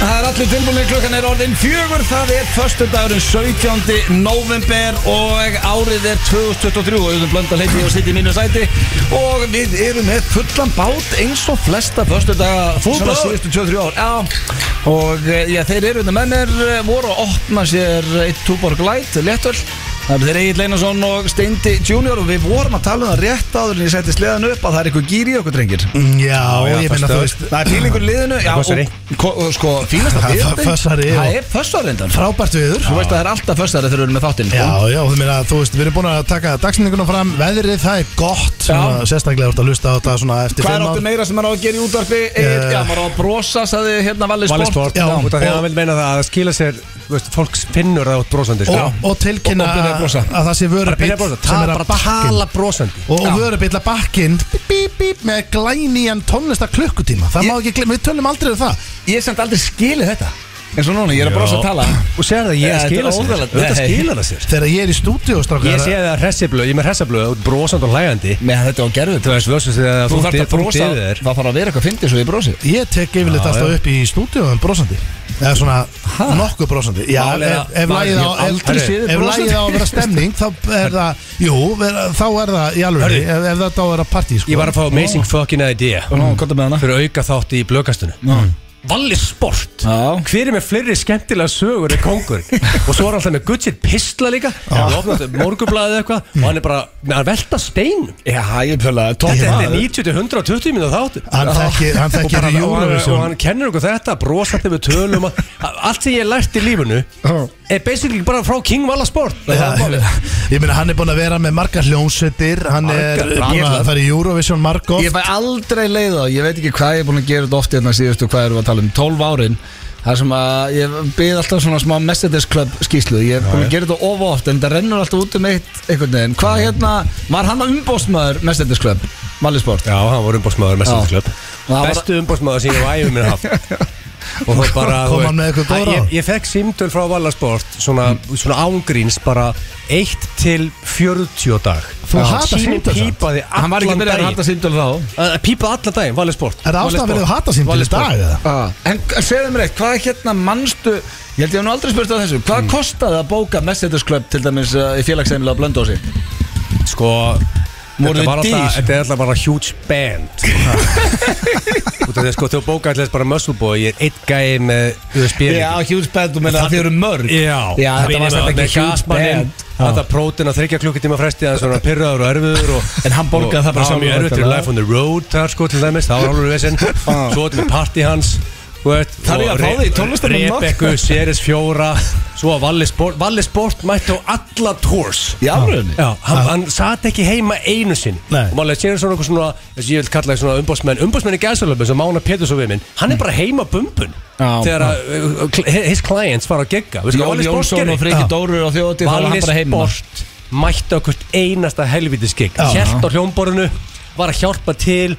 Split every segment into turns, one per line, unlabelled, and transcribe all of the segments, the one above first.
öllu tilbúinni klukkan er orðin fjögur Það er förstu dagurinn 17. november og árið er 2023 og auðvitað blönda leiti og sitt í mínu sæti og við erum með fullan bát eins og flesta förstu daga fútbol
Svona
síðustu 23 ár Já, og eh, já, þeir eru þetta með mér eh, voru að opna sér eitt túborg light, léttöl Það eru þeir Egil Leynason og Steindi Junior og við vorum að tala um það rétt áður en ég setti sleðan upp að það er eitthvað gýr í okkur drengir
Mm, Já,
já,
ég minna
föstu.
þú veist
Það er fílingur í liðinu já,
Fössari.
og, ko- og sko, fínasta
Það er
viðurinn-
fössari og-
Það er fössarindan
Frábært viður
Þú veist að það er alltaf fössari þegar við erum með þáttinn sko.
Já, já, þú meina, þú veist, við erum búin að taka dagsendinguna fram Veðrið, það er gott svona, Sérstaklega úr að lusta á þetta svona eftir
Hvað er
fimm ár.
áttu
um
meira sem maður á að gera í útvarpi? Egil,
Eh,
já, maður á að brosa, saði hérna Valli Sport,
Valli Sport,
Já.
út af því að
Og-
hann vil meina það að það skila sér þú veist, fólk finnur það út brosandi sko.
og, og tilkynna
Og- og byrja að brosa.
að það sé
bara byrja að
vörubill
brosa,
sem er
bara
að bakkin
tala brosandi
og,
Já.
og vörubill að bakkin bíp, bíp, bíp, með glænían tónlista klukkutíma það má ekki glemma, við tölum aldrei um það
Ég samt aldrei skilið þetta En svo núna, ég er að brosa
Já.
að tala
og sér það,
Já,
ég
þetta
skila
er
sér
óþarflega-
þetta
Nei.
skila það sér
þegar ég er í stúdíu strákar,
ég sé það hressiblöð, ég er með hressiblöð út brosandi og hlægandi
Með þetta á gerðu
þú veist, vössu þegar
Þú þarf
þungt
að
yfir- þungt
brosa,
yfir þér.
það þarf að vera eitthvað fyndið svo ég brosi
ég tek yfirleitt
Já,
alltaf
já.
upp í stúdíu en brosandi eða svona nokkuð brosandi já,
Málið er
ef,
að-
ef
maður
lagið á
hefur
ef,
aldrei séð
þig
ef
brosandi.
lagið á að vera stemning þá er það, jú, vera, þá er það í alveg,
Hörðu.
ef, ef þetta á að vera partí sko.
ég var að fá amazing fucking idea
Nú, hvað er með hana?
fyrir auka þátt í blökastunum Valli Sport
Já.
hver er með fleiri skemmtilega sögur en kongur og svo er alltaf með Gutsir Pistla líka og ofnast morgublaðið eitthvað og hann er bara, hann velta stein
Já, ég fjöla
þetta þetta er 90-120 minn þáttur
hann þekkir, hann
og, bara,
þekkir
og, hann, og
Eurovision
hann kennir okkur þetta brosandi við tölum að- að allt sem ég lært í lífinu er basically bara frá King Valla Sport
Já, ég meina hann er búinn að vera með margar hljónsettir hann
Margar,
er búinn að
brillar.
fara í Eurovision margótt
Ég fæ aldrei leið á, ég veit ekki hvað ég er búin að gera þetta oft hérna síðustu, hvað erum við að tala um, 12 árin Það sem að ég byggði alltaf svona smá Mercedes Club skýslu Ég er búin að gera þetta of oft en það rennur alltaf út um eitt einhvern veginn Hvað hérna, var hann að umbóstmaður Mercedes Club, Mali Sport
já, hann var umbósmaður með
Já.
Sjöfnklöp
Og það var-
bestu umbósmaður sem ég var æfum minna haft og það bara
Kom
þú
hann með eitthvað
Æ,
góð ráð?
ég, ég fekk símtöl frá Valla Sport svona, svona ángríns bara 1 til 40 á dag
Þú hatar
síminn
símtöl samt?
pípaði
Hann var ekki
allan
byrjað að hata
daginn
símtöl þá
Að- að pípaði allan daginn, Valla Sport
Er það ástæðan fyrir að hata símtöl í dag eða?
Ah, En segðu mér eitt, hvað er hérna mannstu Ég held ég hef nú aldrei spurt að þessu Hvað kostaði að bóka Mercedes Club til dæmis uh, í félagsheimilega á Blöndósi?
Sko
Voru
þetta var
þið
alltaf-
dýr?
Þetta er alltaf bara huge band Út af því að sko Þegar bókaði alltaf bara Muscle Boy Ég er eitt gæði með USB
huge band, þú meina að þið eru mörg
Já,
Já, þetta var samt ekki huge band.
Þetta prótin að þryggja klukkutíma fresti Það er svona pyrraður og erfiður og,
En hann borgaði það bara
og-
sjálfur,
Já, mjög erfiður
væntanlega.
Life on the road þar sko til dæmis Það var alveg vesinn Svo þetta með party hans þú veit,
Þarf ég að
og
fá
Re-
þig í tónlistarmann nokk?
Rebekku, Seris fjóra Svo að Valli Sport Valli Sport mætti á alla tours
Í afröðinni?
Já, hann, hann satt ekki heima einu sinn
Nei.
Og maður sér svona okkur svona Þessi ég vil kalla það svona umbósmenn Umbósmenn í gæðsalöfum Svo Mána Péturs og við minn Hann er bara heima bumbun
Mm. Já.
Þegar að, uh, uh, his clients fara að gegga Við sko,
Jón
Valli Sport
Jónsson
gerir.
og Freki
Já.
Dóru á þjóti þá var
Valli
hann bara heima
Sport mætti okkur einasta helvitis gig
Já.
Hjælt á hljómborðinu Var að hjálpa til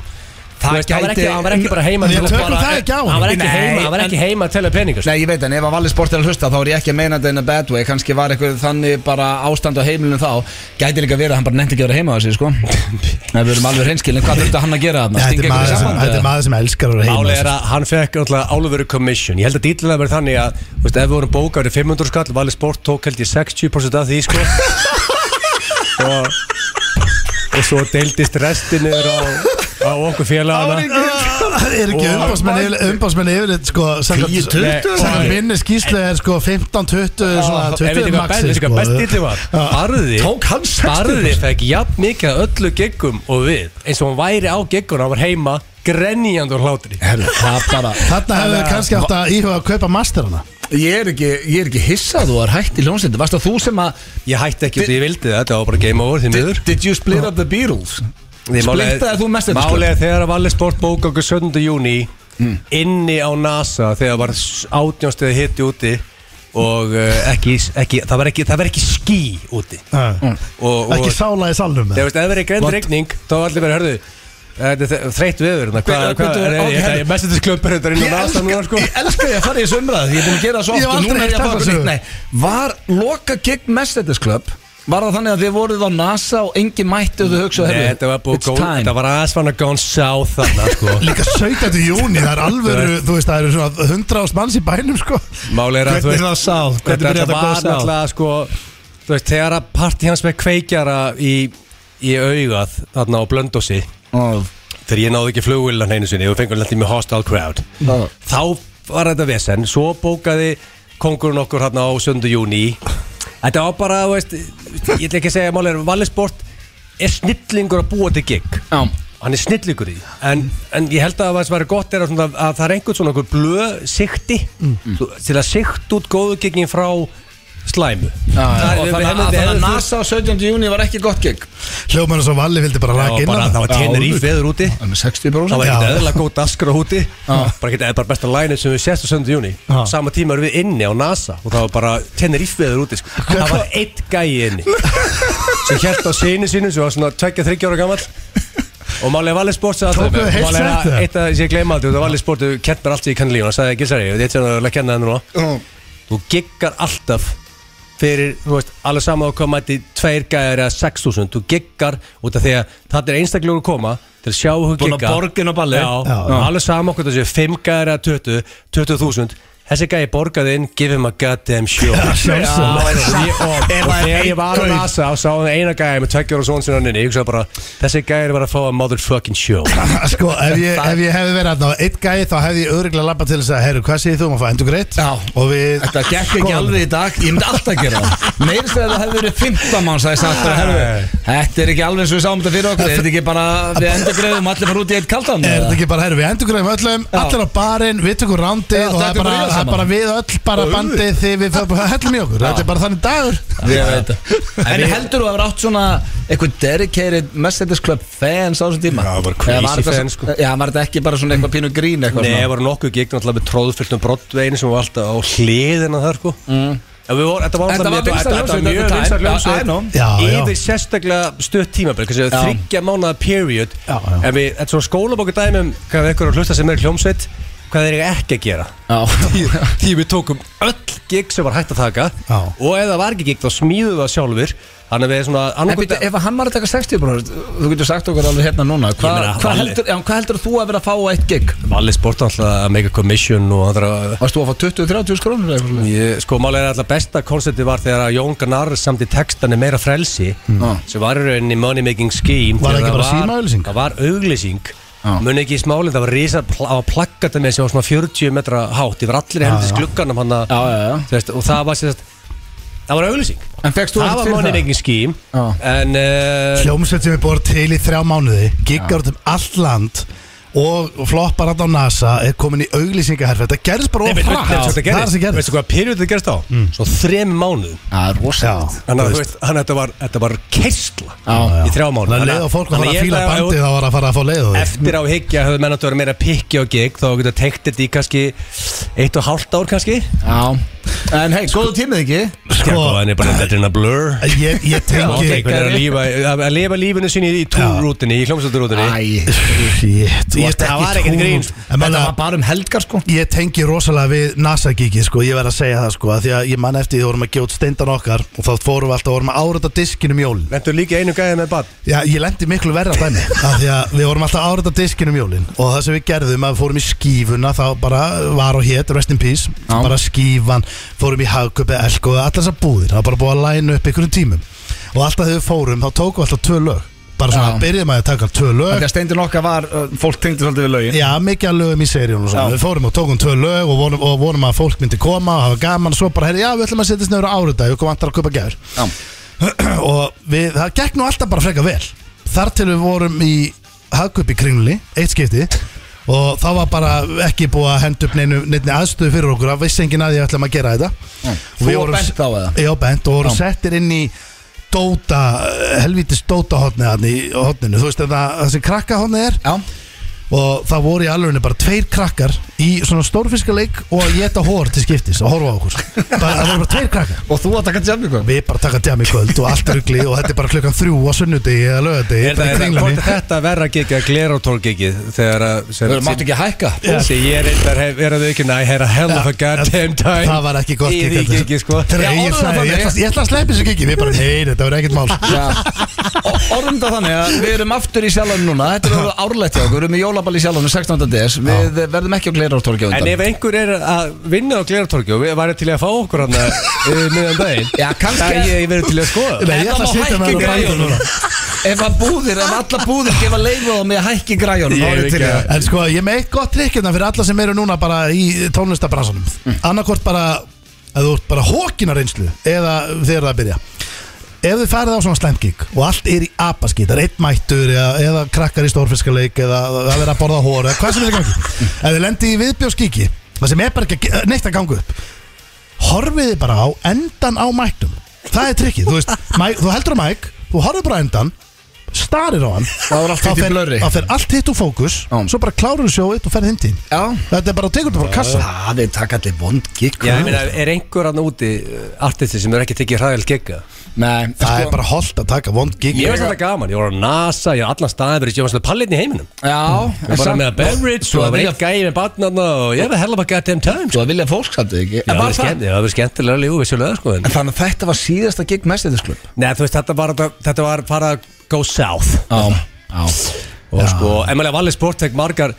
Það
Þú veist, hann var
gæti-
ekki- Hann var ekki bara heima
Við
til að
tökum
bara-
það ekki á
Hann var
honum.
ekki
Nei,
heima Hann var ekki heima að sko. tella peningar
Nei, ég veit en ef að Valli Sport er að hlusta þá er ég ekki að meina þetta in a bad way kannski var eitthvað þannig bara ástand á heimilinu þá gæti líka verið að hann bara nefndi ekki að vera heima á þessi sko Nei, við erum alveg reynskilin hvað þurfti hann að gera þarna?
Þetta
Stinga
er
ykkur
maður
í
sem-
samband,
þetta er
eða?
maður sem elskar að vera heima
Málið er að hann fekk náttúrulega álveru commission Ég held að dýtlaði verið þannig að þú veist, Ef við vorum bókað í 500 skall Valið sport tók held ég 60% af því sko. og, og svo deildist restinir á, á okkur félagana
Það er ekki
Og-
umbásmenn umbásmenn yfirleitt sko samkvæmt-
10-20?
samkvæmt minni skýslu er sko 15-20 svona
Ég veit
20
ekki hvað
maxi
best- veistu hvað best
sko.
dýtli var Barði
Tók hann 60%
Barði fekk jafn mikið að öllu geggum og við eins og hann væri á geggun og hann var heima grenjandi og hlátri
Herru, það bara
Þarna hefur þið kannski átt að íhuga að kaupa masterana
Ég er ekki, ég er ekki hissað þú er hætt í ljónsindi Varst það þú sem að
Ég hætti ekki út í ég vildi það, þetta var bara game over því miður
did, did you split up the Beatles?
Því málið-
Splittaði þú mest þetta
Málið er þegar að Valli Sport bóka okkur 17. júni inni á NASA þegar var átjónstuði hitti úti og uh, ekki, ekki, það var ekki, það var ekki ský úti og, og
Ekki sála í salnum
þegar veist, ef það er greið
What?
regning þá var allir verið hörðu þetta er þe- þreytt veður hérna, hvað,
Bíddu,
hvað,
bíddu,
er,
ok,
okay, ég, ég, message club hérna er þetta inn á
Ég
NASA
elska,
núna sko
ég elska ég að fara í þessu umræð Ég er búin að gera það svo
Ég
oft
hef
og
aldrei
núna er ég að
heyrt
fá
þessa
okkur nýtt
sögu.
Nei, Var loka gig Mercedes Club Var það þannig að þið voruð á NASA og engin mætti og þau hugsaðu
Nei,
"Heyrðu,
þetta var búið
It's
góð
time
Þetta var aðeins fann að gone south þarna sko.
Líka 17. júni, það er alvöru, þú veist, það eru svona 100 ást manns í bænum, sko
Máli er að þú veist
Hvernig það sáð, hvernig
Þetta
byrjaði
þetta var
þetta góð sáð
náttúrulega sko Þú veist, þegar að partí hans með kveikjara í, í augað Þarna á blöndósi
Ó,
Þegar ég náði ekki flugvillan einu sinni Og fengur lenti með hostile crowd
það-
Þá var þetta vesen Svo bókaði kongurinn okkur hérna á 7. júni Þetta var bara, þú veist Ég ætla ekki að segja, máli er Vallisport er snillingur að búa til gig
Já,
hann er snillingur í því. en, en ég held að það sem væri gott er að, svona, að það er einhvern svona einhver blöð sikti svo, til að sikt út góðu gegnin frá slæmu
já, já.
við-
Og
við
þannig
hefðum-
að- þannig
við
að
hefðum þurft-
NASA á 17. júni var ekki gott gig
Hljómaður svo Valli vildi bara
Já,
raka inn
bara,
að
það var tjenir í veður úti
Það er með 60%
það var
Já.
ekkert eðla góð daskur á úti bara ekkert eða bara besta lænið sem við sést á 7. júni
Já.
sama tíma erum við inni á NASA og það var bara tjenir í veður úti sko. það var eitt gæi inni sem hjælt á sinni sínum sem var svona 2-3 ára gamall Og málið er valið sport sagði alltaf
Tókuðu
við mig.
heilt
Málið er
set,
að-
eða?
Eitt að ég gleyma aldrei, það valið sport Þú kent mér alltaf í kannlíun og sagði Gilsari, ég veit sem að leggja henni núna Þú giggar alltaf fyrir, þú veist, alveg sama á hvað mæti tveir gæjar eða 6.000 Þú giggar út af því að það er einstaklega að koma til að sjá hún
Búin
gigga
að borga inn á ballið.
Já,
Já, já.
alveg sama okkur þessu, 5 gæjar eða 20 20.000 Þessi gæði borgaði inn, give him a goddamn show
sjálfsögðu.
Já, og ég- og- Og
Ef það er
þegar ég
einn
var á
gaur.
NASA og sá hann eina gæði með tveggjóra són sinna ninni Ég hugsaði bara, þessi gæði er bara að fá a motherfucking show
Sko, ef ég, ef ég hefði verið hérna á eitt gæi þá hefði ég öðruglega labbað til þess að Herru, hvað segir þú um að fá endur greitt?
Já.
Og við
Þetta gekk ekki
Sko.
alveg í dag, ég myndi alltaf gera það Meirist að það hefði verið 15 manns að ég sagt bara, herru, þetta er ekki alveg eins og við sáum þetta fyrir okkur Er þetta ekki bara, við endur greiðum allir fara út í eitt kaldan
Er þetta ekki bara, herru, við endur greiðum öllum
Já.
Allir á barinn, við tökum rándið
Já,
Og það
þetta er bara við
er bara, það er
saman.
bara við öll bara
Já,
bandið Þegar við fáum- það hellum í okkur Þetta er bara þannig dagur
Ég veit það En heldur þú að vera átt svona eitthvað dedicated Mercedes Club fans á þessum tíma?
Já, bara crazy
Eða var þetta-
fans, sko.
Já, var þetta ekki bara svona eitthvað pínu grín eitthvað
Nei,
svona?
það voru nokkuð gegn alltaf með tróðfylltum broddveginu sem var alltaf á hliðina þar sko mm. voru, Þetta var,
Þetta
alltaf
var
mjög-
vinsæl
þetta var
hljómsveit at
mjög
the time.
vinsæl
I know.
Já,
hljómsveit
já.
Yfir sérstaklega stutt tímabil kannski
Já.
Þryggja mánuða period
Já, já.
En við, þetta er svona skólabóku dæmum Hvað við ykkur að hlusta sem er í hljómsveit Hvað þeir eiga ekki að gera
Já,
Því við tókum öll gig sem var hægt að taka
Já.
Og ef það var ekki gig þá smíðum við það sjálfur Þannig að við svona
en
annarkvöld
byrju, ef að hann var að taka 60 bróður Þú getur sagt okkur alveg hérna núna Hva,
meina,
Hvað
Valli.
heldur, já, hvað heldur þú að vera að fá á eitt gig?
Valli sport alltaf að make a commission og andra
Varst þú að fá 20-30 krónur? eða eitthvað svoleiðis?
Ég, sko, málega er alltaf besta koncepti var þegar að Jón Gnar samt í textan er meira frelsi
Já.
sem var í rauninni money making scheme
Mm. Var það
þegar
ekki bara
var-
símaauglýsing?
Það var auglýsing
Já.
muni ekki í smálinn, það var risa það var plakkata með sem var svona 40 metra hátt yfir allir hendis
já.
glugganum hann að
Já, já, já
þú veist, og það var sérst það var auglýsing
En fegst þú
það
ekkert
var
fyrir
money
það?
making scheme
Já.
en uh,
Hljómsveit sem er búin til í þrjá mánuði Giggar út um allt land Og floppar hann á NASA Er komin í auglýsingaherfi Þetta gerðs
Nei,
bara of
veistu-
hratt
veistu hvað
Það er
gerðist?
sem gerðist Mm.
Veistu hvað period þetta gerðist á? Svo þrem mánuðum
Já, það er rosalegt
Já.
Þannig að þú veist, þannig að þetta var, þetta var keistla
Já.
í þrjá mánuð
Það er leið á fólk að fara að fíla bandið Það var að fara að fá leið á því
eftir á higgja höfðu menn átt að vera meira pikki á gig þá getur teikt þetta í kannski eitt og hálft ár kannski
Já En hei, góðu tímið ekki?
sko þannig bara þetta er hérna blur
Ég, ég
og
tengi
eitthvað er að lífa að að lifa lífinu sinni í túrrútinni í hljómsöldurrútinni
Æ,
Shit, ég
varst- það var ekkert
trú-
grín.
En
þetta
maður-
var bara um helgar sko
Ég tengi rosalega við NASA-gíkið sko, ég verð að segja það sko, að því að ég man eftir því að vorum að gefa út steindan okkar og þá fórum við alltaf að vorum að árita diskinum jólin.
Lentur líka í einu gæði með bad
Já, ég lendi miklu verra dæmi, af því að við vorum alltaf að árita diskinum jólin og það sem við gerðum að við fórum í skífuna, þá bara var og hétt, rest in peace,
Já.
bara skífan, fórum í hagköpi, elko, allar þessar búðir, það var bara búið að læna upp einhverjum tímum og alltaf þegar við fórum, þá tókum við alltaf tvö lög, bara svona
Já.
byrjum að taka tvö lög
Þegar steindin okkar var, uh, fólk tengdi svolítið við lögin
Já, mikið af lögum í seríun og svona
Já.
Við fórum og tókum tvö lög og vonum, og vonum að fólk myndi koma og hafa gaman og svo bara, herri, já, við ætlum að setjast nefnir á árið dag og koma antar að kaupa gæður
Já.
og við, það gekk nú alltaf bara freka vel Þar til við vorum í hagkaup í kringlunni, eitt skipti og þá var bara ekki búið að henda upp neinu, neinu aðstöðu fyrir okkur að vissi enginn að ég ætlum að gera þetta
Þú
Við
og
vorum-
Bent þá eða?
Já, bent og voru
Já.
settir inn í Dóta, helvítist Dóta hotnið, hotninu, þú veist en það, það sem krakka hotnið er
Já,
og það voru í alvegni bara tveir krakkar í svona stórfiskaleik og að geta hór til skiptis að horfa á okkur bara, það voru bara tveir krakkar
Og þú að taka jammi hvað?
við bara taka djam í kvöld og allt rugli og þetta er bara klukkan þrjú á sunnudegi eða lögadegi
Er
bara í
það, er það,
kringlunni
hvort er þetta verra gigið að glerától gigið þegar að sem,
Þú mátt ekki hækka
sem ég reyndar hef, er að aukina I had a hell of a goddamn time
það var ekki gott
í því
heldur.
gigið sko
Þegar
Já,
Egill
orðaðu það
sagði, ég
þannig.
ætla- ég ætla að sleppi þessu gigi við bara, nei, þetta var ekkert mál
Orðum það þannig að við erum aftur í sjálfanum núna Þetta er orðið árlegt hjá okkur, við erum í jólaball í sjálfanum 16. des Við verðum ekki á glerartorki á
En ef
undan
einhver er að vinna á glerátólki og við varum til að fá okkur hann meðan daginn
Já, kannski-
það er ég verið til að skoða
Nei, ég
Þetta
ætla að
má
sitja með
hækka
hann á
græjunum.
bandinu núna
Ef að búðir, ef alla búðir gefa leifu á mig að hækki græjónum
Ég er ekki að-
En sko, ég er með eitt gott trikkjörna fyrir alla sem eru núna bara í tónlistabransanum mm. Annarkvort bara, að þú ert bara hókina reynslu Eða þegar það byrja Ef þið farið á svona slemgig og allt er í apaskýt, það er einn mættur eða, eða krakkar í stórfiskaleik eða það er að borða hór eða hvað sem er í gangi Ef þið lendi í viðbjóðskíki, það sem er bara ekki að- neitt að ganga upp horfiði bara á endan á mæknum það er trikkið, þú veist mæk, þú heldur á mæk, þú horfið bara á endan starir á hann
Það var allt hitt í
fer-
blurri.
þá fer allt hitt úr fókus
Já.
svo bara klárir þú sjóið og ferð hinn tín
Já.
þetta er bara, þú tekur þetta bara kassa
Það er takk allir vond gikk
Já, ég meina, er einhver hann úti uh, artisti sem er ekki tekið hræðil gegga
Nei,
það er bara holdt að taka vond gig
Ég veist þetta gaman, ég var á NASA, ég var allan staðverið, ég var svona pallinn í heiminum
Já,
Ég var bara með að beverage og það var
vilja,
einn gæði með barnarna og ég var hella bara goddamn time sko.
Svo að vilja fólk samt ekki
Já,
En
það
var
var skemmt- já, það var skemmtilega líf, vissulega sko en
En þannig að þetta var síðasta gig mestindisklub
Nei, þú veist, þetta var, þetta var bara að go south
Já, já
og sko, emalega valið sportek margar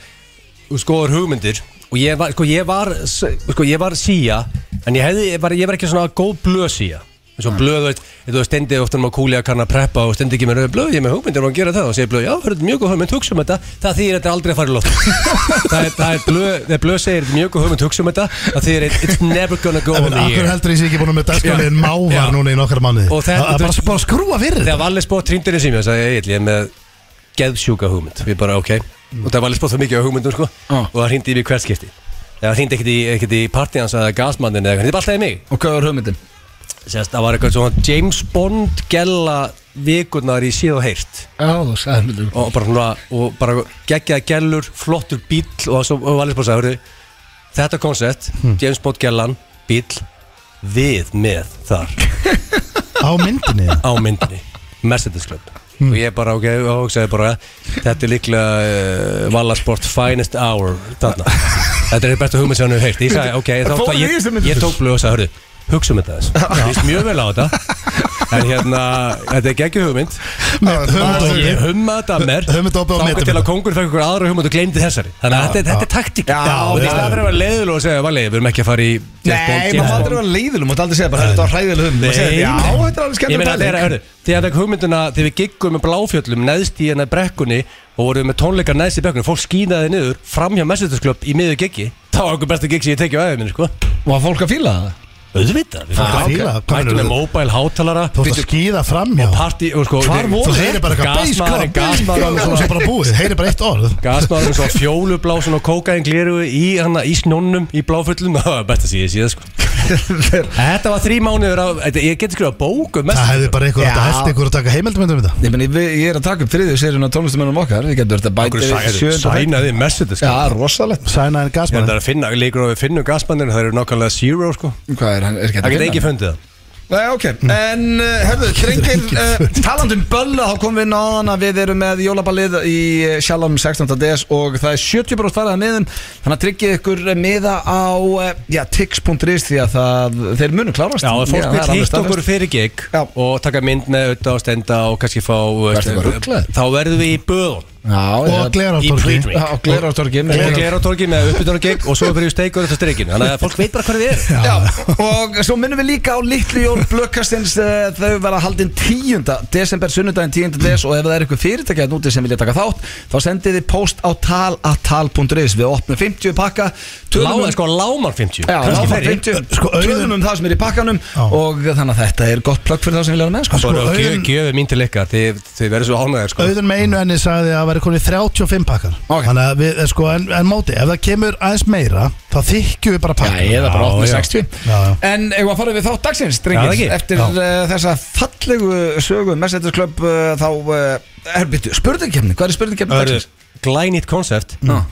skoður hugmyndir og ég var, sko, ég var s- sko, ég var síja, en ég hefði, ég var, ég var ekki svona góð blöð síja eins og blöð, þú veist, þú veist, stendi ofta um að kúli að kanna preppa og stendi ekki með rauð blöð, ég er með hugmyndir og að gera það og segir blöð, já, þetta er mjög góð hugmynd, hugsa um þetta það þýðir þetta er aldrei að fara í loft það er, það er blöð, þegar blöð segir þetta er mjög góð hugmynd, hugsa um þetta það þýðir it's never gonna go
En
on the
Akkur
year
heldur ég sé ekki búin að með dagskjálin
Já.
mávar
Já.
núna í nokkar mánuði
Og þetta-
Það er bara, bara að skrúa fyrir
Þegar Valli spótt trýndir þessi mér, sagði ég, Egill, ég er með geðsjúka hugmynd, ég bara, ok og það Valli spótt það mikið á hugmyndum, sko
Ah.
og það hringdi í mig hvert skipti það hringdi ekkert í, ekkert í partíans eða gasmannin eða eitthvað, það er bara alltaf í mig
Og hvað var hugmyndin?
Sérst, það var eitthvað svona James Bond gella vikurnar í síð og heyrt
Já, þú sagði mér þetta
og bara svona, og bara geggjaða gellur flottur bíl og, svo, og Valli spótt sagði, hörðu þetta koncept, James Bond gellan bíl, við með þar
á myndinni
á myndinni Mercedes Club
Hmm.
og ég bara, ok, og hugsaði bara þetta er líklega uh, Vallasport finest hour þarna þetta er besta hugmynd sem hann hefur heyrt ég sagði, ok, þá,
Fóruð
þá,
þið í þessu
ég,
myndinni?
ég tók blöð og sagði, hörðu hugsa um þetta þess, ég veist mjög vel á þetta en hérna, þetta er geggjum hugmynd og
höfum
ég humma þetta að mér
Hummaði opið
Þangað
og metum
til að
þetta.
kongur fekk ykkur aðra hugmynd og gleymdi þessari þannig að þetta, er- þetta er taktík
Já,
og
já.
í staðan fyrir að vera leiðilega og segja, Valli, við erum ekki að fara í James Bond,
Nei,
James
maður
Bond."
aldrei vera leiðilum Maður aldrei segja bara Þetta var hræðileg hugmynd Maður segir,
Nei.
Já, þetta er alveg
Ég
skemmt
meina þegar, hörru, þegar við hugmyndina Þegar við giggum með bláfjöllum neðst í hennar brekkunni Og vorum með tónleikar neðst í brekkunni Fólk skínaði niður fram hjá Messitursklöpp í miður giggi Það var okkur besta gigg sem ég tekið á æfið minni, sko
Var fólk að fíla það?
Auðvitað Við
Já,
fórum
fíla,
að-
hvað
mættum
meinarðu?
með móbæl hátalara
Þú ert að skýða fram hjá
Parti, og sko
Hvar
þeir-
voru
Þú
þeir?
heyrir bara eitthvað bass,
Gasmaðurinn,
come, bass,
gasmaðurinn,
come, og svo bara búið, heyrir bara eitt orð
Gasmaðurinn svo fjólublásun og kókaðin gliru í, hana, í snjónum í bláfjöllum Það var besta síðið síðan, sko Þetta var þrý mánuður af, þetta- ég geti skrifað bók um
Það
Messenger-
hefði bara einhver átt að
Já.
hætti einhver að taka heimildamöndum um þetta
Ég meina, við- ég er að taka upp þriðju seríun á tónlistamönnum okkar Við getum verið að
Okkur
bæta
sæ-
við sjöunda þætti.
Sænaði Messitursklöpp
Já, rosalegt
Sæna en
Ég held
gasmann
að finna, líkur á við finnum gasmannir, það eru nákvæmlega zero sko
Hvað er hann? Er
Það geta
ekki
ekki fundið það
Nei, ok, en uh, herðu, drengir, uh, talandum bölla, þá komum við náðan að við erum með jólaballið í sjálfum 16. des og það er 70% farið að miðum, þannig að tryggið ykkur eh, miða á uh, já, tix.is því að það, þeir munu klárast.
Já, og fólk
það er
vil
alveg
hitt okkur
staðfest.
fyrir gig
Já.
og taka mynd með auðvitað og stenda og kannski fá
Ertu eitthvað ruglaður?
Þá verðum við í böðun
Já,
Og
eða-
Í
glerartorki
pre-drink.
Já, á Glerártorgin.
og gera á torgi með uppbytunar gig og svo verðum við steikur þetta streikinu Þannig að fólk veit bara hvað þið er
Já, og svo minnum við líka á litlu jól blökkastins eh, þau verða haldin 10. desember, sunnudaginn 10. des og ef það er eitthvað fyrirtækja núti sem vilja taka þátt þá sendið þið post á talatal.is við opnum 50 pakka tölum
Láma,
um-
sko, lámar 50
Já,
kannski
lámar
fleiri.
50,
Sko, Auður-
tölum um það sem er í pakkanum
Já.
og þannig að þetta er gott plökk fyrir þá sem vilja vera með sko.
Sko,
Bara gjöf-
auðun-
gjöfið mín til ykkar, þið þið verður svo ánæðir sko
Auðun með einu enni sagði að það væri konið 35 pakkar
Ok.
Þannig að við, eh, sko, en, en móti, ef það kemur aðeins meira þá þykjum við bara
Já,
pakkar
eða bara
Já,
8
já.
60
Já, já.
En ef að fara við þátt dagsins,
Já, það
drengir
ekki.
Eftir
Já.
uh, þessa fallegu sögu Mercedes-klöpp uh, þá uh, er byrju, spurningkefni, hvað er spurningkefni
Örðu,
dagsins?
glænýtt konsept
Já.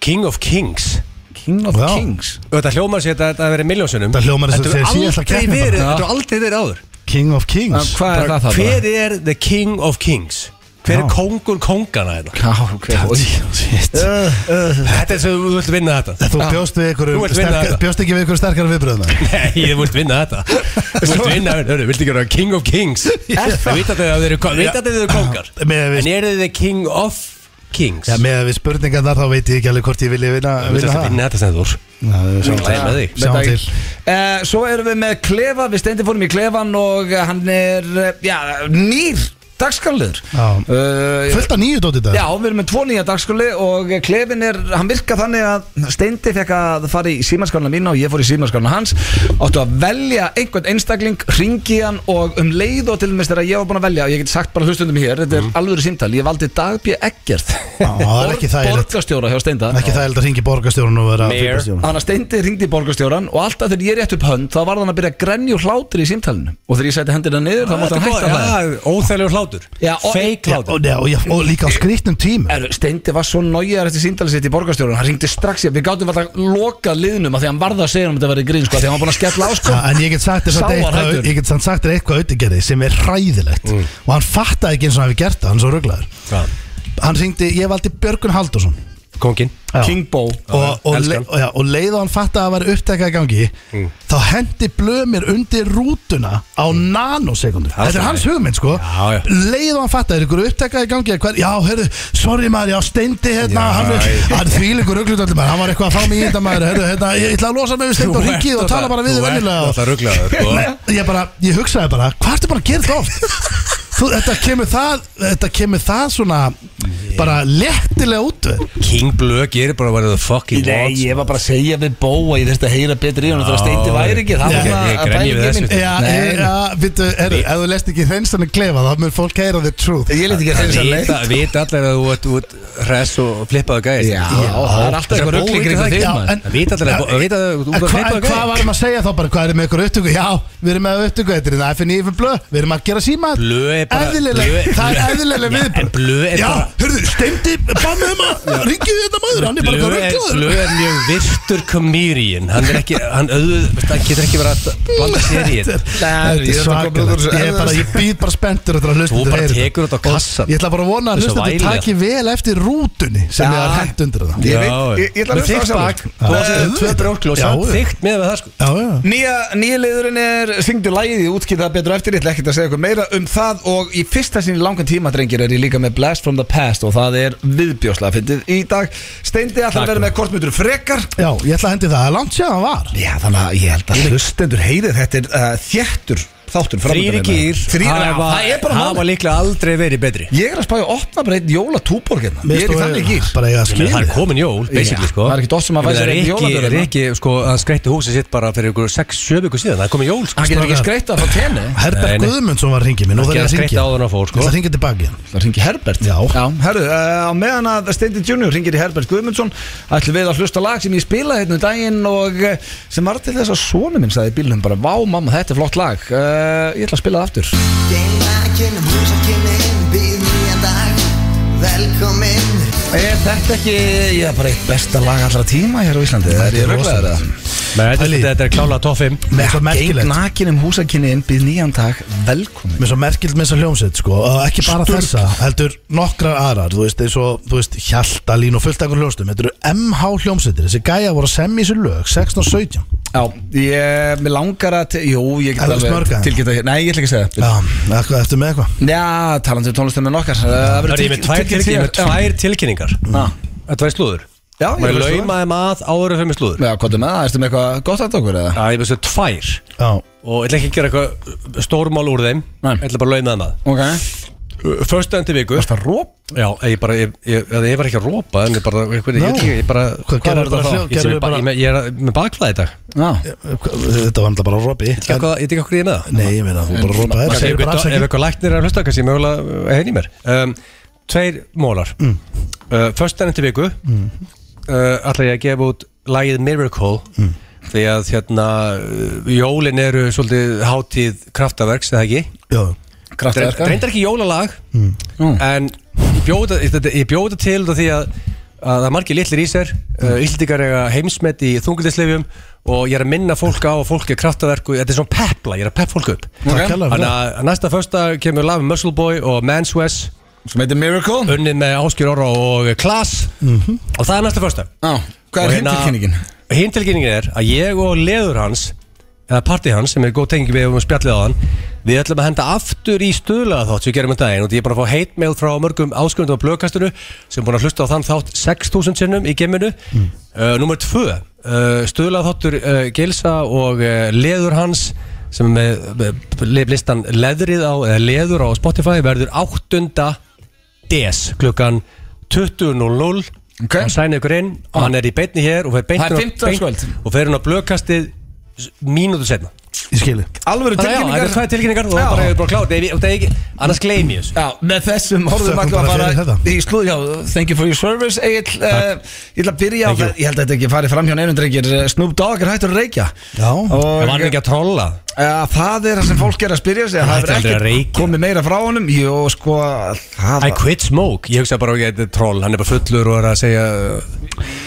King of Kings
King of
Já.
Kings
Þetta hljómar sér þetta að vera miljónsunum
Þetta hljómar eins og
Þetta
þeir séu
hefur
alltaf
aldrei
keppni bara.
verið
Já.
Þetta er aldrei verið áður
King of
En
Kings
Hvað er það það?
Hver er the king of kings? Hver er kongur kongana þetta?
Hver, hver,
Shit.
Þetta er sem þú vilt vinna þetta
Þú bjóst, við einhverjum
Þú ert vinna
sterkar,
þetta.
bjóst ekki við einhverjum sterkara viðbröðum
Nei, ég vilt vinna þetta Þú vilt vinna þetta, hörru, vilt ekki vera king of kings Það veit að þið eru ko- veit að þið eru kongar
Með að við,
En eru þið the king of kings?
ja, með að við spurningan þar þá veit ég ekki alveg hvort ég vilja vinna,
Þú vilt
vinna
alltaf
það
vinna þetta sem þú
Já, við sjáum
Það er með þig
Sjáum
Veit það
til.
ekki. Eh, Svo erum við með Klefa, við stendir fórum í Klefan og eh, hann er, eh, já, nýr Eh, dagskalliður
Já. Fullt af nýju dót í dag
Já, við erum með tvo nýja dagskulli og klefin er, hann virka þannig að Steindi fekk að fara í símarskaluna mína og ég fór í símarskaluna hans áttu að velja einhvern einstakling, ringi hann og um leið og til og með þegar ég var búin að velja og ég get sagt bara hlustundum hér, þetta er alvöru símtal ég valdi Dagbjö Eggert
Mhm. það er ekki þægilegt.
Borgastjóra hjá Steinda
Ekki það held að ringi borgarstjórun og vera
Mayor.
fylgastjórun
Þannig að Steindi ringdi í borgarstjóran og alltaf þegar ég rétt upp hönd þá var hann að byrja að grenja úr hlátur í símtalinu og þegar ég sætti hendina niður þá mátti hann hætta að hlæja
Óþæglegur hlátur
Já, og-
Fake
Já,
hlátur
og, já, og, já, og líka á skrýtnum tím
Er, Steindi var svo nájaðar eftir síndalið sitt í borgarstjórun hann ringdi strax í að við gátum alltaf lokað liðnum að því að hann varða að segja um þetta verið grín sko, af því að hann var búin að skella á sko
En ég get sagt þér
Sá
samt
var
eitthvað
hættur.
Ég get samt sagt þér eitthvað auðvitað gerði sem er hræðilegt
Mm.
Og hann fattaði ekki eins og hann hefði gert það, hann er svo rugglaður
Hvað?
Hann ringdi, ég valdi Björgun Haldursson
Kongin
King Bo
og, og,
Elskan.
le, og, já, og leið og hann fatt að það var upptekað í gangi
Mm.
þá hendi blömir undir rútuna á nanosekundu
Það er
þetta er
það.
hans hugmynd sko
Já, já.
leið og hann fatt að það er ykkur upptekað í gangi eða hver, já, herru, sorry maður, já, steindi hérna,
Já,
hann, er-
ég-
hann því líkur auglutöldur maður, hann var eitthvað að fá mig í þetta maður herru, hérna, ég ætla að losa mig við steindi og ringið og tala bara við þið venjulega og-
Það rugglaður sko
Nei, ég bara, ég hugsaði bara hvað ertu bara að gera þetta oft Þú, þetta, kemur það, þetta kemur það svona bara léttilega út við.
King Blue gerir bara what the fuck he wants
ég var bara að segja við Bo að ég þurfti að heyra betur í hann
þegar Steindi væri ekki, það var svona að pælingi mín.
Já,
Nei,
ég- já, veitu, herru, ef þú lest ekki hreinsanum klefa þá mun fólk heyra the truth
ég leti ekki að þeirra
Það
leið
vita- vita allir að þú ert út hress og flippaðu gæði
Já, það er alltaf eitthvað rugl í kringum þig, maður.
Það vita allir að- það vita að þú
En
ert
hva,
flippaðu
hvað
gæði
varum að segja þá bara, hvað erum með ykkur upptöku? Já, við erum með upptöku, þetta er það FNI fyrir blöð, við erum að gera síma
Blöð er bara-
Eðlilega,
blöð-
það
blöð-
er eðlilega
Já,
viðbröð
en blöð er
Já,
bara-
hörðu, steindi, banna um að ringið þetta maður, hann er bara eitthvað
Blue
rugglaður
er mjög virtur komýrin Hann er ekki, hann auður Það getur ekki verið að blanda sér í þetta
Nei, ég
Þetta er
þarf að koma út úr þessu
svakalegt. Ég er bara, ég býð bara spenntur eftir að hlusta
Þú
þetta
bara
heyri þetta.
tekur þetta á
Og
kassann.
Ég ætla bara að vona að
Þessu
hlusta þetta
vælega.
taki vel eftir rútunni sem ég er
Já.
hent undir það
Ég
Já,
veit- ég- ég ætla að
með
hlusta á
þykkt
sjálfur.
bak, Þú
Já,
varst með
auðvitað.
tvö brjóklu og
Já,
samt
auðvitað.
þygt með það sko
Já, já
Nýja, nýja leiðurinn er syngdu lægið í útskýrða betur á eftir, ég ætla ekkert að segja eitthvað meira um það og í fyrsta sinni langan tíma drengir er ég líka með Blast from the Past og það er viðbjóslega fyndið í dag Steindi ætlar
Takk.
að vera með kortmyndur frekar
Já, ég ætla að hendi það, það er langt séðan var
Já þannig að ég held að hlustendur heyrið þetta er uh, þjættur þáttur
Þrýri gýr
Þrýri gýr, það er bara
Hafa
málið
líklega aldrei verið betri
Ég er að spája að opna bara einn jóla túborgirna Ég er í þannig gýr
Bara ég
Ég meina,
að skilja
Það er komin jól,
Já,
basically sko
það er ekkert oft sem að
Ég meina,
fæ sér einn jóladöður,
Rikki, Rikki, sko, hann skreitti húsið sitt bara fyrir ykkur 6-7 ykkur síðan Það er komið jól sko
Hann getur ekki
strákar.
skreitt að fá tenni
Herbert
Nei, nei.
Guðmundsson var að ringið mér, nú
Ekki
þarf ég
að
að
skreita
ringja
áður en hann fór, sko.
Ég ætla að ringja tilbaki hérna
Það ringi Herbert
Já.
herru, uh, á meðan að Steindi Junior ringir í Herbert Guðmundsson ætlum við að hlusta lag sem ég spilaði hérna um daginn og eh, sem var til þess að sonu minn sagði í bílnum bara Vá mamma, þetta er flott lag uh, Ég ætla að spila það aftur
Gengakinn, húsakinn, býð nýjan dag Velkomin
Er þetta ekki, ég er bara eitt besta lag allra tíma hér á Íslandi
Þetta
Er
er
ég röglegaður
rosalegt.
það?
Nei, þetta
Pæli.
er- þetta er klála toffim
Mér er svo
Geng
merkilegt
nakin um húsakinni innbyð nýjan dag Velkomin
Mér er svo merkilt með þessa hljómsveit sko og ekki bara þessa, heldur nokkrar aðrar þú veist, eins og, þú veist, Hjaltalín og fullt ekkur hljómsveitum, þetta eru MH hljómsveitir þessi gæja voru að semja í sér lög 16 og 17
Já, ég, mér langar að, te- jú, ég
Er
get
það smörgað?
tilgeta hér Nei, ég ætla ekki að segja
Já, eitthvað eftir með eitthvað
Já, talandi um tónlistum með nokkar Það
Það er ég með tvær tilkynningar, ég er með tvær tilkynningar.
Já.
Þetta var í slúður
Já, ég var
Mér
í slúður.
laumaði maður áður fyrir mig slúður
Já, hvað er með það? Erstu með eitthvað gott að okkur eða?
Já, ég með svo tvær
Já,
Og ég ætla ekki að gera eitthvað uh, stórmál úr þeim
Nei.
Ég ætla bara að laumaði Uh, maður
Ok
Förstu endi viku
Varst það róp?
Já, ég bara, ég, ég, eða ég var ekki að rópa En ég bara, ég, ég, ég, ég, ég bara
hvað gerður
var
þetta
þetta
þá?
þá?
Ég,
Gerðu
ég, bara,
bara-
ég, ég, ég er með bakflæði í dag Ég
Já
Þetta var náttúrulega bara Robby
veit ekki hvað- ég veit ekki okkur ég er með það
Nei, ég meina, þú bara Robby
Maður
Það
segir
er bara
ykkur-
alls
Ef
ekki
eitthvað læknir er að hlusta kannski ég mögulega uh, henni mér um, Tveir mólar mm. uh, Föstudaginn til viku mm. uh, Ætla ég að gefa út lagið Miracle Því að hérna uh, Jólin eru svolítið hátíð kraftaverks eða ekki
Já,
Kraftaverka
Mm. Reyndar ekki jólalag En ég bjóða, þetta, ég bjóða til út af því að að það er margir litlir í sér uh, Íslendingar eiga heimsmet í þungildisleifjum og ég er að minna fólk á að fólk er kraftaverku, þetta er svona pepla, ég er að pepp fólk upp
Ok.
Takk hella fyrir
Þannig
það
að næsta fyrsta kemur lag með Muscle Boy og Man's West
Sem heitir Miracle
unnið með Áskjör Orra og Klaas og það er næsta hérna- fyrsta
Já, hvað er hintilkynningin?
Hinn tilkynningin er að ég og leður hans eða parti hans sem er góð tengi við um spjallið á hann við ætlum að henda aftur í stöðlega þátt sem við gerum um daginn og því ég er bara að fá heitmail frá mörgum áskrifundum á blöðkastinu sem er búin að hlusta á þann þátt 6000 sinnum í geminu mm. uh, Númer 2 uh, stöðlega þáttur uh, Gilsa og uh, leður hans sem er með, með- með listan leðrið á, eða leður á Spotify verður 8. DS klukkan 20.00
Ok.
hann sæna ykkur inn og hann er í beinni hér og fer beint
Það er
inn á-
15
beint-
kvöld.
og fer hann á blöðkastið s- mínútu setna
Ég skili
Alvöru
Þannig að já, þetta er
tilkynningar
tvær tilkynningar og
Já.
bara hefur bara klátt Ef ég- og það er ekki- annars gleymi ég þessu
Já, með þessum horfum
Þökkum
við að
bara fyrir
fara
þetta.
í slúð Já, thank you for your service Egil, uh, Ég ætla að byrja á
Thank you.
það Ég held að þetta ekki farið fram hjá neinum drengir eh, Snoop Dogg er hættur að reykja
Já.
Það
og
var hann ekki að trolla
Ja, það er það sem fólk er að spyrja sig Það
Hann
er
hætti aldrei að
ekki
reykja.
komið meira frá honum Jó, sko það,
I quit smoke Ég hugsa bara að þetta er troll Hann er bara fullur og er að segja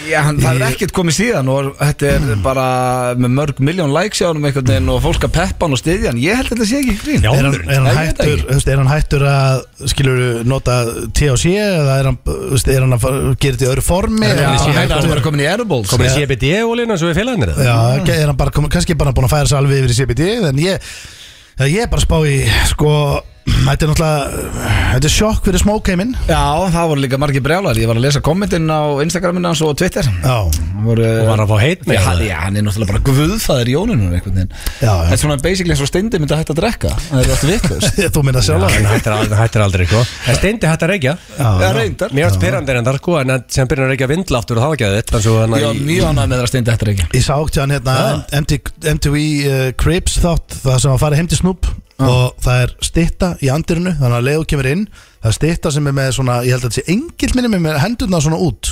já, hann, það er ekkert komið síðan og þetta er
Mm.
bara með mörg miljón likes hjá honum einhvern veginn og fólk að peppa hann og styðja hann Ég held að þetta sé ekki grín
Já.
Er hann, er, hann
Nei, ég veit
hættur,
ekki.
þú veist, er hann hættur að skilur nota THC eða er hann, þú veist, er hann að fara, gera þetta í öðru formi
Já,
Er hann
hann er
hættur-
bara komin í edibles
Komin í
Já.
CBD-ólinu eins og við félagarnir eða?
Já, er hann bara, komin- kannski er bara búin að færa sig alveg yfir í CBD en ég, já, ég er bara að spá í sko, þetta er náttúrulega þetta er sjokk fyrir smókheiminn
Já, það voru líka margir brjálar Ég var að lesa kommentin á Instagraminu hans og Twitter
Já,
Það voru,
Og var að fá heit
eh, Já,
með
hann- já, hann er náttúrulega bara guðfæður í jónunum einhvern veginn
já,
Það er
já
svona basically eins og steindi myndi að hætta að drekka Það er alltaf vitlaust
Þú minna sjálf
Hann hættir aldrei, hættir aldrei sko. En Steindi hætti að reykja
Já,
Já, já.
reyndar
Mér átt pyrrandi en þar sko En hann- sem byrjar að reykja vindla aftur og það var ekki að þetta Þannig að
Ég var mjög ánægð með það að steindi eftir ekki
Ég sá átti hann hérna MT- MTV uh, Cribs þátt það sem að fara heim til Snoop og það er stitta í andirinu þannig að Leo kemur inn það er stitta sem er með svona ég held að þetta sé engill minni með- með hendurna svona út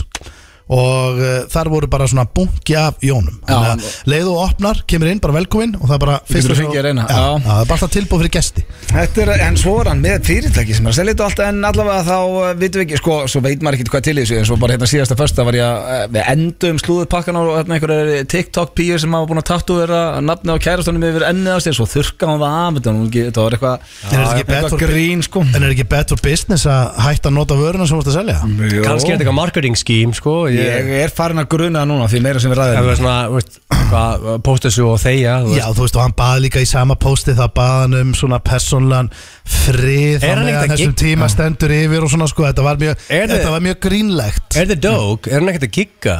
og uh, þar voru bara svona bunki af jónum
Já.
þannig að Leo opnar, kemur inn, bara velkominn og það er bara
getur
fyrsta
fengið
svona-
að reyna,
Já,
já.
já, það er bara alltaf tilbúið fyrir gesti
Þetta er, en svo er hann með fyrirtæki sem er að selja þetta allt en allavega þá uh, vitum við ekki, sko, svo veit maður ekki hvað til í þessu en svo bara hérna síðasta fyrsta var ég að uh, við endum slúður pakkan á hérna einhverjar TikTok píu sem hafa búin að tattu vera nafni á kærastunum yfir ennið á sér svo þurrka hann það af, þetta var nú ekki- þetta var
En
eitthvað
er þetta ekki
eitthvað
bad for-
grín, sko
en er ekki bad for business að hætta að nota vöruna sem þú ert að
Mm.
selja
Kanski er þetta eitthvað marketing scheme sko.
Ég er farin að gruna það núna því meira sem við
Það
ræðum
var svona, veist, hvað, pósta svo og þeia þú
Já,
veist.
þú veist, og hann baði líka í sama pósti það baði hann um svona persónlan frið
Er hann
þannig
ekkert
að
að
þessum
gig-
tíma stendur yfir og svona sko, þetta var mjög,
Er þið-
þetta var mjög grínlegt uh,
Er þetta dók? Er hann ekkert að gigga?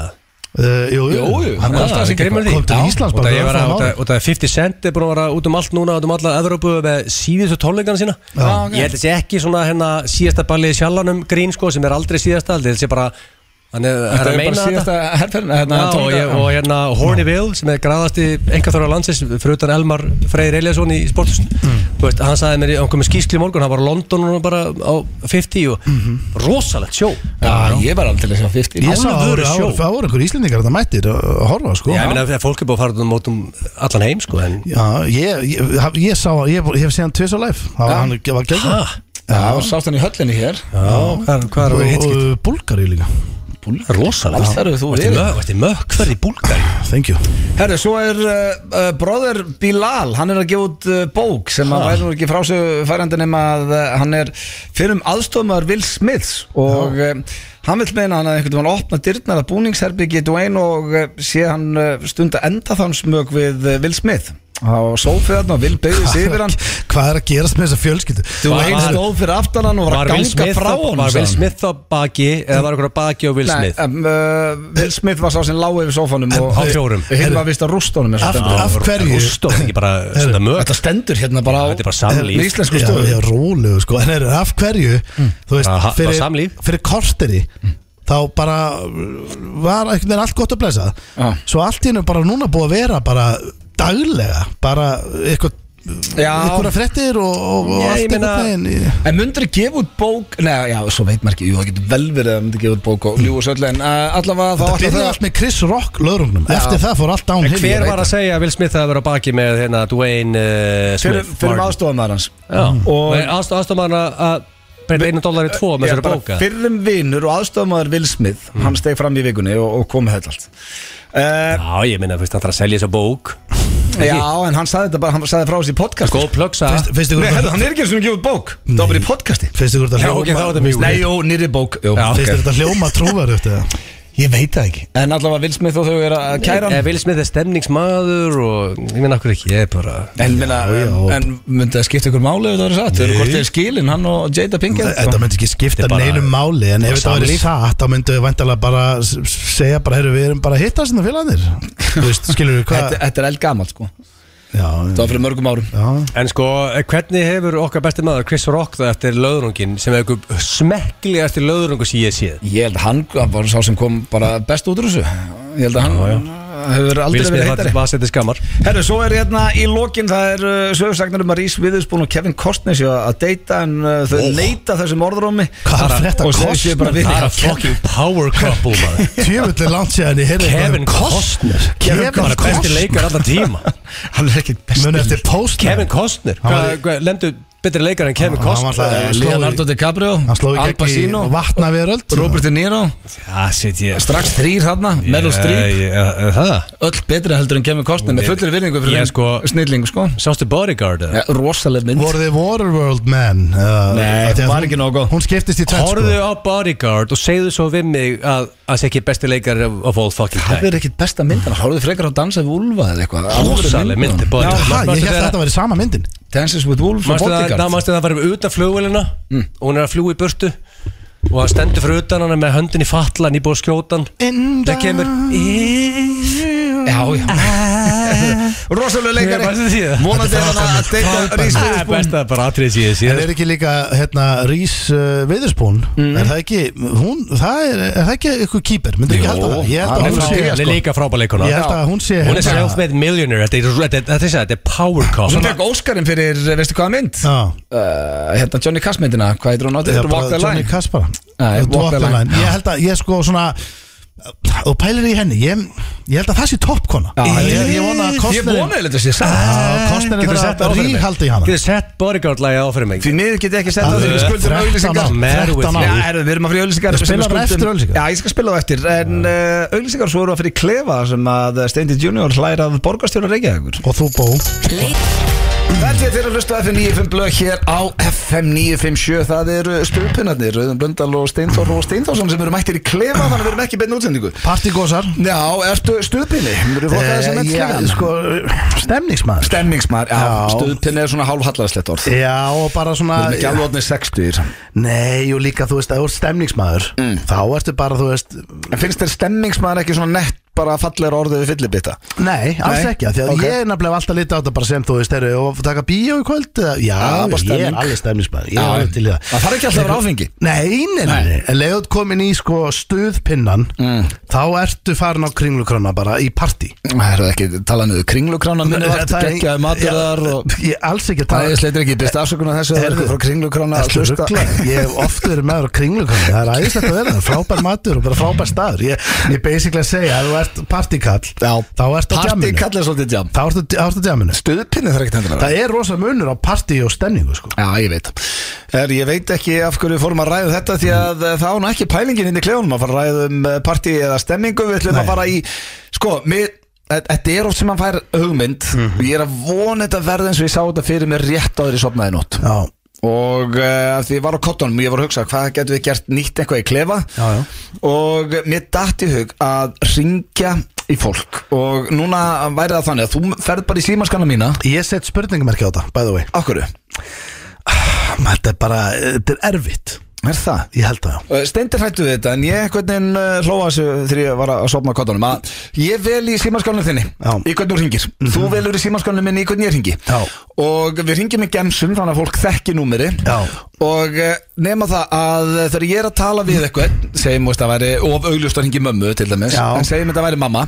Jú,
Jú,
jú,
jú,
hann
já,
kom alltaf að syngja
grimmur
bara-
því.
kom til
Já.
Íslands
Og
bara
það er
örfáum
bara- og
árum.
það- og það er 50 cent er búin að vera út um allt núna út um alla Evrópu með síðustu tónleikana sína
Já, ok.
Ég held að sé ekki svona hérna síðasta ballið í sjallanum grín sko sem er aldrei síðasta held ég held sé bara hann er, er
Þetta
að
er
meina
bara
þetta
síðasta herrferðin hérna,
Já, og, ég,
tónleika-
og hérna Hornyville sem er graðast í einhverþára landsins fyrir utan Elmar Freyr Eliasson í sporthusn Þú veist, hann sagði mér í- hann kom með skýskli í morgun hann var á London og bara á 50 og rosalegt sjó
Já, ég var aldrei að sjá 50
Ég sá
Alvöru
ára,
sjó.
ára, það voru einhver íslendingar þetta mættir að að horfa sko
Já, ég meina að fólk er búið að fara út um mótum allan heim sko en
Já, ég, ég, ég, ég sá, ég, ég hef séð hann tvis á live það var
Já.
hann, var gegn
Hæ?
Já, sást hann í höllinni hér
Já, hvað er hitt
og Búlgari líka,
Rosalega
Alls þar hefur þú verið.
Þetta er mökkverð í Búlgari
thank you
Herru, svo er uh, uh, brother Bilal, hann er að gefa út uh, bók sem að væri nú ekki frá sig færandi nema að uh, hann er fyrir um aðstofmaður Will Smiths og uh, hann vil meina hann að einhvern veginn opna dyrnar að búningsherbyggi Dwayne og uh, sé hann uh, stund að enda þann smög við uh, Will Smith á sófiðarn og Will beigði sig yfir hann
Hvað er að gerast með þessa fjölskyldu?
Dwayne
Var-
stóð fyrir aftan hann og var
Var
að
Will
ganga
Smith
frá
á-
honum
var Will
sagði hann.
Smith á baki Eða var einhver á baki á Will
Nei,
Smith
um, uh, Will Smith var sá sem lág yfir sófanum og
á fjórum.
Hinn var vist að rústa honum eins og
Af-
stendur.
af hverju?
Rúst og ekki bara svona mög
Þetta stendur hérna bara á
Þetta er sko Mm. bara samlíf.
með íslensku
Já,
stöðu
já, rólegu sko En er, af hverju, þú veist
Bara ha- bara
Fyrir,
samlíf.
fyrir korteri
Mm.
Þá bara uh, var einhvern veginn allt gott að blessa
Já.
Svo allt í hennu bara núna búið að vera bara daglega Bara eitthvað
Já.
Einhverja fréttir og, og, og
Já,
allt
ég meina-
einhvern veginn í-
En myndir gefa út bók Nei, já, svo veit maður ekki Jú, það getur vel verið að myndir gefa út bók og ljúa söll En uh, allavega þá
Það
ætla
byrjaði
það
allt með Chris Rock löðrungnum Eftir það fór allt án
um
En hver var að segja að Will Smith að vera á baki með hérna Dwayne uh,
Fyrir,
Smith
fyrir
Martin?
aðstofan maður hans
Já,
Og-
og aðstofan að að breyta einu dólar í tvo með þessari bóka
Fyrrum vinnur og aðstofamæður Will Smith Hann steg fram í vikunni og, og kom með þetta allt uh,
Já, ég minna, fyrst hann þarf að selja þessa bók
Já, en hann sagði þetta bara, hann sagði frá þessi podcast
Góð plöksa
Finnst- Finnst
Nei,
ykkur
herru,
þetta-
hann er ekki eins og gefur út bók Það var bara í podcasti
finnst ykkur þetta
Já, ok, þá er þetta mjög
Nei,
Nei,
jú, nýri bók jú,
Já,
ok.
Finnst þér þetta hljóma trúverðu eftir það?
Ég veit það ekki En allavega Will Smith og þau eru að kæra
Eh,
hann
Will Smith er stemningsmaður og ég minna okkur ekki, ég er bara
En, minna, en myndi það skipta ykkur máli ef það eru satt Þau eru hvort þeir skilin, hann og Jada Pinkett sko.
Þetta myndi ekki skipta
Þetta er bara-
neinum máli En ef
bara
þetta væri
samlíf.
satt Þá myndu við vantarlega bara s- s- segja bara, heyrðu, Við erum bara að hitta sinna félagarnir Skilur við hvað
Þetta þetta er eld gamalt sko Það
Já,
var fyrir mörgum árum
já
En sko, eh, hvernig hefur okkar besti maður Chris Rock það eftir löðrungin sem hefur smekklega eftir löðrungu sem ég séð
Ég held að hann, hann var sá sem kom bara best út úr þessu Ég held að hann hefur aldrei
Will
verið
Smith var,
heitari
var setið skammar
Herru, svo er hérna í lokin Það er uh, sögursagnar um að Rís Viðusbún og Kevin Costner séu að deyta En uh, þau neyta þessum orðrómi
Hvað er að frétta
Og þau séu bara
Costner?
við
Það er að fucking power couple maður
Tjöfulli langt séðan ég heyrði eitthvað um
Kevin Costner
Kevin
bara besti
Costner.
leikar alltaf tíma
Hann er ekkit best
Muni eftir postman
Kevin Costner Hvað, hvað, Lemdu betri leikar en Kevin
Hann var
Costner Eh,
alltaf- sló í-
Leonardo DiCaprio
Hann sló í
Al
gegn
Pacino
í vatna veröld
Robert De Niro
Það sitt Ah, ég Eh,
Strax þrýr hérna, Meryl Streep
Streep
Öll betra heldur en Kevin Costner Með fullri virðingu fyrir
Ég
þeim
sko-
snillingu sko
Sástu Bodyguard eða?
ja, Rosaleg mynd
Voru þið Waterworld men? Uh,
Nei,
af því að
var
hún-
ekki nógu góð.
Hún skiptist í tvennt
Horðu
sko
á Bodyguard og segðu svo við mig að það sé ekki besti leikar of of all fucking
Það
time
er ekkit besta mynd Hann horfðu frekar á dansa við Ulfa eða eitthvað Alvöru
Rosaleg
sko.
mynd
Já,
Bodyguard.
ha,
Manstu
ég held að
þegar-
þetta væri sama myndin
Dances with Wolves og
Manstu það,
Bodyguard
það manstu það að fara utan flugvélina
Mm.
og hún er að fljúa í burtu og hann stendur fyrir utan hann er með höndin í fatlan í búið að skjóta hann Það kemur
Já, já Rosaleg leikari
Ég- Ég- Ég-
Vonandi er hann að deyta Rís
Það er
Viðusbún
best að bara atrið síðan
En
síðan
er ekki líka hérna Rís uh, Viðurspún Er það ekki hún, það er, er það ekki eitthvað kýper Myndi ekki
Jó,
halda það Ég held
hann
að
er
hún
frá-
sé
hann
Hún er líka frábæð leikona
Ég held að hún sé
Hún er
hérna-
self-made millionaire Þetta er- þetta er þetta er- þetta er power cop
Svo fekk Óskarinn fyrir, veistu hvaða mynd?
Já,
Uh, hérna Johnny Cash myndina, hvað heitir hún á
það
þetta?
er
Walk
bara
the
Johnny
Line
Cass bara
Nei,
Walk the line Ég held að ég sko svona Og pælir í henni Ég, ég held að það sé toppkona
Já,
ég, ég vona að
Ég
kostnirinn
vona að þetta sé satt
Já, Kostnirinn
Getur
þarf
sett
að ríhaldi í hana
Getur sett bodyguard-lægi áfyrir mig
Því miður get ég ekki sett
Það
það þegar
er
við skuldum
13
auðlýsingar
ár.
Man with
Já,
13 ár.
me.
herru, við erum að fyrir auðlýsingar
Það spilar bara eftir auglýsingar.
Já, ég skal spila það eftir En uh, auðlýsingar svo eru að fyrir klefa sem að Steindi Junior hlæra af borgarstjóra Reykjavíkur
Og þú bó
Það er þeirra að hlusta á FM 95 blöð hér á FM 957 Það eru stjórnpinnarnir, Rauðum Blöndal og Steinþór og Steinþórsson sem eru mættir í klefa þannig að við erum ekki í beinni útsendingu
Partigósar
Já, ertu stuðpinni? Þú eru flokkað þessum
Eh, já,
eftir
sko, Stemningsmaður
Stemningsmaður, já, Eh,
Já.
stuðpinni er svona hálfhallarslegt orð Við
Já og bara
erum ekki
svona
alveg orðnir 60
Nei og líka þú veist að þú ert stemningsmaður
Mm.
Þá ertu bara þú veist
En finnst þér stemningsmaður ekki svona nett bara fallegur orðið við fyllibita?
Nei alls
Nei,
ekki af Því að
ok.
ég er nefnilega alltaf litið á þetta bara sem þú veist eru Og taka bíó í kvöld eða-
Já,
Já
Ah, bara
ég
stemning.
er alveg stemningsmaður Ég
Já,
er alveg til í það
það þarf ekki alltaf að vera áfengi.
Nei, nei, nei, nei. En leiðut komin í sko stuðpinnan
Mm.
Þá ertu farin á kringlukrona bara í partí
Það er það ekki talað niður kringlukrána minni vart,
Það er-
geggjaði matur
Já,
þar og
Ég alls ekki að tala-
Það er sleitur ekki, byrst afsökunar þessu Það er eitthvað frá kringlukrána hérna að
Ertu
hlusta
ruglaður? Ég hef oft verið meður á kringlukonni Það er æðislegt að vera það, frábær matur og bara frábær staður Ég, ég basically að segja að þú ert partykall
Já.
Þá ertu á
Parti
djaminu
kallar svolítið jam
Þá ertu, þá ertu á djaminu
Stuðpinni þarf ekki hendur að vera
Það er rosa munur á partí og stemningu sko
Já, ég veit er, Ég veit ekki af hverju við fórum að ræða þetta Því að mm. það án ekki pælingin inn í klefunum Að fara að ræða um partí eða stemmingu Við ætlum
Nei.
að fara í Sko, mér þe- Þetta er oft sem hann fær hugmynd
Mhm.
og ég er að vona þetta verði eins og ég sá þetta fyrir mér rétt áður í sopnaði nótt
Já,
og uh, því ég var á kottunum ég var að hugsa hvað getum við gert nýtt eitthvað í klefa
Já, já.
og mér datt í hug að ringja í fólk og núna væri það þannig að þú ferð bara í símaskana mína
ég set spurningamerki á þetta, by the way
okkur,
Þetta er bara, þetta er erfitt
er það?
Ég held að já
Uh, Steindir hættu við þetta en ég hvernig uh, hlóa þessu þegar ég var að sopna á kottunum að ég vel í símaskanum þinni
Já. Mhm.
í hvernig þú ringir, þú velur í símaskanum minni í hvernig ég ringi
Já.
og við ringjum í gemsum þannig að fólk þekki númeri
Já.
og uh, nema það að þegar ég er að tala við eitthvað segjum þú veist, að væri of augljóst að ringi mömmu til dæmis
Já. Mhm.
en segjum þetta væri mamma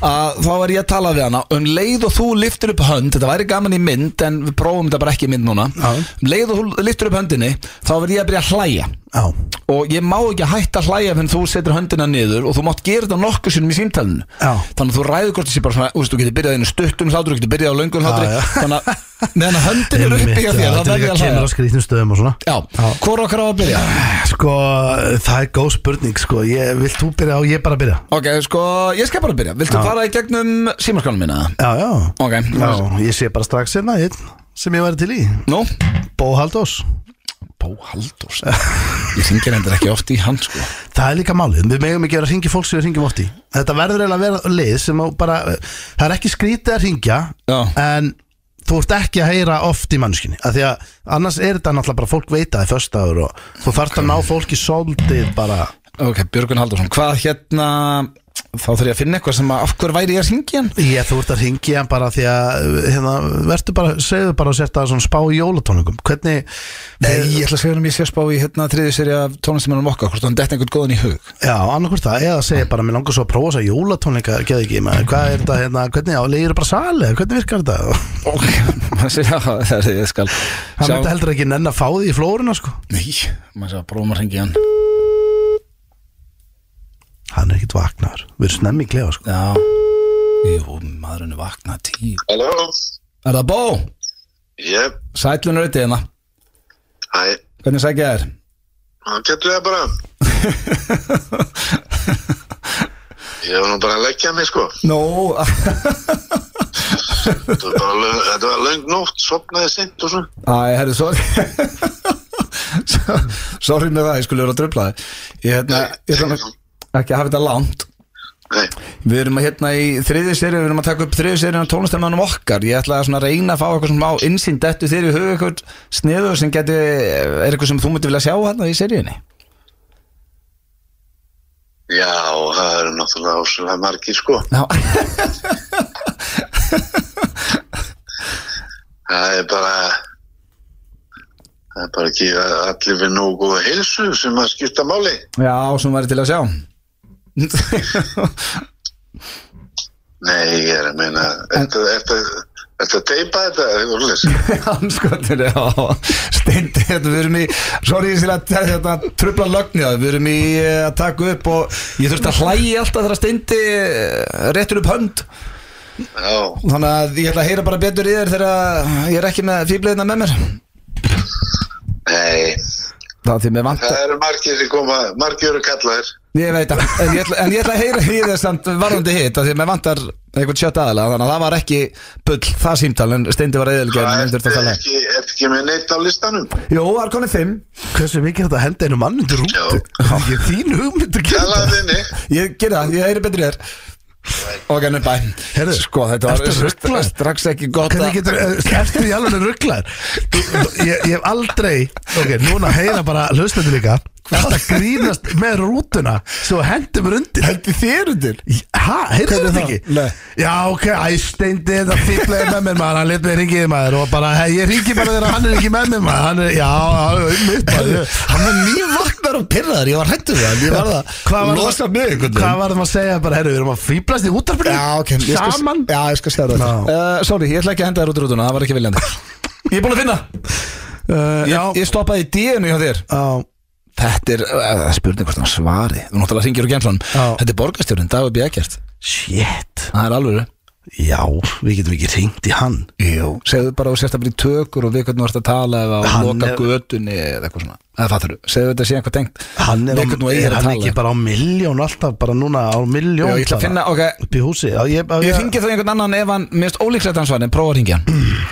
að þá er ég að tala við hana um leið og þú liftir upp hönd þetta væri gaman í mynd en við prófum þetta bara ekki í mynd núna
Já.
um leið og þú liftir upp höndinni þá verð ég að byrja að hlæja
Já,
og ég má ekki hætta að hlæja fyrir þú setur höndina niður og þú mátt gera þetta nokkuð sinnum í símtælinu
Já.
þannig að þú ræður hvort þessi bara svona þú veist, þú getur byrjað einu stuttum hlátur, þú getur byrjað á löngum hlátri
Já, já.
þannig að meðan að höndin er uppi hjá
Einmitt, já,
þér,
þetta
þá
er
verður
líka
ég að
kemur á
hlæja
skrýtnum stöðum og svona
Já, hvora okkar á að byrja?
Sko, það er góð spurning sko. ég, Vilt þú byrja og ég bara byrja
Ok, sko, ég skal bara byrja Viltu
Já.
fara í gegnum símaskálum mína?
Já, já,
Ok,
já Ég sé bara strax hérna einn sem ég væri til í
nú
Bó Haldós
Bó Halldórs Ég syngir hendur ekki oft í hann, sko
Það er líka málið, við megum ekki vera að ringi fólk sem við ringjum oft í Þetta verður eiginlega að vera leið sem á bara, það er ekki skrítið að ringja
Já.
En þú ert ekki að heyra oft í mannskinni af Því að annars er þetta náttúrulega bara fólk veita Það er föstaður og þú þarft að ná fólki sóldið bara
Ok, Björgun Halldórsson, hvað hérna Þá þarf ég að finna eitthvað sem að af hver væri ég að syngja hann?
Ég þú ert að ringja bara því að hérna, Vertu bara, segðu bara og sérta að svona spá í jólatónleikum Hvernig,
Nei, ég ætla að segja um ég sé að spá í hérna þriði seri af tónlistamennum okkar, hvort hann dett einhvern góðan í hug
já, annarkvort það Eða segja bara, mér langar svo að prófa þess að jólatónleika Geð ekki, maður, hvað er þetta, hérna, hvernig á, leiðir bara sali Hvernig virkar þetta?
Ok, maður sé að það er ég skal
Það
sjá
myndi heldur ekki nenn að fá því í flóruna sko
Nei, maður sé að prófum að ringi hann
Hann er ekkit vaknar, við erum snemmi í klefa sko
Já Jú, maðurinn er vaknað tíu
Halló,
Er það bó?
jöp,
Sætlun rautið hérna
hæ,
Hvernig sækja þér?
hann getur það bara Ég var nú bara að leggja mig sko
Nó,
Þetta var bara löng, þetta var löng nótt, sopnaði sent og svo
æ, herri, sorry So- Sorry með það, ég skulle vera að dröfla þig Ég hérna, ég ætla nú ekki að hafa þetta langt
Nei,
Við erum að hérna í þriðju serið, við erum að taka upp þriðju serið á tónlistarmannum okkar. Ég ætla að svona reyna að fá eitthvað svona á insýn dettu þér í huga eitthvað sniður sem geti, er eitthvað sem þú myndi vilja sjá hérna í seriðinni.
já, það eru náttúrulega óslega margir sko
Já,
Það er bara Það er bara ekki að allir við nógu góða heilsu sem að skipta máli
já, sem væri til að sjá.
Nei, ég er að meina, ertu ertu- ertu að teipa þetta, Úrlis?
Hanskotir, já, steindi, hérna, við erum í, sorry ég sér að þetta trubla lögnið, á þér. við erum í eh, að taka upp og ég þurfti að hlægi alltaf þegar steindi eh, réttur upp hönd.
Já,
Þannig að ég ætla að heyra bara betur í þér þegar ég er ekki með fýbleiðina með mér.
nei,
Það er því með vant
það eru margir sem koma, margir eru kallaðir
Ég veit að, en ég ætla, en ég ætla að heyra í þess samt varðandi hitt af því að mér vantar einhvern sjött aðalega þannig að það var ekki bull það símtal en steindi var eðilgeir en
Ertu
heldur þetta að tala
ekki, ertu ekki með neitt á listanum?
Jó, það er konið fimm
Hversu mikið er þetta að henda einu mann undir
Já.
rútu? Það er þín hugmynd að gera þetta
Talaðinni
Ég ger það, ég heyri betur í þér Ok, nú bæ
Heyrðu,
Sko, þetta
ertu
var
ruglaður?
strax ekki gott
Hvernig getur, eh, ertu í alveg rugglar? Ég, ég hef aldrei, ok, núna heyra bara hlustandi líka Þetta grínast með rútuna Svo hendur mér undir
Hendi þér undir
Hæ, heyrðu
Hvernig
þetta
þá?
ekki?
Nei.
Já, ok, æ, steindi þetta fýblaði með mér maður Hann let mig ringið maður og bara, hei, ég ringi bara þegar hann er ekki með mér maður Hann er, já, já, um mitt maður
Hann var mjög vaknar og pirraður, ég var hættur við hann Ég var það
Hvað var
Losa mig einhvern
Hvað
veginn
var það að segja bara, herru, við erum að fýblast í útarpinu
Já, ok, ég skal,
Saman
já, ég skal segja þetta
Já.
uh, Sorry, ég ætla ekki að henda þér út úr rútuna, það var ekki viljandi Ég er búin að finna
uh,
Ég,
Já,
ég stoppaði í díinu hjá þér
já
Þetta er, eh, það er spurning hvort hann svari Þú náttúrulega ringir úr gemslanum
Já.
Þetta er borgarstjórinn, Dagur B. Eggert
Shit
Það er alveg
Já, við getum ekki ringt í hann
Jú Segðu bara og sérst að bli tökur og við hvernig þú ert að tala eða á
Hann
loka
er-
götunni eða eitthvað svona Það fattur þú, segðu þetta sé eitthvað tengt
Hann
Við
er, á,
hvernig þú
er
eigir að
hann
tala
ekki bara á miljón alltaf, bara núna á
Jú,
miljón
ég ætla að finna, ok
Upp í húsi já, ég,
Ég ringi þá einhvern annan ef hann, mér finnst ólíklegt að hann svari en prófa að ringja hann
Mm,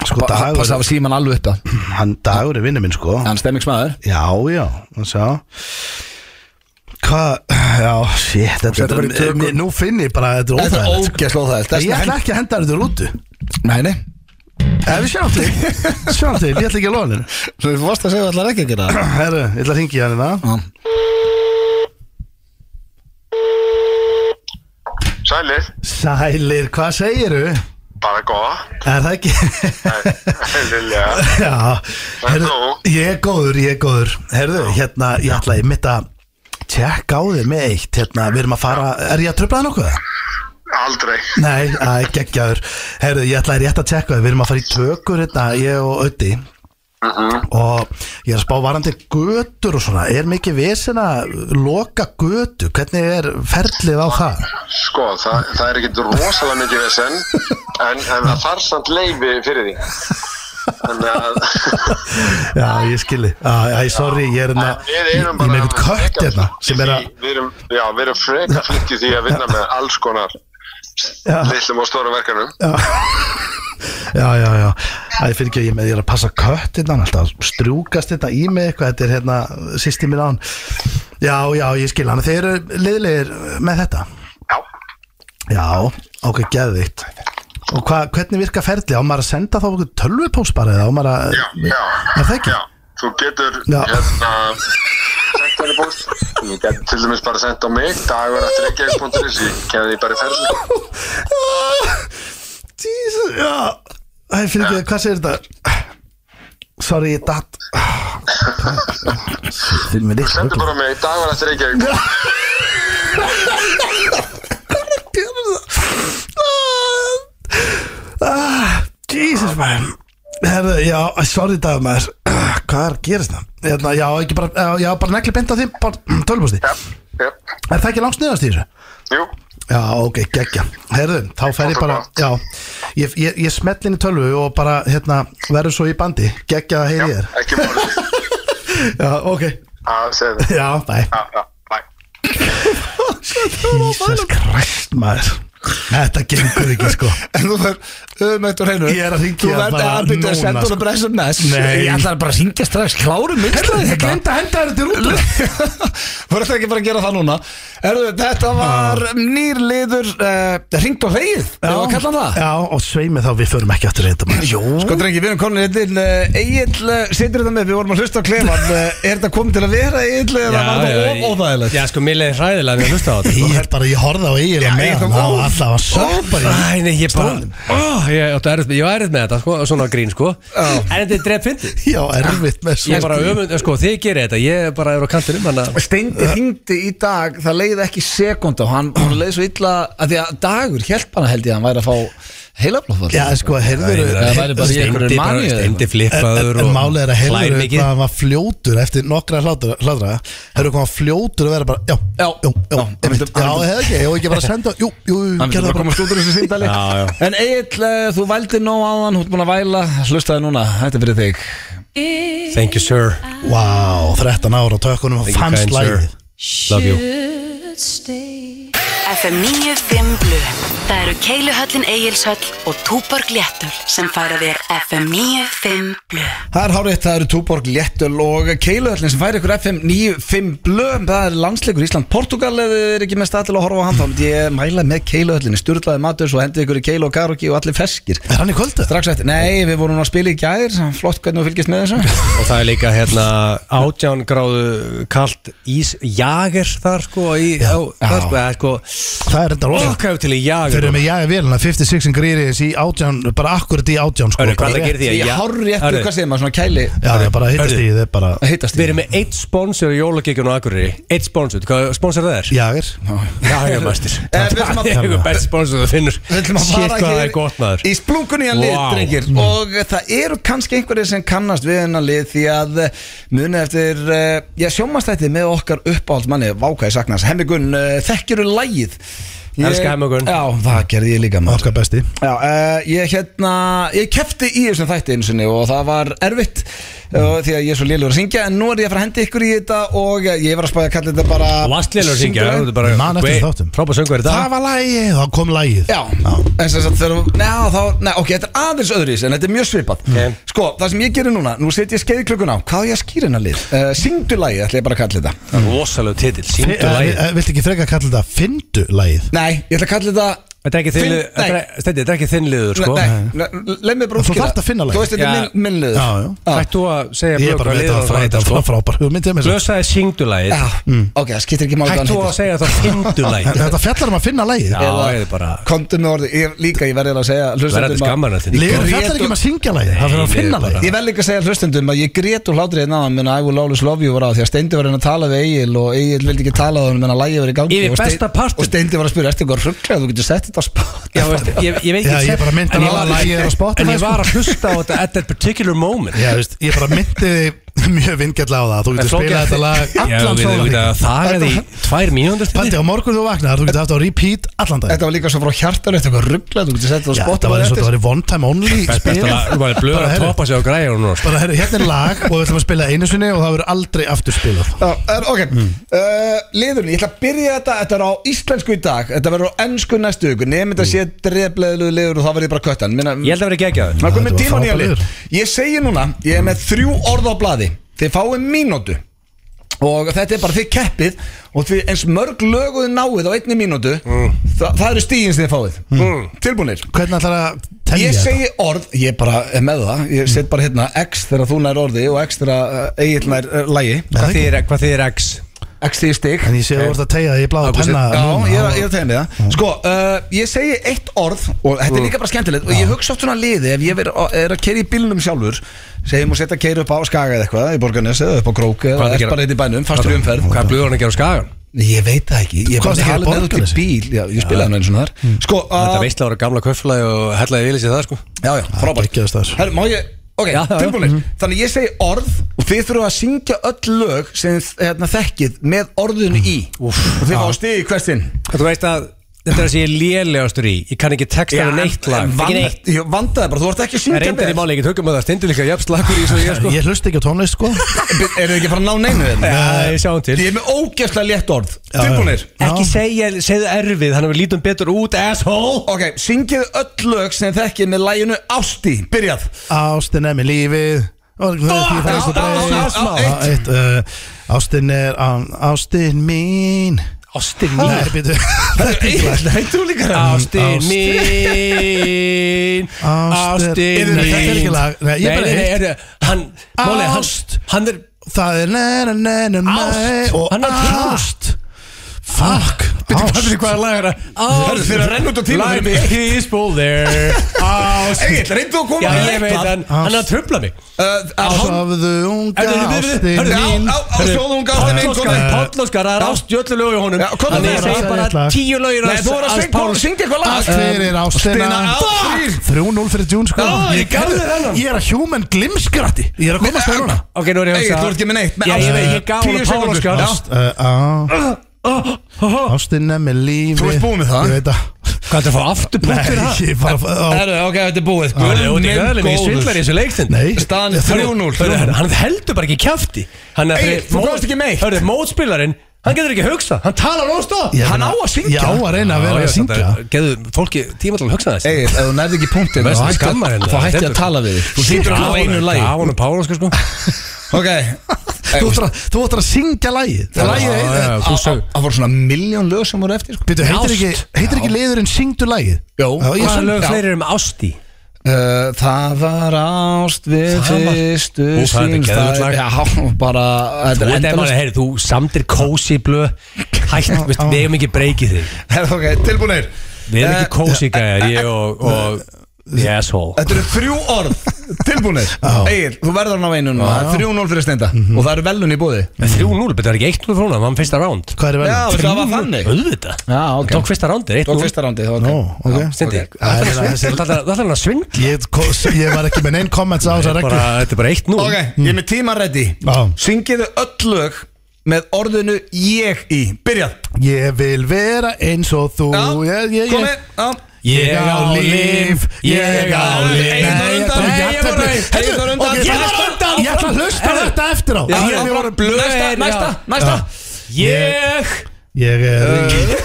Sko,
Ba- Passa
dagur,
að síma hann alveg upp það
hann dagur er vinnu minn, sko
Hann stemmingsmaður
Já, já, það sjá Hvað, já, shit
setur
þetta,
bara í
þetta,
tökum.
Nú finn ég bara, að þetta er
Þetta er
óþægilegt sko.
ógæsla óþægilegt
Ég
Þess
ætla
vegna-
ekki að henda þér þetta út
Nei, nei
Ef við sjáum til, sjáum til, ég ætla ekki að lofa henni
Þú varst að segja allar ekki að gera það
Herru, ég ætla að ringi hann hérna
Já.
Sælir,
Sælir, hvað segiru?
bara góða
Er það ekki?
Lilja
Já, herru,
Hello.
ég er góður, ég er góður Herru, hérna, ég ætla að mitt að tjekka á þig með eitt Hérna, við erum að fara, er ég að tröflaða nokkuð?
Aldrei
Nei, að geggjaður Herru, ég ætla að rétt að tjekka á þig, við erum að fara í tökur hérna, ég og Ötti og ég er að spá varandi götur og svona, er mikið vesen að loka götu, hvernig er ferlið á það?
Sko, það, það er ekkert rosalega mikið vesen en, en það þarf samt leifi fyrir því Þannig að
Já, ég skilji, æ, sorry, ég er hérna,
við
ég ég
erum
er
bara
með eitthvað kött hérna sem er að,
Við erum, já, við erum freka flinkt í því að vinna með alls konar
Já.
lillum og stórum verkanum
já, já, já, æ, fyrir ekki að ég er með, ég er að passa kött hérna, hann alltaf strjúkast þetta í mig eitthvað, þetta er hérna, sýsti mín án, já, já, ég skilji, hann, þeir eru liðlegir með þetta,
Já,
já, ok, geðvikt. Og hva, hvernig virka ferli? Á maður að senda þá okkur tölvupóst bara eða á maður að...
já, já
Er það ekki?
Já, þú getur
Já.
hérna sent henni búst Þú getur til dæmis bara sendt á mig dagur eftir reykjavík.is ég kenni því bara í ferli
Jesus, já Æ, fyrir ekki, hvað segir þetta? Sorry, ég datt Fyrir mér eitt
Sendu bara á mig dagur eftir reykjavík
Ah, Jesus, man Herðu, já, æ, sorry, dagur maður Hvað er að gerast það? Hérna, já, ekki bara, já, já, bara negli beint á þeim bara tölvústi
Já, já,
Er það ekki langt sniðast í þessu?
jú
Já, ok, geggja Herðu, þá fer ég bara Já, ég, ég, ég smetli inn í tölvu og bara, hérna, verður svo í bandi Geggja að heyri þér
Ekki málið
Já, ok
Já, segðu
Já, bæ
Já, já, bæ
Jesus Christ maður Þetta gengur ekki sko
En þú verður öðmætt og hreinu
Ég er að hringja
Þú verður
bara
að byrja að
núna,
senda
sko.
hún bara SMS
Nei.
Ég ætla bara að syngja strax klárum mixlaði
Ég glemt að henda þér þetta í rútu
Verður ekki bara að gera það núna Erðu, Þetta var nýr liður uh, Ringt á vegið Já, að kalla hann það
Ah. Já, og sveimi þá við förum ekki aftur í þetta maður Jó
Sko drengi, við erum komin hérna til uh, Egil uh, Sittur þetta með, við vorum að hlusta á klefan uh, Er þetta komið til að vera Egil Eða var þetta of óþægilegt
Já, sko, mér leiði hræðilega að við hlusta á þetta sko.
Ég held bara, ég horfði á eiginlega
ég
með
kom-
hann Það var alltaf að söpa í
Æ, nei, ég bara
Stólinn.
oh, Ég átti erfitt- ég var erfitt með þetta, sko, svona grín, sko En þetta er drepp fyndi
Já, erfitt með
Ég er bara
svo
öfund, sko, þið gerir þetta Ég er bara er á kantinum, hann að
Steindi hringdi í dag, það leiði ekki sekund og hann, hann leiði svo illa að því að dagur hjálp hana held ég að hann væri að fá heilablóðfall
Já, sko, heyrður
það væri bara í einhverju
Steindi bara,
maníu eða
steindi
En,
flippaður
en
og
málið er að
hlær
heyrður
mikið.
hvað hann var fljótur eftir nokkra hlátra Heyrður hvað hann var fljótur að vera bara Já,
Já,
já,
já,
já,
hann
einmitt.
myndi-
já, hefði ekki, ég var ekki bara að senda Jú, jú,
Hann getur bara
gerðu það bara
komast út úr þessu síndali
Já, já.
En Egil, þú vældi nóg áðan, þú ert búin að væla Hlustaði núna, þetta er fyrir þig
Thank you, sir
Vá, 13 ára á tökunum og
Thank you,
fann
kind sir.
slæðið
Love you
FM 95 Blu Það eru Keiluhöllin Egilshöll og Túborg Léttul sem færa þér FM 95 Blu
Það er hárétt, það eru Túborg, Léttöl og Keiluhöllin sem færi ykkur FM 95 blöðum Það er landsleikur Ísland-Portugal eða þið er ekki með stað til að horfa á hann þá myndi ég mæla með Keiluhöllin Sturlaði matur, svo hendi ykkur í Keilu og Karoki og allir feskir
Er hann í kvöldu?
Strax eftir, nei, við vorum nú að spila í gær Flott hvernig þú fylgist með þessu
Og það er líka hérna átján gráðu kalt ísjager þar sko í, á, þar, sko, það er sko
Það er þetta rosa
okkaðu til í
Þeir
jager
eru með jaga vélina 56 gríriðis í átján Bara akkurat í átján sko
Hörru, hvað er það
bara
að
rétt.
gera því
Ég hárri eftir,
Hörru,
hvað segir maður, svona kæli
Já, það er bara að hittast
Hörru.
í þeir bara
Hittast
Við erum með eitt sponsor í jólagíkjun og Akureyri Eitt sponsor, hvað sponsor það er?
Jager
Jagermæstir
Eh, við ætlum að-
Það er einhver best sponsor það finnur
Við ætlum að
Shit,
fara
hvað það er
hér
gott maður
Í splunkunni að lið,
Vá. Mm.
drengir Og það eru kannski einhverjir sem kannast við hennar lið Því að eh, munið eftir eh, Já, sjómastætti með okkar uppáhaldsmanni Vákvæði saknas, Hemmi Gunn uh, Þekkiru lægið Ég-
Elska Hemmi Gunn.
Já, það gerði ég líka maður
Okkar besti
Já, uh, ég hérna, ég kefti í þessum þætti einu sinni og það var erfitt uh,
Mm.
því að ég er svo lélur að syngja en nú er ég að fara að hendi ykkur í þetta og eh, ég var að spæða að kalla þetta bara
Lastleilur syngja
Syngdu-
Man eftir þáttum.
Frábæð söngur í dag
Það var lagið, þá kom lagið
Já, en sem sagt þegar Nei, þá, nei, ok, þetta er aðeins öðruís En þetta er mjög svipað Sko, það sem ég gerir núna, nú set ég skeiðklökun á Hvað er ég að skýra hennar lið? Uh, syngdu lagi, ætla ég bara að kalla þetta
Rosalegu titill,
Eh,
síndu
eh,
lagið
eh, Viltu ekki freka að kalla þetta Findu lagið
Nei, ég ætla að kalla þetta
Þetta er ekki þinn
Finn-
liður- þetta er- Steindi, þetta er ekki þinn liður sko
Nei, nei, leið mig bara
Þú
útskýra.
þarft að finna lagið.
Þú veist, þetta
Já.
er minn, minn liður Ah.
Já, já.
Ættu að segja
Ég er
Björg
bara
hvað liður
að vita að
hann
þetta
heitir,
var
sko.
svona frábær Þú myndið mér svo
Blösaði syngdulagið
Já, ok, það skýtir ekki máli hvað hann
Hættu að
heitir.
segja það
En
syngdulagið
Þetta fjallar um að finna lagið
Já, ég er bara
Komdu með orði, ég, líka ég verði að segja
Verða
hlustendum
til
að-
skammarna þín
Lagið fjallar
grét
ekki
og-
um að syngja lagið Það fyrir að
Nei,
finna
ég bara-
lagið
Ég vel líka að segja hlustendum að ég grét úr hlátrið hérna áðan meðan I will always love you var á því að Steindi var að reyna að tala við Egil og Egil vildi ekki tala á hann meðan að lægi var í gangi
Yfir
og Stein-
besta partinn.
og Steindi var að spyrja, ertu eitthvað rugglega þú getur sett þetta spott
Já, veist, ég, ég veit
Já, ég bara myndi
en
á
var-
að lagið er á Spotify,
En ég
sko.
var að hlusta á þetta at that particular moment
Já, veist, ég bara myndi þig mjög vingjallega á það Þú getur spilað þetta lag allan sólarhring
Það er því tvær mínúndur
Paldi, á morgun þú vaknar, þú getur haft á repeat allan dag
Þetta var líka svo frá hjartar Þetta var rugglað, þú getur sett þetta á
Já,
spott
þetta var eins og þetta var í one time only spil
Þú var blöður
Bara,
að
heyrðu.
topa sig á græja núna sko.
Bara, herru, hérna er lag og við ætlum að spila einu sinni og það verður aldrei aftur spilað
Já, er, ok,
Mm.
uh, liðurinn, ég ætla að byrja þetta, þetta er á íslensku í dag, þetta verður á ennsku næstu viku, nefnum
Mm.
þetta sé drefleðilegu liður og þá verður ég bara köttan. Minna,
Ég held að vera geggjað
Maður
Þetta
komið
var
tíma nýja
frábær
lið Ég segi núna, ég er með þrjú orð á blaði Þið fáið mínútu Og þetta er bara þið keppið Og því eins mörg löguðu náið á einni mínútu
Mm.
það, það eru stíðin sem þið fáið Tilbúinir
Hvernig ætlar að telja
Ég
þetta?
segi orð, ég bara er með það Ég set bara hérna X þegar þú nær orði Og X þegar uh, Egil nær uh, lægi
Hvað þýðir- Hvað þýðir X?
X því stig
En ég sé að þú ert að tegja því í bláða penna
Já,
núna.
ég er, að- ég er að tegja mig það Sko, uh, ég segi eitt orð Og þetta er líka bara skemmtilegt Og ég hugsa oft svona liði Ef ég ver, er að keira í bílnum sjálfur Segjum og setja að keira upp á Skaga eða eitthvað Í Borgarnes eða upp á Krók Eða
Hvað er að
er
gera?
bara eitt í bænum, fastur í umferð
Hvað er blöður hann að gera á skagan?
Ég veit það ekki Ég er
Hvað varstu
bara
að gera í
talin eða út í
Borgarnesi?
bíl Já, ég spilaði hann einu svona þar
Mm.
Sko,
Þetta
uh,
veistlega voru gamla kauflaði og hellaði vilja sér það Mm. sko
já, já, frábært
geggjaður staður.
Herru, má ég Ok,
Já, já, já.
tilbúinir Þannig ég segi orð og þið þurfa að syngja öll lög sem þið hérna, þekkið með orðinu í Úf, og þið fá stig í hverstinn
Þú veist að þetta er það sem ég er lélegastur í Ég kann ekki texta við neitt lag
Vand,
Ekki neitt
Ég vandaði bara, þú ert ekki að
Það
syngja
er eindir í
vel.
máli, ég get hugum að það stindur líka jafn slakur í svo ég sko
Ég hlust ekki á tónlist sko Já,
Bi- Eru þið ekki að fara að ná neinu þeim?
Já, ég sjáum til
Ég er með ógeðslega létt orð Tilbúinir
Ekki segja, segðu erfið, þannig að við lítum betur út, asshole
Ok, syngið öll lög sem þekkið með læginu Ásti Byrjað
Ástin er með lífið og það er því fannst
á-
að
á- á- á-
breyð
eitt.
Eitt uh, Ástin er á- Ástin mín
Ástin
Nei, býtu Þetta er ekki lag.
Heitir þú líka það?
Ástin mín
Ástin-
Ástin
Þetta
mín
er ekki lag. Nei, ég bara hitt.
er Hann, máli, hann,
Ást.
hann er
Það er næra næra
Ást.
og
Hann er til.
ást Fuck
Byrju
Ást
hvað er lagra
Herru, þeir eru að renna út á tíma fyrir
Life
mig.
is peaceful there Ást
Egil, reyndu að koma
Já,
með
ég veit,
eitthvað.
hann hann er að tröfla mig
Uh, að hálf-
Ásafðu unga
Herru, herru, herru,
ástin
herru,
mín
á- á- þjóðunga ástin mín,
Pállóskar,
komin.
Pállóskar, það er ást í öllu lögu í honum
Já, komdu
Þannig
með það,
ég segi
það er rétt
bara
lag.
tíu lögir
Nei, þú voru að syngja- syngja eitthvað lag
Allt fyrir ástina
Ástina á-
3-0 fyrir June sko
Já, ég gaf þér
Herru,
þennan.
Ég er að human glimskratti Ég er að komast það núna
Ok, nú er ég að
Egil,
hugsa-
þú ert ekki með neitt, með
Já, ég
ást.
veit, ég gaf
Tíu
honum
sekúndur.
Pállóskar
Ást.
Uh, á. Ástin er með lífi
Þú ert búinn með það?
Ég veit að
Hvað er það að fá aftur punktur það?
Nei, ég bara á-
Herru, ok, þetta er búið
Guð minn góður. Ég svindlar í þessu leikþinn
Nei
Staðan
Ég-
3-0.
Hann heldur bara ekki kæfti Hann er
Egill, þú komst ekki meitt.
Hörðu, mótspillarinn, hann getur ekki að hugsa Hann talar óstað
Ég
Hann á
meina-
að syngja.
Ég á að reyna að vera að syngja
Geðu fólki tíma til að hugsa þess
Egil, ef þú nærði ekki punktinn
Veistu,
þá hætti-
skammar henni,
Þá hætti ég
þetta
að
er-
tala við þig Þú sýndur á einu lagi
Á hann og Pála sko sko
Ok
Þú ættir að- þú ættir að syngja lagið Það lagið
já,
heitir
já. þú sög-
Það voru svona miljón lög sem voru eftir sko.
Býtu, heitir
Ást.
ekki, heitir ekki liðurinn syngdu lagið?
Jó.
Já, ég
Hvaða
syng-
lög
Lög
Já.
fleiri um ásti
Uh, það var ást við
Það var-
fyrstu
Ú, það er
sýn,
geðveikt
það er-
lag.
Já, bara
Þú
Þetta er
ert eða maður,
endalast
heyri, þú samtir kósi blöð Hætt, veist, við hefum ekki breykið þig
Ok, tilbúinir
Við erum ekki
Eh,
kósi gæjar, ég og, og The asshole
Þetta eru þrjú orð Tilbúinir Egil, þú verður hann á einu núna Það er 3-0 fyrir steinda
Mhm.
Og það eru velun í búði
3-0, betur það er ekki 1-0 frá hún, það var fyrsta round
Hvað er
Já,
verið?
það var þannig
Auðvitað
Já, ok
Tók fyrsta roundið,
Tók
1-0
fyrsta rándi Það
Ó, ok
Stendi,
Ok.
það ætlar hann að svindla
Ég, ko- ég var ekki með neinn komments á þessar
bara,
reglur
Þetta er bara 1-0
Ok, ég er með tíma ready
Já.
Syngiðu öll lög með orðinu ég í Byrjað
Ég vil vera eins og þú ég, ég,
komið
ég.
Já.
Ég á líf, ég á líf
Nei,
Nei,
ég
ég
bara- ég bara-
Heyrðu,
ég bara undan.
ok,
Ég
ég
bara
var
undan.
undan Ég ætla að hlusta á þetta eftir á
Já,
Ég-
já.
ég voru-
blöð,
Næsta,
já.
næsta, næsta
Ég
Ég er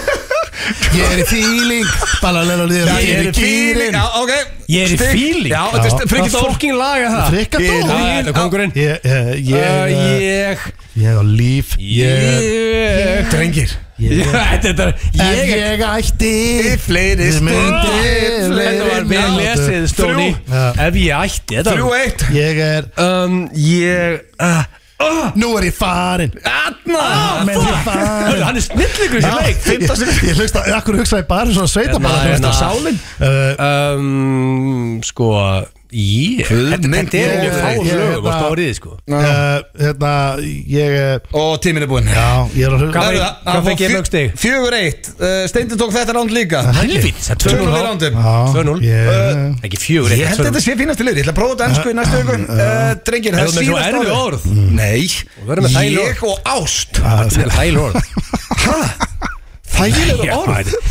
Ég er í fíling Balalala, ég er í
fíling
kýring
Já, ok
Ég er í
Stig.
fíling?
Já, þetta er
Já.
st- frikið
Það
dór
fokking laga það
Frikka
Ég-
dó
Já,
Það er kongurinn
Ég, eh, ég,
Ég
eh,
Ég
ég á líf Ég
Ég
Drengir
Ég- Þetta er
Ef
Ég
ég ætti
Í fleiri stundir
Myndir,
Þetta var vel
mínútur.
lesið Stóni
Já.
Ef ég ætti Þetta
Þrjú
var
eitt
Ég er
um, Ég uh,
Nú er ég farin
Atna
menn, ég farin.
Hörru, Hann er snillingur sér leik
fimmta
Ég- ég hlusta Akkur hugsa ég bara svona sveita
Hérna,
bara
hérna.
uh,
um, Sko Ég,
Guð
þetta
minn,
þetta er
ég-
einu fáum
ég-
lögum á
hérna-
stóriði sko
uh, Hérna, ég eh,
Og tíminn er búinn
Já, ég er
Hvað
að
Herðu,
fekk-
það-
hvað
það
fekk ég
fór
mörg stig?
fjö- Fjögur eitt uh, Steindi tók þetta ránd líka
Helvít, það er
2-0 í
2-0
rándum
Já,
2-0.
ég-
Eh,
Ekki fjögur,
Ég held að þetta
þetta
sé fínasti liður, ég ætla að prófa þetta ennsku í næstu
Mm,
viku uh, Drengir, það er
Erum við með svo
síðast
erfið orð? verðum með
Nei,
þægileg
ég og ást
er hæl orð
Þægilegur
Já,
orð
þetta-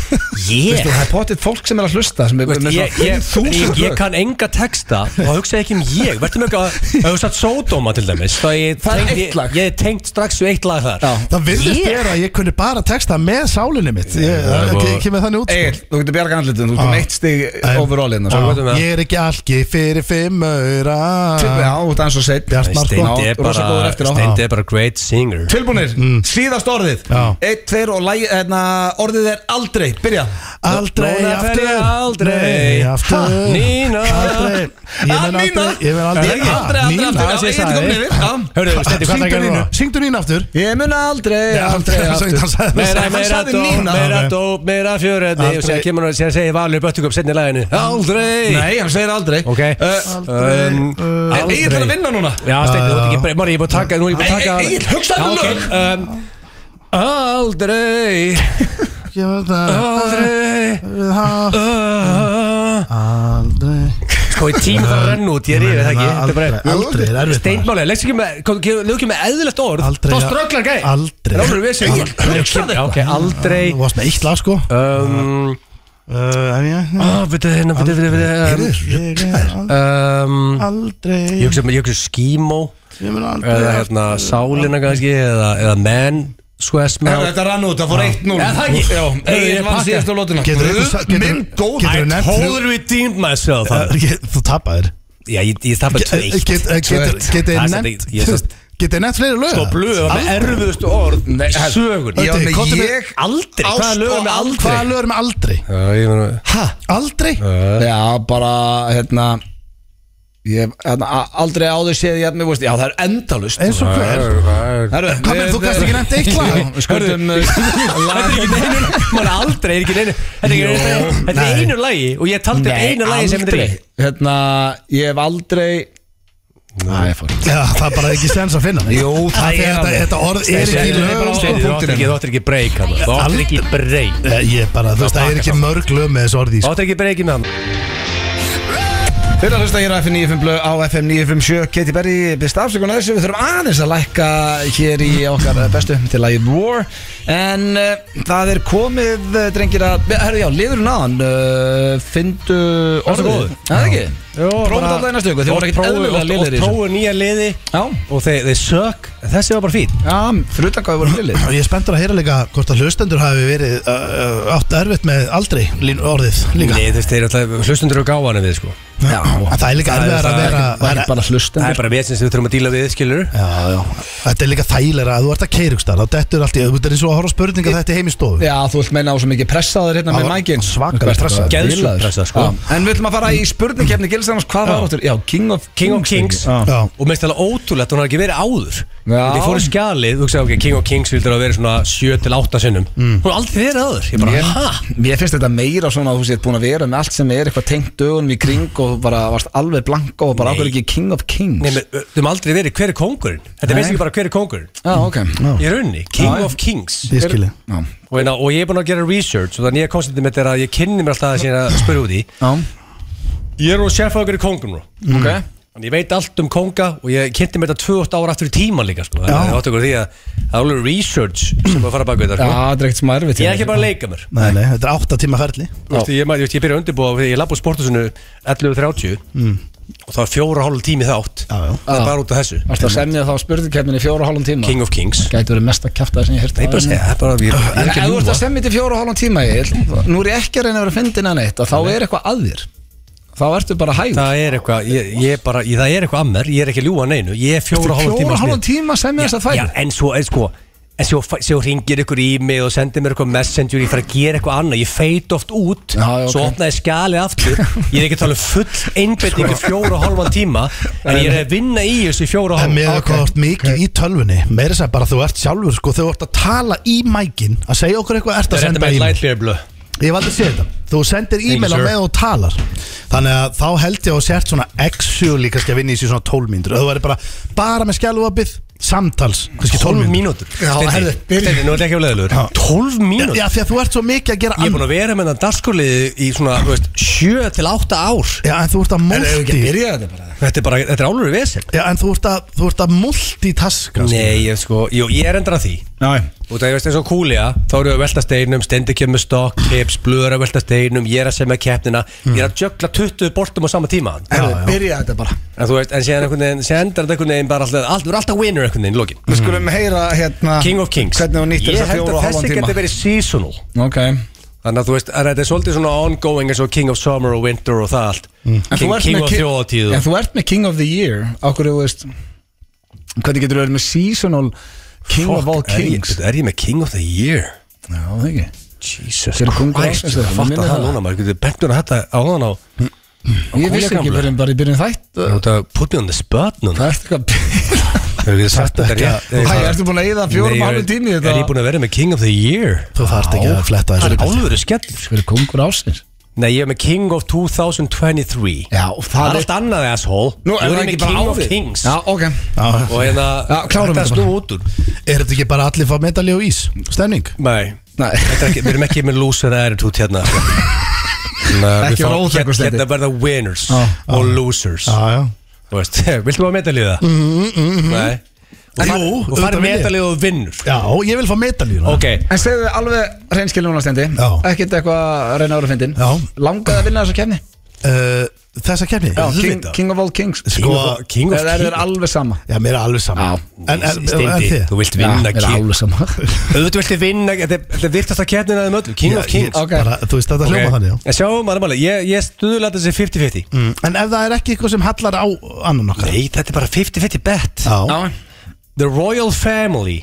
Ég
Veistu, það er potið fólk sem er að hlusta sem er
Veist,
með
ég, ég,
svona
ég,
5000
ég
lög.
kann enga texta og hugsaði ekki um ég verður mjög að, ef þú satt sódóma til dæmis þá ég
Það er
tengdi-
eitt lag.
ég tengt strax við eitt lag þar
Já.
Það virðist
Ég?
vera að ég kunni bara texta með sálinni mitt Ég
það
það
var-
kemur þannig út sko.
Egil, þú getur bjarga andlitum, þú
Ah,
Já.
komið eitt stig
En-
overall hérna
Já,
sko.
veitum við það.
Ég er ekki algi fyrir fimm öra
Já, út aðeins og seitt
Bjart-
Nei, Steindi
Já,
er
rosa góður
bara
eftir á.
Steindi er bara great singer
Tilbúinir,
Mm.
síðast orðið
Já.
Eitt, tveir og lægi, hérna, orðið er aldrei Byrja
Aldrei
Núna fer
aftur
ég aldrei.
Nei, aftur
Ha, Nína.
Aldrei Ég
Ah,
mun
Nína.
aldrei Ég mun aldrei
Ég
Ah,
aldrei, aldrei,
Nína.
aldrei,
Það sé
aldrei, ég get
það,
ekki komin
eh?
yfir Já.
Hörru, Steindi, hvað það
Syngdu
gerði
Nínu
það?
Syngdu Nínu aftur
Ég mun aldrei,
Nei,
aldrei,
aldrei,
aldrei
hann sagði-
Meira,
Hann
meira
sagði
dóp,
Nína.
meira
Ok.
dóp, meira fjöröndi
Aldrei.
og sér kemur hann að segja valur Böttuköp setni læginu Aldrei
Nei, hann segir aldrei
Ok
Aldrei,
um,
uh,
Eh, En Egil er að vinna núna
Já, Steindi, þú ert ekki bara, Mari, ég er búin að taka Nú er ég búin að
Nei,
taka
Egill, hugsaðu
Já,
um
ok, um, Aldrei
Ég veit það
Aldrei
Ha,
uh,
Aldrei
Sko, ég tíma það að renna út, ég ríði það ekki Þetta er bara-
Aldrei, aldrei, er erfitt maður.
Steindmáli, leggst ekki með, kom- gefur- leggst ekki með eðlilegt orð
Aldrei,
Þá
ja.
strögglar gæ
Aldrei.
Rálur við sig
Egill, hugsaðu
Já, Ok, aldrei
Þú varst með eitt lag sko
Um,
Uh, en ég-
ah, Veitu, hérna, veitu, veitu, veitu um,
Ég er al-
um,
Aldrei
Ég hugsa um- ég hugsa um skímó
Ég mun
eða
aldrei
hérna sálina kannski eða, eða menn sko, squashmell
Þetta rann út, það fór 1-0
Er það ekki?
Já,
Ég
Egil vann
pakka.
síðast á lótuna
Getur þú- getur-
Minn góð
getur-
I
nefnt
totally redeemed myself
Það
uh,
er ekki- Þú tapaðir
Já, ég, ég þarf að tveitt
Getið
Það er samt
nefnt
ekki- ég samt-
Getið nefnt fleiri lög
Sko, blöð var með erfiðustu orð
Nei,
í
hel-
sögun
Já,
Öddi,
nei,
komdu með-
ég
Aldrei,
Ást
hvaða lög
og
með
ást.
aldrei?
Hvaða lög er með aldrei?
Já, ég meina
Hæ? Aldrei?
Já, bara, hérna Ég hérna, a- aldrei áður séð ég að mér, veist, já það er endalust
Eins og hver?
Herru,
Hvað með þú gæst ekki nefnt eitt lag?
Við skuldum
uh, Þetta er ekki neinu, maður aldrei er ekki neinu Þetta er ekki neinu, þetta er einu lagi og ég taldi upp einu lagi sem þetta er í.
Hérna, ég hef aldrei Næ, ég fór
Já, það er bara ekki sens að finna það.
Jú, það
Af því
er
að þetta,
alveg.
þetta orð er
Steindi,
ekki
Þetta er
lög
bara
sko.
Steindi, þú áttir ekki- þú áttir ekki break hann Þú áttir ekki break
Eh, Ég bara, þú veist, það er ekki mörg lög með þessu orði sko.
Þú áttir ekki break í með hann
Þeir að hlusta hér á FM 95 blöð á FM 957 Katie Berry byrst afsökunar þessu Við þurfum aðeins að lækka hér í okkar bestu til að ég war En uh, það er komið, eh, drengir að Herru, já, liðurinn aðan uh, Findu orðið
góður.
Það er ekki? Prófum þetta í næstu viku, þið voru ekkert eðlilega lélegir í þessu.
Prófum nýja liði
Já,
og þeir, þeir sök Þessi var bara fín
já, fyrir utan hvað við vorum liðir
Og ég er spenntur að heyra líka hvort að hlustendur hafi verið uh, uh, átt erfitt með aldrei lín- orðið líka
Nei, þeir eru alltaf hlustundur og gáðan við sko
Já,
En það er líka
Það er-
erfiðar
það
að
er
vera
það er ekki bara
Það
hlustendur
er bara við sem við þurfum að díla við, skilur
Já, já Þetta er líka þægilega að þú ert að keirugstar þá dettur allt í, þú ert eins og að horfa á spurninga þetta heim í stofu
Já, þú vilt meina á svo mikið pressaður hérna
Það
með
var
mækin
svakalega pressaður.
Geðsjúk pressaður, sko.
En við ætlum að fara í spurningkefni Gilsarnas, hvað
Já.
var áttur? Já, King of
King of Kings
Já.
Já.
Og mest alveg ótrúlegt, hún har ekki verið áður
Já.
Þegar ég fór í skjalið, þú veist ok, King of Kings vildur að vera svona 7-8 sinnum Hún har aldrei verið áður, ég bara,
Mér,
hæ?
mér finnst þetta meira svona að þú sétt búin að vera með allt sem er eitthvað tengt dögunum í kring og bara varst alveg blanka og bara
Nei.
ákveður ekki King of Kings
Nei, menn, við höfum aldrei verið hver er kóngurinn Þetta
Nei.
veist ekki bara hver er kóngurinn
Já, ok Já,
Í rauninni, King
Já, já.
of Kings
Ég skilji
já,
og, einna, og ég er búin að gera research og það nýja konstantið mitt er að ég kynni mér alltaf það sem ég er að spyrja út í Mm. Ég er nú sérfæðugur í kóngum nú
ok
Þannig ég veit allt um konga og ég kynnti mér þetta 28 ára aftur í tíma líka sko. Þannig
Já.
að það áttu ykkur því að það er alveg research sem að fara bak við
Já,
þetta sko.
það er ekkert hérna. smá erfitt
Ég er ekki bara að leika mér
Nei, nei, þetta er átta tíma ferli
Þú veist, ég, ég, ég byrja að undirbúa því ég lapp á sportusinu 11.30 og það var fjóra og hálf tími þátt
Já, já.
Það er bara út af þessu
Varst að semja þá spurningkefnin í fjóra og hálfum tíma
King of Kings
Gæti verið mest að kæfta það sem ég hýrt
Það er bara að segja, það er bara að ég,
En
ég,
ef þú ert að semja til fjóra og hálfum tíma ég, Nú er ég ekki að reyna að vera að fyndin að neitt og Þá er eitthvað að þér Þá ertu bara hægur
Það er eitthvað, ég, ég bara, ég, það er eitthvað að mér, ég er ekki að ljúa neinu, ég er fjóra og hálfan
Fjóra
tíma
og hálfum tíma að semja þess að
Já,
þægir
en svo, en sko, en svo, fæ- svo ringir ykkur í mig og sendir mér eitthvað messenger, ég fara að gera eitthvað annað, ég feit oft út,
Já, já,
svo
ok.
opnaði ég skjalið aftur, ég er ekki að tala um full einbetning í fjóra og hálfan tíma, en ég er að vinna í þessu í fjóra og
En
hálfan
mér er okay. hvort mikið í tölvunni Meir þess að segja bara þú ert sjálfur sko Þegar þú ert að tala í mækin Að segja okkur eitthvað ert
Það er þetta
að senda í
með
mig
lightlear blöð
Ég hef aldrei séð þetta þú sendir e-mail á
sir.
með og talar þannig að þá held ég að þú sért svona actually kannski að vinna í þessu svona 12 mínútur þú væri bara, bara með skjálfopið samtals, kannski
12
12 mínútur
mínútur
Já, herðu, byrjum.
Steini, nú er ekki að leðilegur 12 mínútur
já, því að þú ert svo mikið að
Ég
gera
er búin
annað
að vera með þann dagskorliði í svona, þú veist, 7 til 8 ár
já, en þú ert að
En hefur
multi
ekki byrjað þetta bara
Þetta er bara, þetta er álur í vesel
já, en þú ert að, þú ert að multitaska sko.
Nei, ég sko, jú, ég er endur að því
Næ,
Út af ég veist eins og kúlia, þá eru við að velta steinum, stendi kemur stokk, tips, blöður að velta steinum, ég er að semja keppnina, ég er að jökla 20 bortum á sama tíma.
hefur byrjað þetta bara
En þú veist, en séðan einhvern veginn, séðan endar þetta einhvern veginn bara alltaf, allt, þú er alltaf winner einhvern veginn í lokin.
Við skulum heyra hérna
King of Kings.
Mm. Hvernig þú nýttir þessa fjóra og
Ég held að
halvan
þessi
tíma
getur verið seasonal.
Ok
Þannig að þú veist, að þetta er svolítið svona ongoing eins og King of Summer og Winter og það allt.
Mm. En þú
King,
ert
King
með
of
ki-
Þjóðatíð.
En þú ert með King of the Year Ákveður þú veist Hvernig getur þú verið með seasonal King of all kings Já,
Er, ég með King of the Year?
það ekki
Jesus
Hver er kóngur
Christ,
ársins
ég
þeirra?
fatta
Minnir
það
það.
núna, maður getur bentur að þetta á þann á,
Ég vissi
Kúla
ekki
gamla.
fyrir en bara í byrjun þætt
þú veist að put me on the spot núna.
Það ertu eitthvað
Hefur þið sagt þetta rétt?
Hæ, ertu búin að eyða fjórum og hálfum tími í þetta?
Er ég búin að vera með King of the Year?
þú þarft ekki að fletta
Það er
þessu
álveru skellur
Hver er kongur ásins?
Nei, ég er með King of 2023
Já,
Það er allt annað asshole
Nú,
Þú
er það
erum
ekki
með
bara
King of
árið?
Kings
Já, ok
Já.
Og hérna,
Já, klárum
þetta
þetta
snú út úr
er þetta ekki bara allir fá medalí og ís stemning
Nei,
Nei.
Þetta er ekki, við erum ekki með loser attitude hérna Nei,
Ekki vera óþekkur, Steindi.
Hérna verða winners
Já.
og losers
já, já
Þú veist, viltu maður medalið það?
Mhm,
Mm, mm, mm, Nei Þú
Jú,
far- Þú
auðvitað
farið
vil ég.
medalið og vinnur
Já, ég vil fá medalíu
Ok,
En segðu alveg reynskilin núna stendi
Já.
Ekkert eitthvað að reyna ára fyndin
Já.
Langaði að vinna þessa kefni
uh, Þessa kefni
King, King of all kings
Sko,
King of
Það er þér
Kings
alveg sama
Já, mér er alveg saman
Já.
En, en, en, en
Steindi,
þið
þú vilt vinna
Já, er
King
alveg sama
Auðvitað vilti vinna, þetta er- þetta er virtast að kjærnina þeim öllum, King
Já,
of Kings
ég-
Ok.
bara, Þú veist þetta hljóma þannig já.
En sjáum maður máli, ég, ég stuðla þessi 50-50
Mm, En ef það er ekki eitthvað sem hallar á annan okkar
Nei, þetta er bara 50-50 bet
Já,
Já.
The Royal Family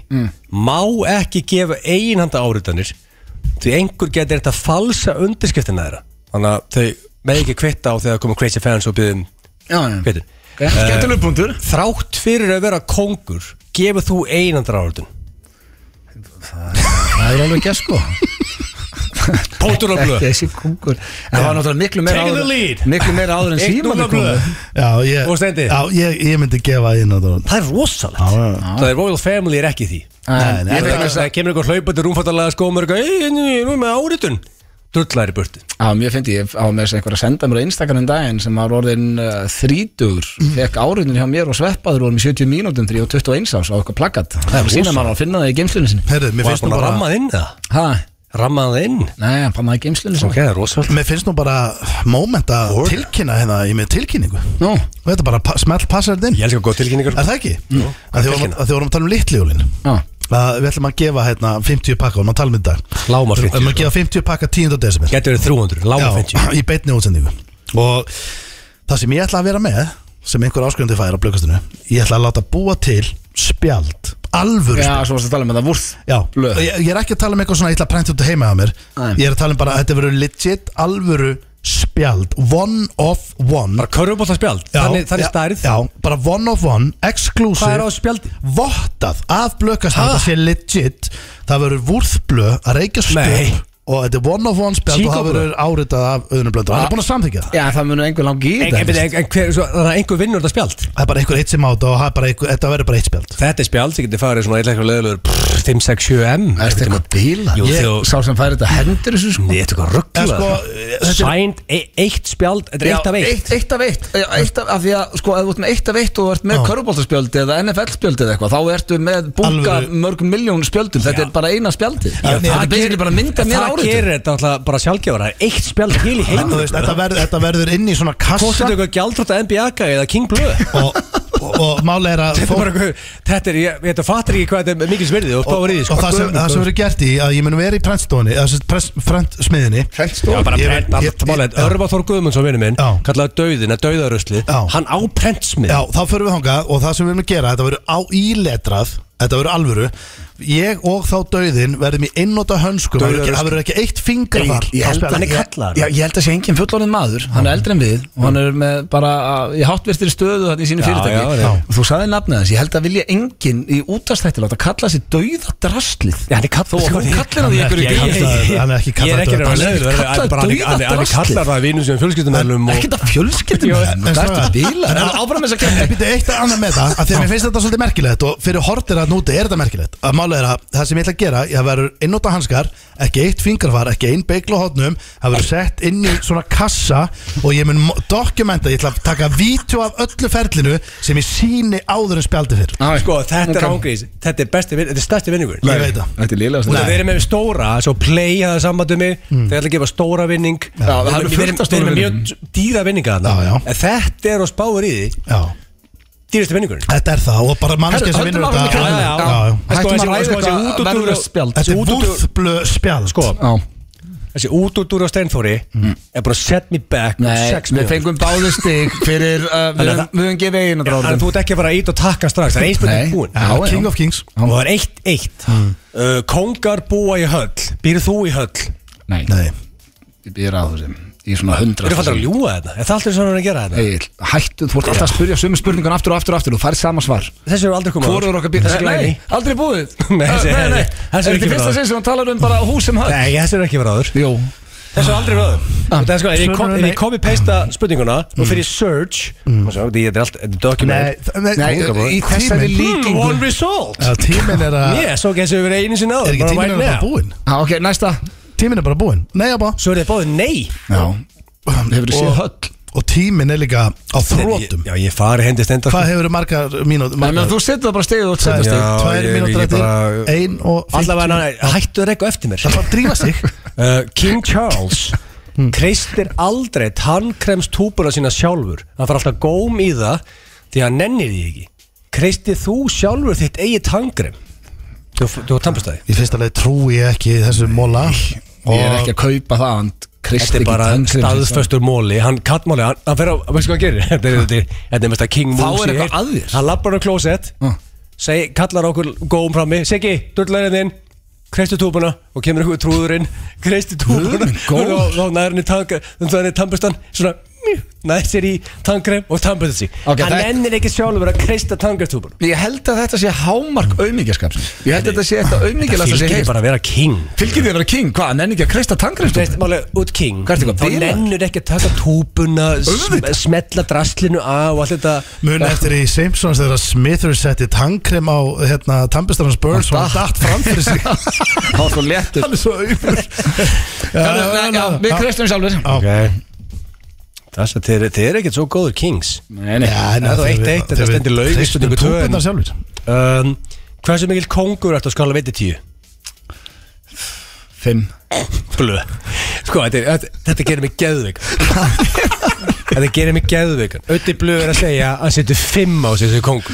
má ekki gefa einhanda áriðanir því einhver getur þetta falsa undirskriftina þeirra Þannig að þau með ekki kvitta á þegar komum crazy fans og um byggðum
Já, já.
kvittin
Ok, Skemmtilegur punktur
Þrátt fyrir að vera kóngur gefur þú einhanda áriðan
Það er alveg gert sko
Pótur og blöð
Þessi kongur En það var náttúrulega miklu meira
Taking the
áður
lead.
Miklu meira áður en
Eitt
síman
núna blöð.
já, ég,
Þú, Steindi.
já ég, ég myndi gefa inn á það
Það er rosalegt
já,
Það er Royal Family er ekki í því
Nei, nei,
Ég
Það
veit
það kemur einhver hlaupandi rúmfattalega skómur og eitthvað, "Ey, ég er nú með áritun Drullar í burtu
Já, mjög fyndi, ég á með þess að einhver að senda mér á Instagram um daginn sem var orðin uh, þrítugur,
Mhm.
fekk áriðin hjá mér og sveppaður vorum í 70 mínútum 3 og 21 ás á eitthvað plaggat Það er sína maður að finna það í geimslunni sinni
Herðu, mér
Var
finnst nú
búin að
bara
rammað inn það?
Hæ?
Rammað það inn?
Nei, hann pannaði í geimslunni sinni
það er rosalegt
Mér finnst nú bara moment að tilkynna hérna í með tilkynningu
Nú,
Og þetta bara pa smell passar þetta inn
Ég elskar góð tilkynningar
Er það ekki? Mm. Að því vorum
tilkynna?
að því vorum að tala um litljólin
já,
að Við ætlum að gefa hérna 50 pakka og maður tala um þetta í dag.
Lágmark
Við ætlum
50,
að gefa 50 pakka 10. desember
Getur verið 300, láma 50
í beinni útsendingu og það sem ég ætla að vera með sem einhver áskrifandi fær á blökkastinu ég ætla að láta búa til spjald alvöru
já,
spjald
svo varst að tala með það vúrð
Já,
blöð.
ég, ég er ekki að tala um eitthvað svona ég ætla að prænta út að heima á mér
Nei.
ég er að tala um bara að þetta verður legit alvöru spjald one of one
Bara körfubólta spjald,
Já,
þannig, þannig
já,
stærð
Já, bara one of one, exclusive
Hvað er á spjaldi?
Vottað af blökastan,
Ha?
það sé legit Það verður vúrðblö að reykja
Nei.
stöp Og þetta er one of one spjald Og það
Chico-blöð?
verður áritað af auðnum blöndur Hann er búin að samþykja það
Já, það munur einhver langi í
En, en,
þetta
en, en hver, svo, það er einhver vinnur þetta spjald
Það er bara einhver eitt sem á þetta og það er bara einhver, þetta verður bara eitt spjald
Þetta er spjald sem getur farið svona eitthvað leðilegur 5, 6, 7 M
Það er eitthvað bíla
Jú,
Ég,
þegar-
Sá sem fær þetta hendur þessu sko
Nei, þetta er eitthvað
En sko,
ruggla
þetta er-
Sænd, e- eitt spjald, þetta er
Já,
eitt af eitt
eitt af eitt, Já, eitt af, af því að sko, ef þú ert með eitt af eitt og ert með körubóltaspjöldi eða NFL-spjöldi eða eitthvað, þá ertu með bunga
Alvöru.
mörg miljón spjöldum, þetta er bara eina spjaldi
Já,
þetta er
það
basically
gerir-
bara mynda mér
Það
árið
gerir þetta alltaf bara sjálfgefara Eitt spjald til í
Þú
heimur
veist, þetta, verður, þetta verður inn í svona
Kostið
kassa
eitthvað gjaldrótt að NBA-ka eða King Blue
og, og, og máli er að
Þetta er bara eitthvað, þetta er, ég, þetta fattir ekki hvað þetta er mikil svirðið og hvað var í því, sko.
og það sem, það sem verður gert í að ég mun vera í prentstofunni prentsmiðinni
Já, bara prent, allt málið Örfa Þór Guðmundsson, vinnu minn,
Já.
kallaði dauðin að dauðarusli,
Já.
hann á prentsmið
Já, þá förum við þangað og það sem við erum að gera, þetta verður á íletrað, þetta verður alvöru ég og þá dauðin verðum í einnota hönskum Það verður ekki- það verður ekki eitt fingur þar
Ég
á
held,
spjall.
að, ég, já, ég held að sé engin fullorðin maður Hann er eldri en við og hann er með bara að- í háttvirtir stöðu þannig í sínu
Já, já,
fyrirtæki
já.
og þú saði nafnið hans, ég held að vilja engin í útastætti láta kalla sér dauða draslið
Já, hann er kall-
Þú
hann er-
kallir hann í ykkur í
Ég-
dýr
ég- ég- hann er ekki
Ég er ekki
kallaður
að vera leiður
Hann er
hann er bara- hann er- hann er- hann er kallar það vinum sem fjölskyldumælum og
Ekkert að fjölskyldum
en
hann, hvað ertu
strákar,
að bila?
en-
En áfram þess að kemja
En býttu eitt að annað með það, af því að mér finnst þetta svolítið merkilegt og fyrir hortir að núti er þetta merkilegt að mála er að það sem ég ætla að gera, ég verður einnóta hanskar, ekki eitt fingarfar, ekki einn beigla hodnum, það verður sett inn í svona kassa og ég mun mo- dokumenta, ég ætla að taka vítjó af öllu ferlinu sem ég síni áður en spjaldi fyrr
Sko, þetta er
Ok.
ángrís Þetta er besti, vin- þetta er stærsti vinningur
Ég veit það.
Þetta er
Út
liðlega
af þeir eru með stóra, svo play að það er samband um mig
Hmm.
Þeir ætla að gefa stóra vinning
það eru
Þeir-
fullt
þeir-
af stóra
Þeir eru með
vinningum.
mjög dýra vinninga
Já, já.
þarna En þetta er á spáur í því
Já,
Dýrasti vinningur
þetta er það og bara mannskja sem
Herru,
vinnur
höldum
þetta
áfram að
Já,
kenna.
Já, já.
En sko,
Hættum
þessi-
að ræða
sko, þessi
eitthvað
útúrdúr-
verðlaus spjald.
Þetta er
Þessi útúrdúr-
vúðblöð spjald
Sko,
Já
þessi útúrdúr á Steinfóri
Hmm.
Er búin að set me back um
Nei,
sex
við
mínútur.
fengum báðu stig fyrir uh, við
Þannig að
höfum-
það-
við höfum gefið einu
En
dráðum
þú ert ekki að fara ít og taka strax Það er
Nei.
einspurning búin
Já,
Já,
já.
King of Kings
Og það er eitt, eitt
Hmm.
Uh, Kóngar búa í höll Býrðu þú í höll?
Nei,
Nei,
ég býr að þú sem Í svona hundra
Eru fannst að ljúga þetta? Er það alltaf sem hann er að gera þetta?
Egil, hættu, þú ert alltaf að spyrja sömu spurningun aftur og aftur og aftur og færð sama svar
Þessi eru aldrei komið
Hvorur okkar býr þessi glæni?
Nei,
Aldrei búið
Nei,
Ö,
þessi-
nei, nei.
þessi
Er
er
þetta
ekki
fyrsta
bráður.
sinn sem hann talar um bara hús sem höll?
Nei, þessi eru ekki verið áður
Jú,
Þessi eru aldrei verið áður Og það er sko, ef ég kom- ef
Ah. Nei. Mm.
ég kom í peista spurninguna Nú fyrir search og svo, Þetta er allt, þetta er
nei,
document
nei,
nei,
í þessari
tíminn-
Hmm,
líkingu
One result
Já, Tíminn er að
Yes, ok, þessi eru verið einu sinni áður
Er ekki
bara
tíminn
right now.
er bara búinn?
Já, ok, næsta
Tíminn er bara búinn Nei, já, bara
Svo eru þið báðið nei
Já, hefur séð
Og-
höll
Og tíminn er líka á
Ég-
þrótum
Já, ég fari hendi stendar
Hvað hefur margar mínútur?
Nei, menn, þú setur það bara stegið og
Tvær
setur
Já,
stegið
tvær
ég-
mínútur
ég
eftir
bara-
Ein og
Allavega hættu þeir eitthvað eftir mér
Það er bara að drífa sig
Uh, King Charles
Hmm.
kreistir aldrei tannkrems-túpuna sína sjálfur hann fara alltaf góm í það því að hann nennir því ekki kreistir þú sjálfur þitt eigi tannkrem þú, þú tampast það
Í fyrsta leið trúi ég ekki þessu móla
Ég er ekki að kaupa það, hann
þetta
kristi
er
ekki
bara
tann sem-
staðföstur móli hann kattmáli, hann, hann fer á, veistu hvað hann gerir þetta er þetta er- þetta er mest að King
Þá
Moose
er
ég
eitthvað að þér.
hann lappar á klósett
Ah.
seg, kallar okkur góm frammi Siggi, dullarinn þinn kreistir túpuna og kemur ykkur trúðurinn kreistir túpuna
Guð minn góður.
og þá nær henni tank þannig að henni tampustan svona mjú, nær sér í tankrem og tampustan sig
Ok,
hann
það-
ennir ekki sjálfur að kreista tankrestúpuna
Ég held að þetta sé hámark auðmíkjaskap Ég held að þetta sé eitthvað
það
auðmíkjalast að sé
fylgir
heist
bara að vera king
Fylgir þér að vera king, hvað, hann enn ekki að kreista tangrið
Veist, málega, út king
Hvað ertu eitthvað,
Þá
bilaður?
nennur ekki að taka túpuna sm
Auðvitað.
Smetla draslinu á og allt þetta
Mun eftir í Simpsons þegar Smithers setti tannkrem á hérna, Tampestarans Burns og hann datt fram fyrir sig
Það var svo léttur
Hann er svo auðvur
Herru, já, já, Við kreistum sjálfur
Þess að þeir, þeir eru ekkert svo góður kings
Nei, nei
Það er þó eitt eitt, þetta stendur laug í spurningu tvö, en-
Túpundar sjálfur
um, Hversu mikil kongur ertu að skala veiti tíu?
Fimm
Blö Sko, þetta, er- þetta, þetta gerir mig geðveik Þetta gerir mig geðveik Ötti blö er að segja að hann setur fimm á sig þessu kongur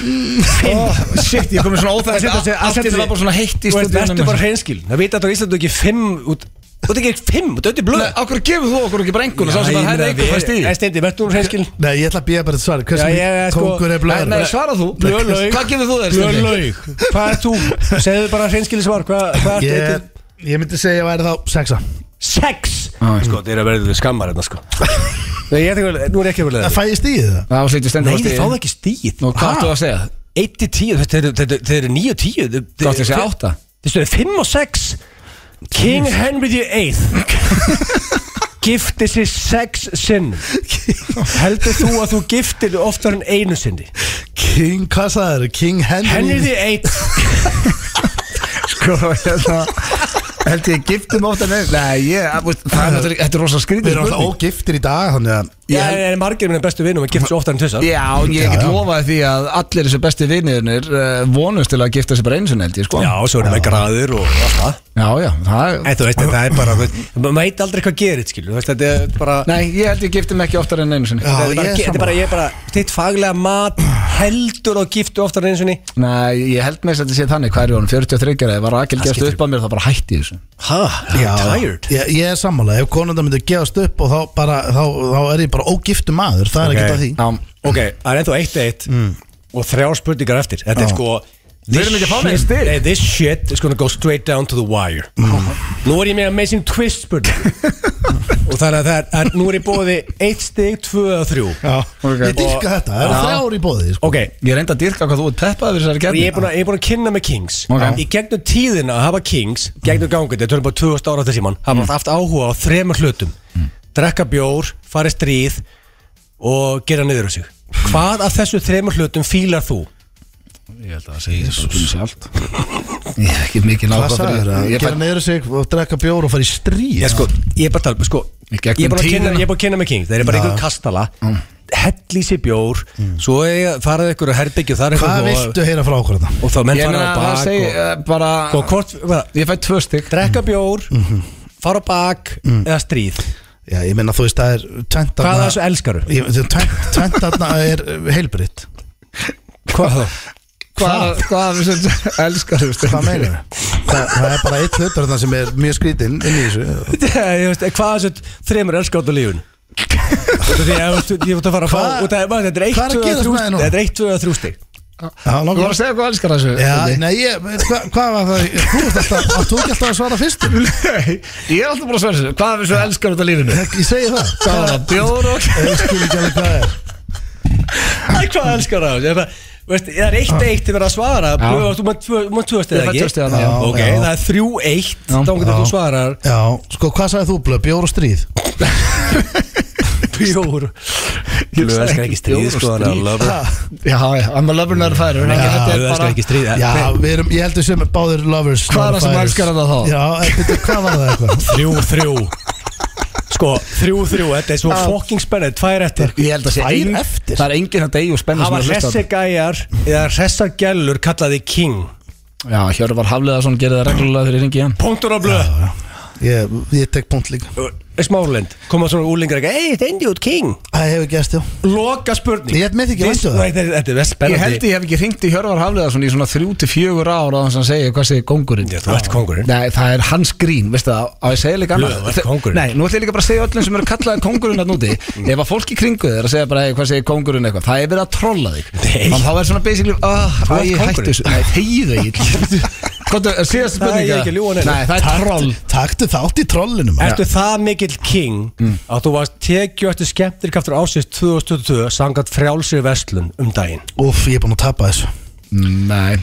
Shit, ég komið svona
Það setur
óþægt Allt
sig- setur
þetta
sig-
var bara svona heitt í
Þú veist,
stúdíunum
verður bara hreinskil Það vita þetta á Íslandu ekki fimm út Þú veit ekki fimm, þetta er ötti blö eh,
Nei, Akkur gefur þú okkur ekki bara engun Sá sem bara herri einhver fæst í
Það stendir, verður þú hreinskil
Nei, ég ætla að býja bara þetta svar Hversu
Já,
mikið
ég- sko-
kongur er blöður?
Nei, nei, svara þú
Blöðlaug
Hvað gefur þú þér? Steindi?
Blöðlaug Hvað er þú? Segðu bara hreinskili svar Hvað hva er þetta?
Ég, ég myndi segja að væri þá sexa
Sex Sko, þeir eru að verða skammar hérna sko Nei, ég ætla ekki, nú er ég ekki að verða
Það Eh, fæ ég stíðið það
Það var slítið
Nei,
stendur
þið fáðu ekki stíð
Nú, hvað ættu að segja?
1-10, þeir eru 9-10
Þú ætti að segja átta
Þeir stöðu 5 og 6 King Henry VIII Gifti sér sex sinn Heldur þú að þú giftir oftar en einu sinni
King, hvað sagði þér? King Henry
Henry VIII
Sko, hérna Held ég giftum ofta nefn Nei, ég, þú veist, það er náttúrulega- Þetta er rosa
Við
skrítið
erum alltaf
spurning.
ógiftir í dag Þannig að
Já, en margir minn bestu vinum að gifta sér oftar en tvisar
Já, en ég
Já,
get
já.
lofað því að allir þessu besti vinirnir uh, vonust til að gifta sér bara eins og nefndi, sko
Já, svo erum við graður og allt það
já, já, það
En þú veist, það er bara, þú veist, maður veit aldrei hvað gerist, skilur, þú veist, þetta er bara,
Nei, ég held ég gifti mig ekki oftar en einu sinni
Já,
þetta er bara,
ég er
þetta er bara, ég er bara, þitt faglega mat heldur og giftu oftar en eins og ný.
Nei, ég held með þess að þetta sé þannig Hvað er hún, 43 eða var Rakel
Það
gefst
skiptir-
upp að mér þá bara hætti ég þessu
Ha,
Já, ég, ég er sammála, ef konundar myndi gefast upp og þá, bara, þá, þá er ég bara ógiftu maður það er
Ok.
ekkert að því
Já,
Ok, það er ennþá eitt eitt og þrjár spurningar eftir, þetta er
Já.
sko,
Mm. Við erum ekki að fá neitt stig. Mm.
Hey, This shit is gonna go straight down to the wire Nú er ég með amazing twist spurning Og þannig að það er að Nú er ég bóði eitt stig, tvö og þrjú
ok.
Ég dýrka þetta, það eru
Já.
þrjár í bóði sko.
Ok,
Ég reynda að dyrka hvað þú ert peppað við þessari
ég er
gerðin
búin að, ég er búin að kynna með Kings
Ok. Mm.
Í gegnum tíðina að hafa Kings Gegnum gangið, þetta er bara 2000 ára þessi mann Hafa haft áhuga á þremur hlutum
Mm.
Drekka bjór, fara í stríð Og gera niður á sig
Mm.
Hvað af þessu þremur hlutum fílar þú?
Ég held að það segi þessu um sjálft Ég hef ekki mikið
Hvað
náttúrulega
sagði þér? Að Gera neyru sig og drekka bjór og fara í stríð
Já, sko, ég er bara að tala, sko
Í
Ég
gegnum
er bara að kynna,
tíðina.
ég er bara að kynna með King Það er bara
Já. Mm.
einhver kastala Hell í sér bjór Svo eiga- faraði ykkur að herbyggja og það er
Hvað
eitthvað og-
viltu heyra frá okkur þetta?
Og þá menn
Ég
fara
meina
á
það
bak
segi
og,
eh, bara
og hvort, bara,
Ég fæ tvö stygg
drekka bjór
Mhm.
Fara á bak
Mm.
Eða stríð
Já, ég meina þú veist það er tvennt
Hvað
þarna-
af þessu elskaru?
Ég- tvennt- Tvennt þarna er eh, heilbritt
Hvað þá?
Hvað hvað af þessu elskar þú
Hvað meina það? Það er bara eitt hlutur þarna sem er mjög skrítinn inn í þessu
Ég veist, Hvað af þessu þremur elskar út á lífun? Því að þú- ég vart að fara að fá
Hvað-
og það er- maður, Þetta er eitt,
hvað er að
tvö,
gerast
þrjú-
með þér núna?
þetta er eitt, tvö eða þrjú stig
Já,
Þú var
langar
að segja hvað elskar þessu
Já,
Bindi?
nei, ég, hva, hvað var það? Þú ert alltaf, átt þú ekki alltaf að svara fyrstum?
Nei, ég er alltaf bara að svara þessu Hvað af þessu elskar út af lífinu
Ég segi það
Hvað var það, bjór og
Ég skil ekki alveg hvað það er
Æ, hvað elskar það? Ég, bara, veist, það er eitt eitt til vera að svara Blöð, Þú mátt tvö- þú mátt tvö
Ég
stegið
fæ
ekki?
tvö stig þarna, já.
Ok,
Já.
það er þrjú eitt
Já.
Þá getur þú svarar
Já, sko, hvað sagði þú, Blöð? Bjór og stríð?
Bjór
Ég
Blöð
sagði
elskar
ekki
ekki stríð
bjór og
sko hann
stríð.
að lover
Ha,
Já, já, I'm a lover not a fighter en
Já,
þetta er
Blöð elskar
bara-
ekki stríð
Já,
Eh,
við erum, ég heldur sem báðir lovers
Hvað er
not
það sem
fighters.
elskar þetta þá?
Já, en byrju, hvað var það eitthvað?
Þrjú, þrjú Sko, þrjú, þrjú Þetta er svo fucking spennið Tvær eftir
Ég held að sé
Tvær
ein-
eftir?
Það er enginn að deyja og spenna
Hafa hressa gæjar Eða hressa gælur Kallaði King
Já, Hjörvar Hafliðarsson gerði það reglulega þegar ég ringi hann
Punktur á blöð
Ég, ég tek punkt líka
Smáralind Koma svona úlingar Ei, þetta endi út King
Það hefur gæst, já
Loka spurning
Ég veit ekki
This-
væntu það.
Nei, Þetta er- þetta er verð
Ég
spennandi
held ég hef ekki ringt í Hjörvar Hafliðarsson í svona þrjú til fjögur ára á þess að hann segja hvað segir kongurinn
Já, Þú ert kongurinn
Nei, það er hans grín, veistu það, á ég segja líka annað
Blöð, þú ert kóngurinn. Mm.
Nei, nú ætlum ég líka bara að segja öllum sem eru kallaðið kongurinn að núti Ef að fólk í kringu þeir að segja bara, hey, hvað segir kongurinn eitthvað Það er verið að trolla þig
Nei.
Þannig þá er svona basically, ah, oh,
Þú ert
ég hættu
kóngurinn.
þessu Nei, þegið þegið Hvað er síðast
Það er
spurninga?
ekki að ljúga neinu.
eh. Nei, það er troll
Taktu þátt í trollinu, maður
Ertu það mikill king
Mm.
að þú varst tekju eftir skemmtir kraftur ásins 2022 sangat frjálsir verslun um daginn
Úf, ég er búin að tapa þessu
Nei,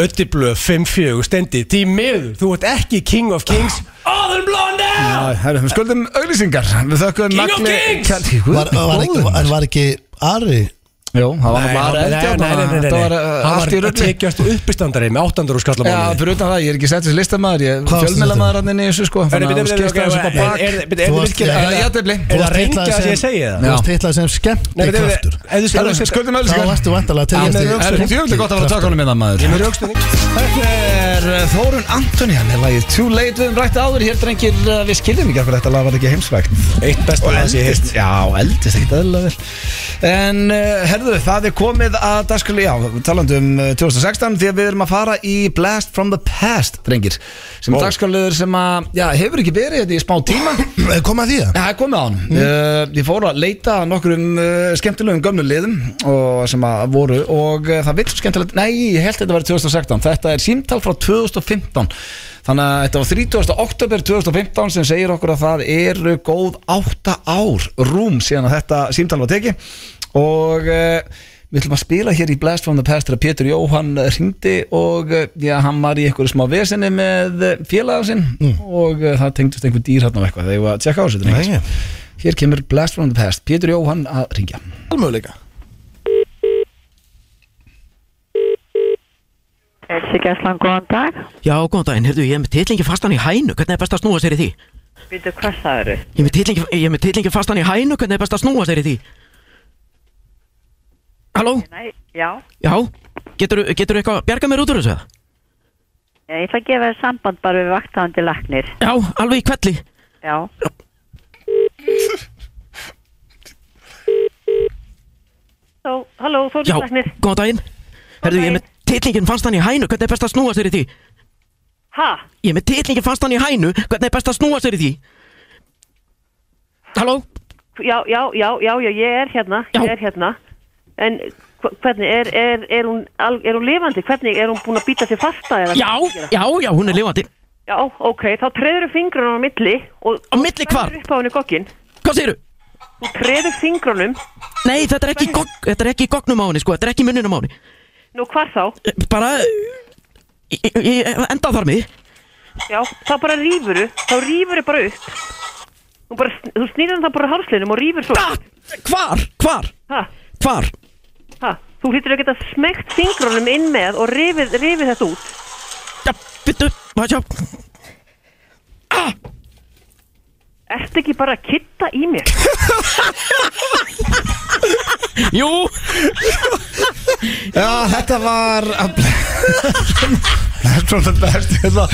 Öttiblöð 5-4 stendi því miður þú ert ekki king of kings áður blóndi
Já, herru, við skuldum auglýsingar Við þökkum
King of
Magni-
Kings!
Kjarni- Guð,
Var, var, ekki,
góður.
var, var ekki Ari
Jú, það var
Nei,
bara
nei, nei,
eldjátt
nei, nei, nei,
Það var
nei.
uh,
Hann
allt í
var
rulli
tekju eftir uppistandari með 800 skalla
Já,
mánuði
fyrir utan það, ég er ekki sett þessi listamaður Ég
Hvað
er
varstu
fjölmélamaður hann inn í þessu sko
Er
Þannig að þú skipst
það
þessu upp á bak
Þú varst-
Já,
virkilega- er það-
jafntefli.
er
Þú
það
varst
reyngja
titlaður
að ég
sem-
segi það?
Þú
Já.
varst heitlað sem
Nei,
skemmti
byrju, byrju,
kraftur
ef þú segir-
Herru, skuldum
Þá
auglýsingar
varstu vantalega að
Já,
tegja
Það
eftir
er fjöld gott að vera að taka honum með það maður
Ég er með rjókstunning
Þetta er uh, Þórun Antonian er lagið Too Late við um rætt áður Hér drengir, uh, við skiljum ekki af hverju þetta lag var ekki heimsvægt
Eitt besta að ég heist
Já, eldist ekkert eðlilega vel En uh, herðu, það er komið að dagskjölu, já, talandi um uh, 2016 því að við erum að fara í Blast from the Past, drengir sem
Ó.
oh. dagskjöluður sem að, já, hefur ekki verið þetta í smá tíma
Eh, Kom að því það
Já, það er komið á hann uh, Ég fór að leita að nokkrum uh, skemmtilegum gömlu liðum og, sem að voru og uh, það vill skemmtilegt Nei, ég held þetta var 2016 Þetta er símtal frá 2015 Þannig að þetta var 30. oktober 2015 sem segir okkur að það eru góð 8 ár rúm síðan að þetta símtal var teki og uh, við ætlum að spila hér í Blast from the Past þegar Pétur Jóhann ringdi og eh, já, hann var í einhverju smá vesinni með eh, félaga sinn og eh, það tengdist einhver dýr hann og eitthvað þegar ég var að tjekka á þessu drengir.
Nei.
Hér kemur Blast from the Past, Pétur Jóhann að ringja
Almöguleika
Helsigæslan, góðan dag.
Já, góðan daginn, heyrðu, ég er með titlingi fastan í hænu, hvernig er best að snúa sér í því?
Býtu, hvað það eru?
Ég er með titlingi, ég er með titlingi fastan í hænu, hvernig er best að snúa sér í því? Halló?
Nei, já,
Já, getur, getur eitthvað að bjarga mér út úr þessu? eða?
ég ætla að gefa þér samband bara við vaktandi lagnir.
Já, alveg í kvelli.
Já. Þó, halló,
Já,
Þórir lagnir.
góðan daginn. Heyrðu, ég er
daginn.
með titlingin fastan í hænu, hvernig er best að snúa sér í því?
Ha,
Ég er með titlingin fastan í hænu, hvernig er best að snúa sér í því? Halló?
já, já, já, já, já, ég er hérna,
Já.
ég er hérna. En hva- hvernig, er, er, er, hún, al- er hún lifandi? Hvernig, er hún búin að býta sér fasta? eða
Já,
hvað er að gera?
já, já, hún er lifandi
Já, ok, þá treður fingrunum á milli og,
Á milli hvar?
Treður upp á henni gokkin
Hvað segirðu?
Þú treður fingrunum
Nei, þetta er ekki, í gogg- þetta er ekki í gognum á henni, sko, þetta er ekki í munninum á henni
Nú, hvar þá?
Bara, í- í- í- enda þar með
Já, þá bara rýfuru Þá rýfuru bara upp Þú, bara, sn- þú snýrðan það bara hálslinum og rýfur svo
Hvar, hvar,
ha,
hvar?
ha, Þú hlýtur að geta smegt fingrunum inn með og rifið, rifið þetta út
Já, byttu, maður sjá Ah,
Ertu ekki bara að kitta í mér?
jú
Já, þetta var Þetta var best hérna.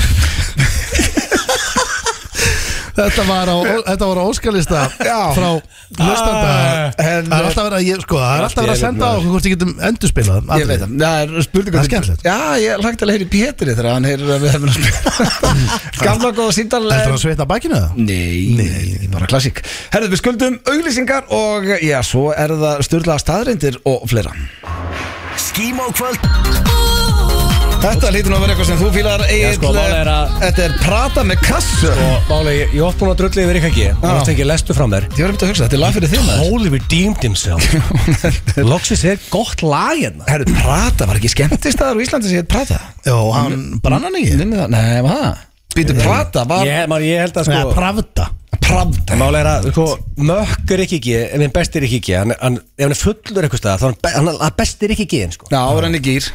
Þetta var á, þetta var á óskalista
Já.
frá hlustanda
Ah, en-
Það er alltaf verið að, ég, sko, það er alltaf verið að senda á okkur hvort ég getum endurspilað
Ég veit það, það er spurning um-
Það er skemmtilegt.
Já, ég lagt alveg heyri Pétri þegar hann heyrir að við hefum að spila Gamla góða síndalega
Þetta er að sveita bakinu það
Nei, nei, bara klassík Herðu, við skuldum auglýsingar og já, svo er það styrlaða staðreindir og fleira
Skímó kvöld
Þetta hlýtur nú að vera eitthvað sem þú fílar Egil,
sko, málið er að-
Þetta er prata með kassu
Og máli, ég, ég ótt búin að drulli yfir ekki Þú veist ekki, lestu fram þær
Ég var að mynda að hugsa, þetta er lag fyrir þig maður
Holy redeemed himself Loksis er gott lag hérna
Herðu, prata, var ekki skemmtistaðar á Íslandi sem ég heit prata?
Jó, hann brann hann ekki
Nefnir það, nei, var það? Býtu, prata, var
Ég, maður, ég held að
Nei,
sko
pravda
prata
Máli er að, sko, mökk er ekki ekki En minn besti er ekki ekki hann, hann, Ef hann er fullur eitthvað staðar, þá er hann, be- hann, hann besti er ekki ekki sko.
Já, er hann í gýr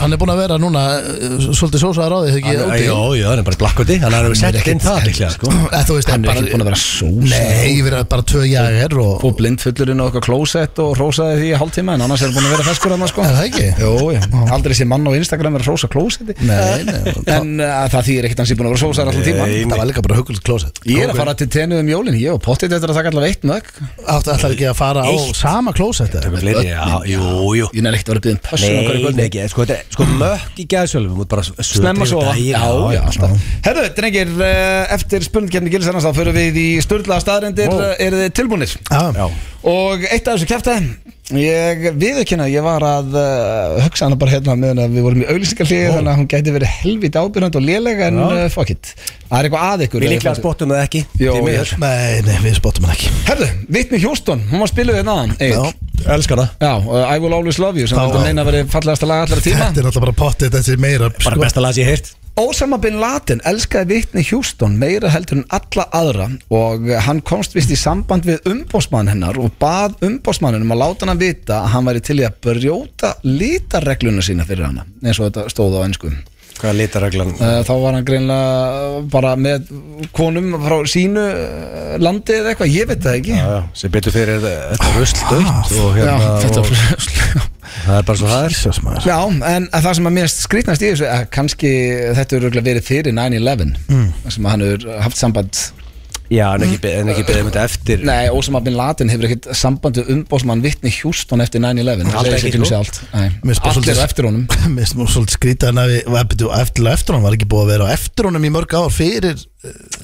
Hann er búin að vera núna uh, svolítið sósaðar á því
Hann-
þegar
Jó,
ég
jó, hann er bara í blakkvöldi Hann er
er
sett
ekkert-
inn það líklega, sko
Eh, Þú veist,
Hann er
bara-
ekki búin að vera sós
Nei, ég verið bara tvö jægir og
Fó blindfullur inn á okkar klósett og rósaði því í hálftíma En annars er hann búin að vera feskur hann sko
Er það ekki?
Jó, já, aldrei sé mann á Instagram er að rósa klósetti
Nei, nei,
En uh, það þýðir ekkert að hans er búin að vera sósaðar allan tíma
Það var líka bara huggulegt klósett
Ég er að fara til tennu um jólin Ég og pottit eftir að taka allavega eitt mög
Áttu ætlar ekki að fara á sama klósett eða?
Tökum fleiri, já, jú, jú
Ég nefnir ekkert að vera byggðin pössun á
Nei,
hverju
nei,
kvöldi
ekki, sko, þetta er- sko mökk í gæðsölum bara s-
Snemma
yfir
sofa
daginn,
Já, já, alltaf Herðu, drengir, eh, eftir spurningkjarni gilsarnas þá förum við í sturla staðrendir wow. Er þið tilbúinir?
Ah.
Já,
Og eitt af þessu kæftæði Ég viðurkenna, ég var að uh, hugsa hana bara hérna meðan að við vorum í auglýsingarlíði þannig að hún gæti verið helvít ábyrjand og léleg en uh, fuck it Það er eitthvað að ykkur
Við
ef
líklega
þið-
spottum það ekki
Jó,
því miður.
ég-
Nei, nei, við spottum hann ekki
Herðu, Vittni Hjústón, hún var spiluð hérna aðan Já,
Elskar það
Já uh, I Will Always Love You sem
Já.
þetta meina að verið fallegasta lag allra tíma
Þetta er náttúrulega bara pottið þessi meira sko.
Bara besta lag sem ég heirt
Ósama bin Laden elskaði Vittni Hjústón meira heldur en alla aðra og hann komst vist í samband við umbósmann hennar og bað umbósmannunum að láta hana vita að hann væri til í að brjóta lítarregluna sína fyrir hana eins og þetta stóð á ennsku
Hvað er litarreglan?
þá var hann greinlega bara með konum frá sínu eh, landi eða eitthvað, ég veit það ekki
Já, já, sem betur fyrir eh, þetta rusl dögt og hérna
Já, þetta
og, Það er bara svo það er
Jesus maður
Já, en það sem að mér skrýtnast í þessu að kannski þetta eru örugglega verið fyrir 9-11 mm. sem að hann hefur haft samband
Já, en ekki, be- en ekki beðið með þetta eftir
Nei, Ósama Bin Laden hefur ekkert sambandi umbósmann vittni Hjústón eftir 9-11 Það
Alls
segir
ekki,
sér fyrir
sko.
sig allt Nei.
Mér finnst bara
Allir
svolítið-
eru eftir honum
Mér finnst nú svolítið skrítið hann að við var betur eftir og eftir hann var ekki búið að vera á eftir honum í mörg ár fyrir eh,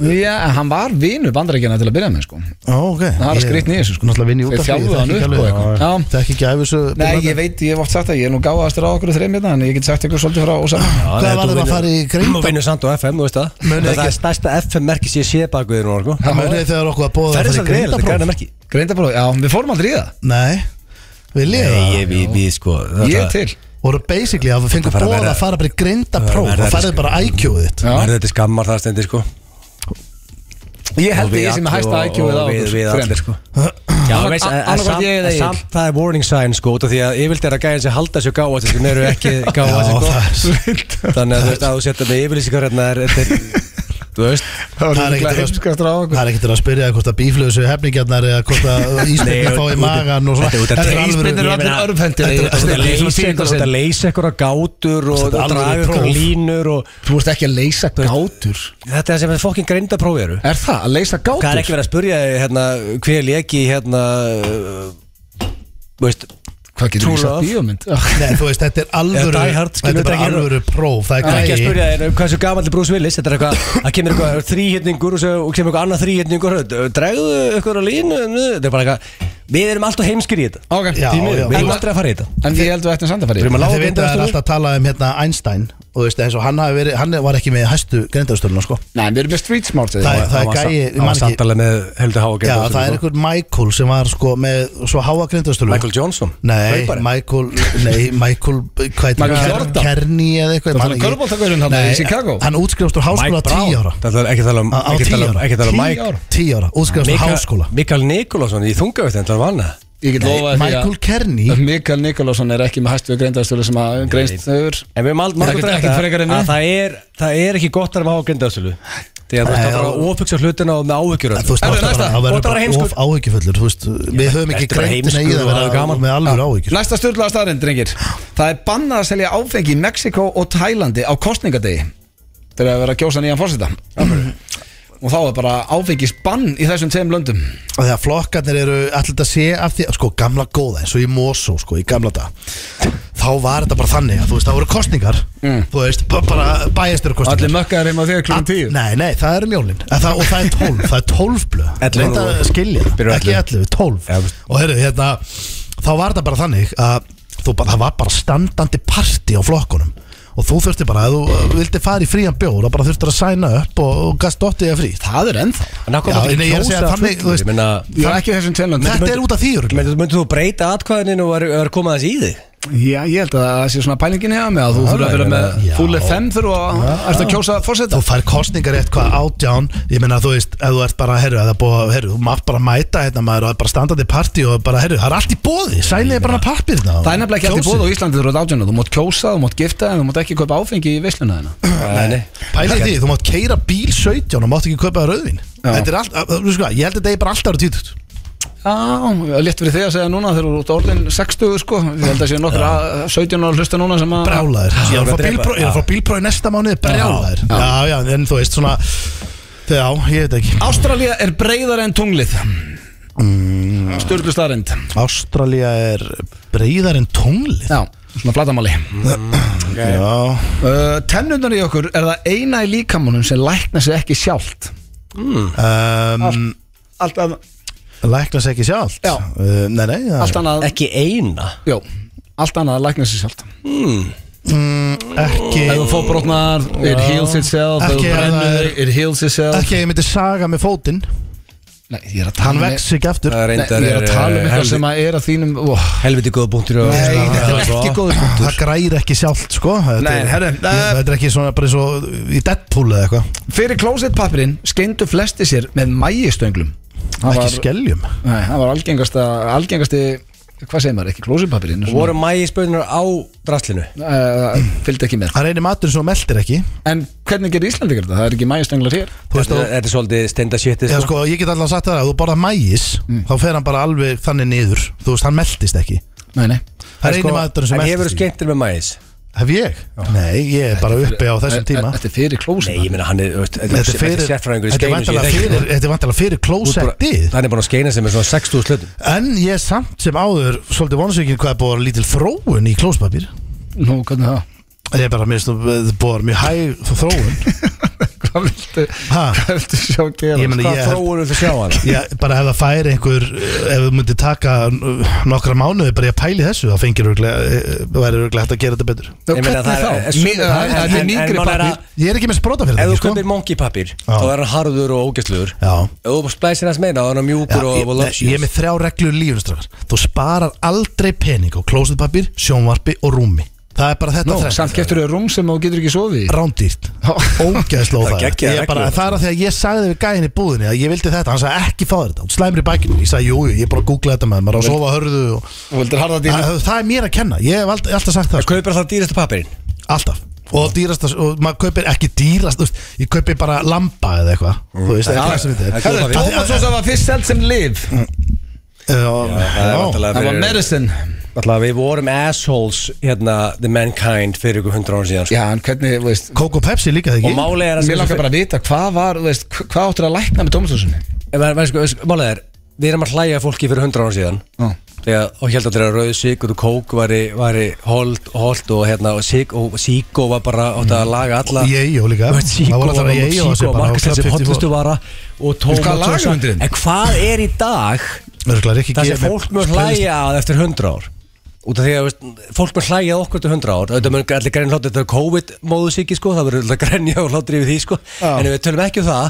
Já, en hann var vinur bandarækjana til að byrja með sko.
Ó, ok
Það er
Ég-
skrýtni í þessu, sko.
Náttúrulega vinn í
Þeir
út
þjálfuðu hann upp og eitthvað. Já.
Það er ekki gæfi svo
Nei, ég veit, ég hef oft sagt það, ég er nú gáðastur á okkur þreim hérna, en ég get sagt ykkur svolítið frá Ósama
Hvað var þeim að fara í Grindá?
Þú vinnur samt á FM, þú veist það
Munið
Það
ekki-
er stærsta FM-merki sem ég sé baku þér núna, sko
Það munið þegar okkur að bóða
Það er
að
þess
fara í
að greið, þetta er
grindapróf
græna merki
Greindabróð, já, við fórum aldrei í það
Nei, við liða
Nei, ég, við, við, sko
Ég er til
voru basically að við
Þetta
fengum
fara að
bóða
vera-
að fara bara í grindapróf
Það verður
og farið
sko.
bara IQ-ið þitt
Já.
Það er þetta skammar það stendir, sko
Ég held
Og
að
við
ég sem
allir
er hæsta
og-
IQ-ið á
og við-
okkur
Við
þrem.
allir sko Já,
Annað-
veist, en- en
annað hvort
samt-
ég eða
en
Egill.
Samt það er warning sign sko út af Því að yfirleitt er að gæðin sem halda sér gáða Þeir eru ekki gáða sér
það er
sko Þannig að þú veist að þú setja með yfirlýsingar hérna er þetta er- Þú veist
Það er ekkert að-
Heimskastur á okkur
Það er ekkert að spyrja hvort að bíflöðu séu hefningarnar eða hvort að
Nei,
ísbyrnir fá í
út-
magan og
þetta er út
svona
af
Þetta er
treyspyrnir
alvöru-
Ísbyrnir eru
Ég
allir
meina,
örvhentir
þetta er- þetta
Leysa
er
Leysa
eitthvað
ykkur og
sem-
leysa ykkur á gátur og
Þetta er
og
alvöru
draga ykkur á
próf.
línur og
Þú veist ekki að leysa gátur
Þetta er sem þetta fokkin greinda prófi eru
Er það, að leysa gátur?
Það er ekki verið að spurja hérna hver leki hérna uh, Veist
Hvað getur
True
þú sagt
love.
bíómynd?
Nei, þú veist, þetta er alvöru
Eða Die Hard,
Þetta
skilur
er
þetta
bara
ekki?
alvöru próf Það
Það er
er
ekki að
gæi
spyrja þér um hversu gaman er Bruce Willis Þetta er eitthvað, það kemur eitthvað þrýhjötningur og, svo- og kemur eitthvað annað þrýhjötningur Dregðu eitthvað á línu nö, Þetta er bara eitthvað Við erum alltaf heimskir í þetta
Ok,
Já,
Því miður.
já.
Við
En,
erum aldrei að fara í þetta
en ég held við ættum samt að fara í
Við erum að lága
Þið veit að það er alltaf að tala um hérna Einstein og þú veist eins og hann, hafi verið, hann var ekki með hæstu grindarstöluna sko
Nei, við erum með street smart
Það er- það er gæi, ég
Það
man
var
ekki-
samtalið með Heldur Háa sko.
Já, það er einhver Michael sem var sko með svo háa grindarstölu
Michael Johnson
Nei,
Hlaupari.
Michael, nei, Michael, hvað heitir
Michael
hann?
Jordan.
Kerny eða eitthvað,
Það
man
var
ekki.
körfuboltagaurinn þarna í
Nei,
Chicago.
Hann útskrifast úr háskóla
Mike Brown.
10 ára
Það er ekki að tala um
Á á
ekki að
10
tala um-
ára
ekki að tala um
10
Mike
ára. 10 ára, útskrifast úr
Mika-
háskóla
Mikael Nikolásson í þungavögt Það var hana
Ég get lofa því
Michael
að
Kerny
að Mikael Nikolásson er ekki með hæstu greindarstölu sem að greinst öður
En við erum aldrei
Ekkert- ekkert frekar en við.
að það er, það er ekki gott að hafa grindastölu Því að þú
Nei,
ert að
og-
ofugsa hlutina og með áhyggjur
En Þú veist,
Erðu
það
næsta?
bara- það
Þú
verður
ert að vera
bara of
heimskur
áhyggjufullir Þú veist, við höfum ekki
ertu bara
greintina í
heimskur
það
og hafa
verða
gaman?
með alveg áhyggjur
Næsta styrlaða staðrind, drengir Það er bannað að selja áfengi í Mexiko og Tælandi á kostningadegi Þegar að vera að kjósa nýjan fórseta Mhm. Og þá er bara áfengisbann í þessum tveim löndum
Og þegar flokkarnir eru alltaf að sé af því Sko, gamla góða, eins og í Mosó, sko, í gamla dag Þá var þetta bara þannig að, þú veist, það voru kostningar
Mm.
Þú veist, b- bara bæjastur kostningar
Allir mökkaðar heima á þér klukkan tíu
Nei, nei, það eru jólin En það, Og það er 12, það er 12 blöð
Ellefu.
Reynda að skilja, það,
Byrjar
ekki
ellefu.
11, 12
Já, veist.
Og heyrðu, hérna Þá var þetta bara þannig að þú, bara, Það var bara standandi parti á flokkunum Og þú þurfti bara, ef þú uh, vildi fara í frían bjór Og bara þurftir að sæna upp og, og gast dottið að frí
Það er ennþá
En af hverju
Já,
mátt ekki
nei, ég er að segja
kjósa
þannig, þú
fullorðið?
veist-
Ég meina,
Ég er ekki í þessum tveim löndum
Þetta er út af því örugglega.
Myndir- Myndir þú breyta atkvæðininn og vera vera að koma þess í þig?
Já, ég held að það sé svona pælingin hjá mig að þú þurfa að vera með
Já.
full FM þurfa að ertu að kjósa fórseta
Þú fær kostningar eitthvað átján Ég meina þú veist, ef þú ert bara, herru, að það búa, herru Þú mátt bara mæta hérna maður og bara standandi partí Og bara, herru, það er allt í bóði, sæliði bara pappir
Það er nefnilega ekki allt í bóð á Íslandi þú eru átjónu Þú mátt kjósa, þú mátt gifta en þú mátt ekki kaupa áfengi í visluna þina
Nei, nei
Pælið því, þú mátt keira bíl 17 og mátt ekki kaupa rauðvin
Já.
Þetta er allt, að- þú veist hvað, ég held að þetta er bara alltaf ára títut
Já, létt fyrir þig að segja núna þegar þú eru út orðin 60 sko Ég held að sé nokkur 17 ára hlusta núna sem að
Brjálaður, ég er að
þú
fá
drepa-
bílpróf- ég er að fá bílprófi næsta mánuði, brjálaður
Já.
Já, já, en þú veist svona Já, ég veit ekki
Ástralía er breyðar en tunglið Sturlu starrend
Ástralía er breyðar en tunglið
Já, Mm. svona flatamáli
Já,
uh, Tennundar í okkur er það eina í líkamunum sem lækna sig ekki sjálft
um,
Allt að
læknas ekki sjálft
Já.
uh, Nei, nei, það-
Allt annað
Ekki eina
Jó, allt annað lækna sig sjálft
Mm, ekki
Ef þú fótbrotnar, it heals itself Ef þú
Ekki ef það
brennur,
er-
it heals itself
Ekki að ég myndi saga með fótinn
Nei, ég er að
Hann
tala um
vex ekki aftur
Það er
Nei,
reyndar eh,
ég er að tala um eitthvað
helvi-
sem að er að þínum ó,
Helviti góða punktur Sko, Nei,
þetta er ekki góður punktur.
Það græðir ekki sjálft sko Þetta
Nei,
er-
herru,
ég-
eh.
Þetta er ekki svona bara eins og í Deadpool eða eitthvað
Fyrir klósettpapirinn skeindu flesti sér með mægistönglum Það
Ekki
var-
skeljum
Nei, það var algengasta, algengasti Hvað segir maður, ekki klósettpapirinn
Voru mægi spöðunar á draslinu
uh, Fylgdi ekki með
Það reynir matur sem þú meltir ekki
En hvernig gerir Íslandingar þetta? Það er ekki mægistönglar hér
Þú veist
Þetta
þú
þetta er svolítið stenda shitið
Já sko, ég get alltaf sagt það að ef þú borðar mægis Þá fer hann bara alveg þannig niður Þú veist, hann meltist ekki
Nei, nei
Það er einu matur sem
En hefur
meltist
þú
ekki
skemmtir með mægis?
Hef ég? Nei, ég er bara uppi á þessum tíma
Þetta er fyrir
Nei, ég
klósett
meina hann er þú veist,
Þetta er fyrir
sérfræðingur í skeinu
Þetta er
sem ég
vantalega
þekki.
fyrir Þetta er vantalega fyrir
Þú ert bara-
klósettið
Hann er búin að skeina sem er svona 60 slutum
En ég er samt sem áður svolítið vonsvíkinn hvað er búið að vera lítil þróun í klóspapir
Nú, hvernig það?
Ég er bara minnst að það er búið að vera eh, mjög hæg þróun
Hvað viltu,
Ha?
hvað viltu sjá gera?
Ég meina
Hvað
ég held
þróur viltu sjá hann?
ég, bara ef það færi einhver eh, ef þú myndir taka eh, nokkra mánuði bara ég pæli þessu þá fengir örugglega, eh, væri örugglega hægt að gera þetta betur
Nú,
Ég meina,
Hvernig
það er-
þá?
en-
Mi- Það það er
en- en
mingri
mál er
papir
að-
Ég er ekki með sprota
Ef
fyrir þetta
þú
sko?
kaupir monkey pappir þá er hann harður og ógæstlugur
Já.
Ef þú splæsir hans meina þá er hann
Já,
mjúkur
ég,
og
nei, ég er
luxurious
með þrjá reglur lífunstrafar Þú sparar aldrei pening á klósetpapir, sjónvarpi og rúmi Það er bara þetta
Nú,
þrennt.
samt keftur þau rúm sem þú getur ekki sofið í
rándýrt ógæðsla
Það er
óþægilegt
geggjaðar
Ég bara-
reglur. sko.
það er að því að ég sagði við gæðin í búðinni að ég vildi þetta, hann sagði ekki fá þér þetta Þú slæmir í bækinu, ég sagði jújú, jú, ég bara googlaði þetta með maður á að sofa hörðu og...
Þú vildir harða dýra
það, það er mér að kenna, ég hef ald- alltaf sagt það sko.
Kaupir það dýrastu pappirinn
alltaf og dýrast, og maður kaupir ekki dýrast þú veist, ég kaupir bara lamba eða eitthvað þú veist, það er hvað sem þetta er
Herðu, Tómasósa var fyrst selt sem liv
Eh, og-
Það er
já.
náttúrulega
Það var
fyrir-
medicine
náttúrulega Við vorum assholes hérna the mankind fyrir ykkur hundra ára síðan sko.
Já, en hvernig, þú veist
Coke og Pepsi líka
Og
þegar ekki
málið er að
Mér langar bara að vita hvað var, þú veist, hv- hvað áttur að lækna með Tómasósunni
En maður- maður sko- veist, Málið er Við erum að hlæja fólki fyrir hundra ára síðan
Já.
Þegar og held að þeirra rauð sigur og kók væri, væri hold, hold og hérna og sík og síkó var bara átt að laga alla
Jejo Mm. líka
Þú veist, Síkó
það var alltaf Jejo
Síkó markast þessi hotlustu vara og
Þú veist, hvað
Tómas
lagar
og svo-
hundurinn?
En hvað er í dag
Örgulega er ekki
Það sem fólk mjög hlæja að eftir 100 ár Út af því að veist, fólk mjög hlæja að okkur til 100 ár Þetta mjög allir grenn hlátur Þetta er COVID-móðu síki sko Það verður allir grenja og hlátur yfir því sko En ef við tölum ekki um það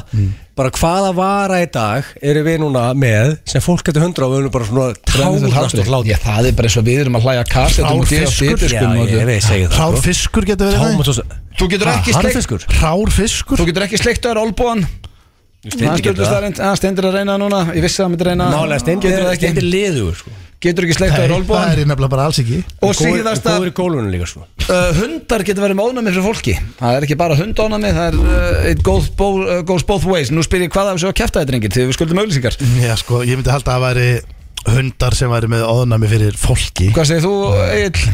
Bara hvaða vara í dag eru við núna með Sem fólk eftir 100 ár Við erum bara svona tárast og sko, hlátur
Já, það er bara eins og við erum að um hlæja kassetum og
Hrárfiskur?
diskum og
Já, ég
þetta.
veit, segi það sko.
Hrár fiskur getur verið það
Tómas og
Þú getur
Ha,
ekki sleikt
harðfiskur?
Hrár fiskur
Þú getur ekki sleikt öður olbúan Það stjórnust það reynd Það stendur að reyna það núna Ég vissi að það myndi reyna það.
Málega
Getur
stendir,
það
stendir
ekki
liður sko.
Getur ekki sleikt
Nei,
öður
það
olbúan
er ég nefnilega bara alls ekki
Og síðast
að
að
Góður í gólunum líka sko
uh, hundar getur verið með ónæmi fyrir fólki Það er ekki bara hundónæmi Það er uh, It goes, bo uh, goes both ways Nú spyr ég hvað af þessu að kæfta þetta reyngir Þegar við skuldum auðlýsingar
Já sko, ég myndi halda að það væri hundar sem væri með óðnami fyrir fólki
Hvað segir þú, Egil?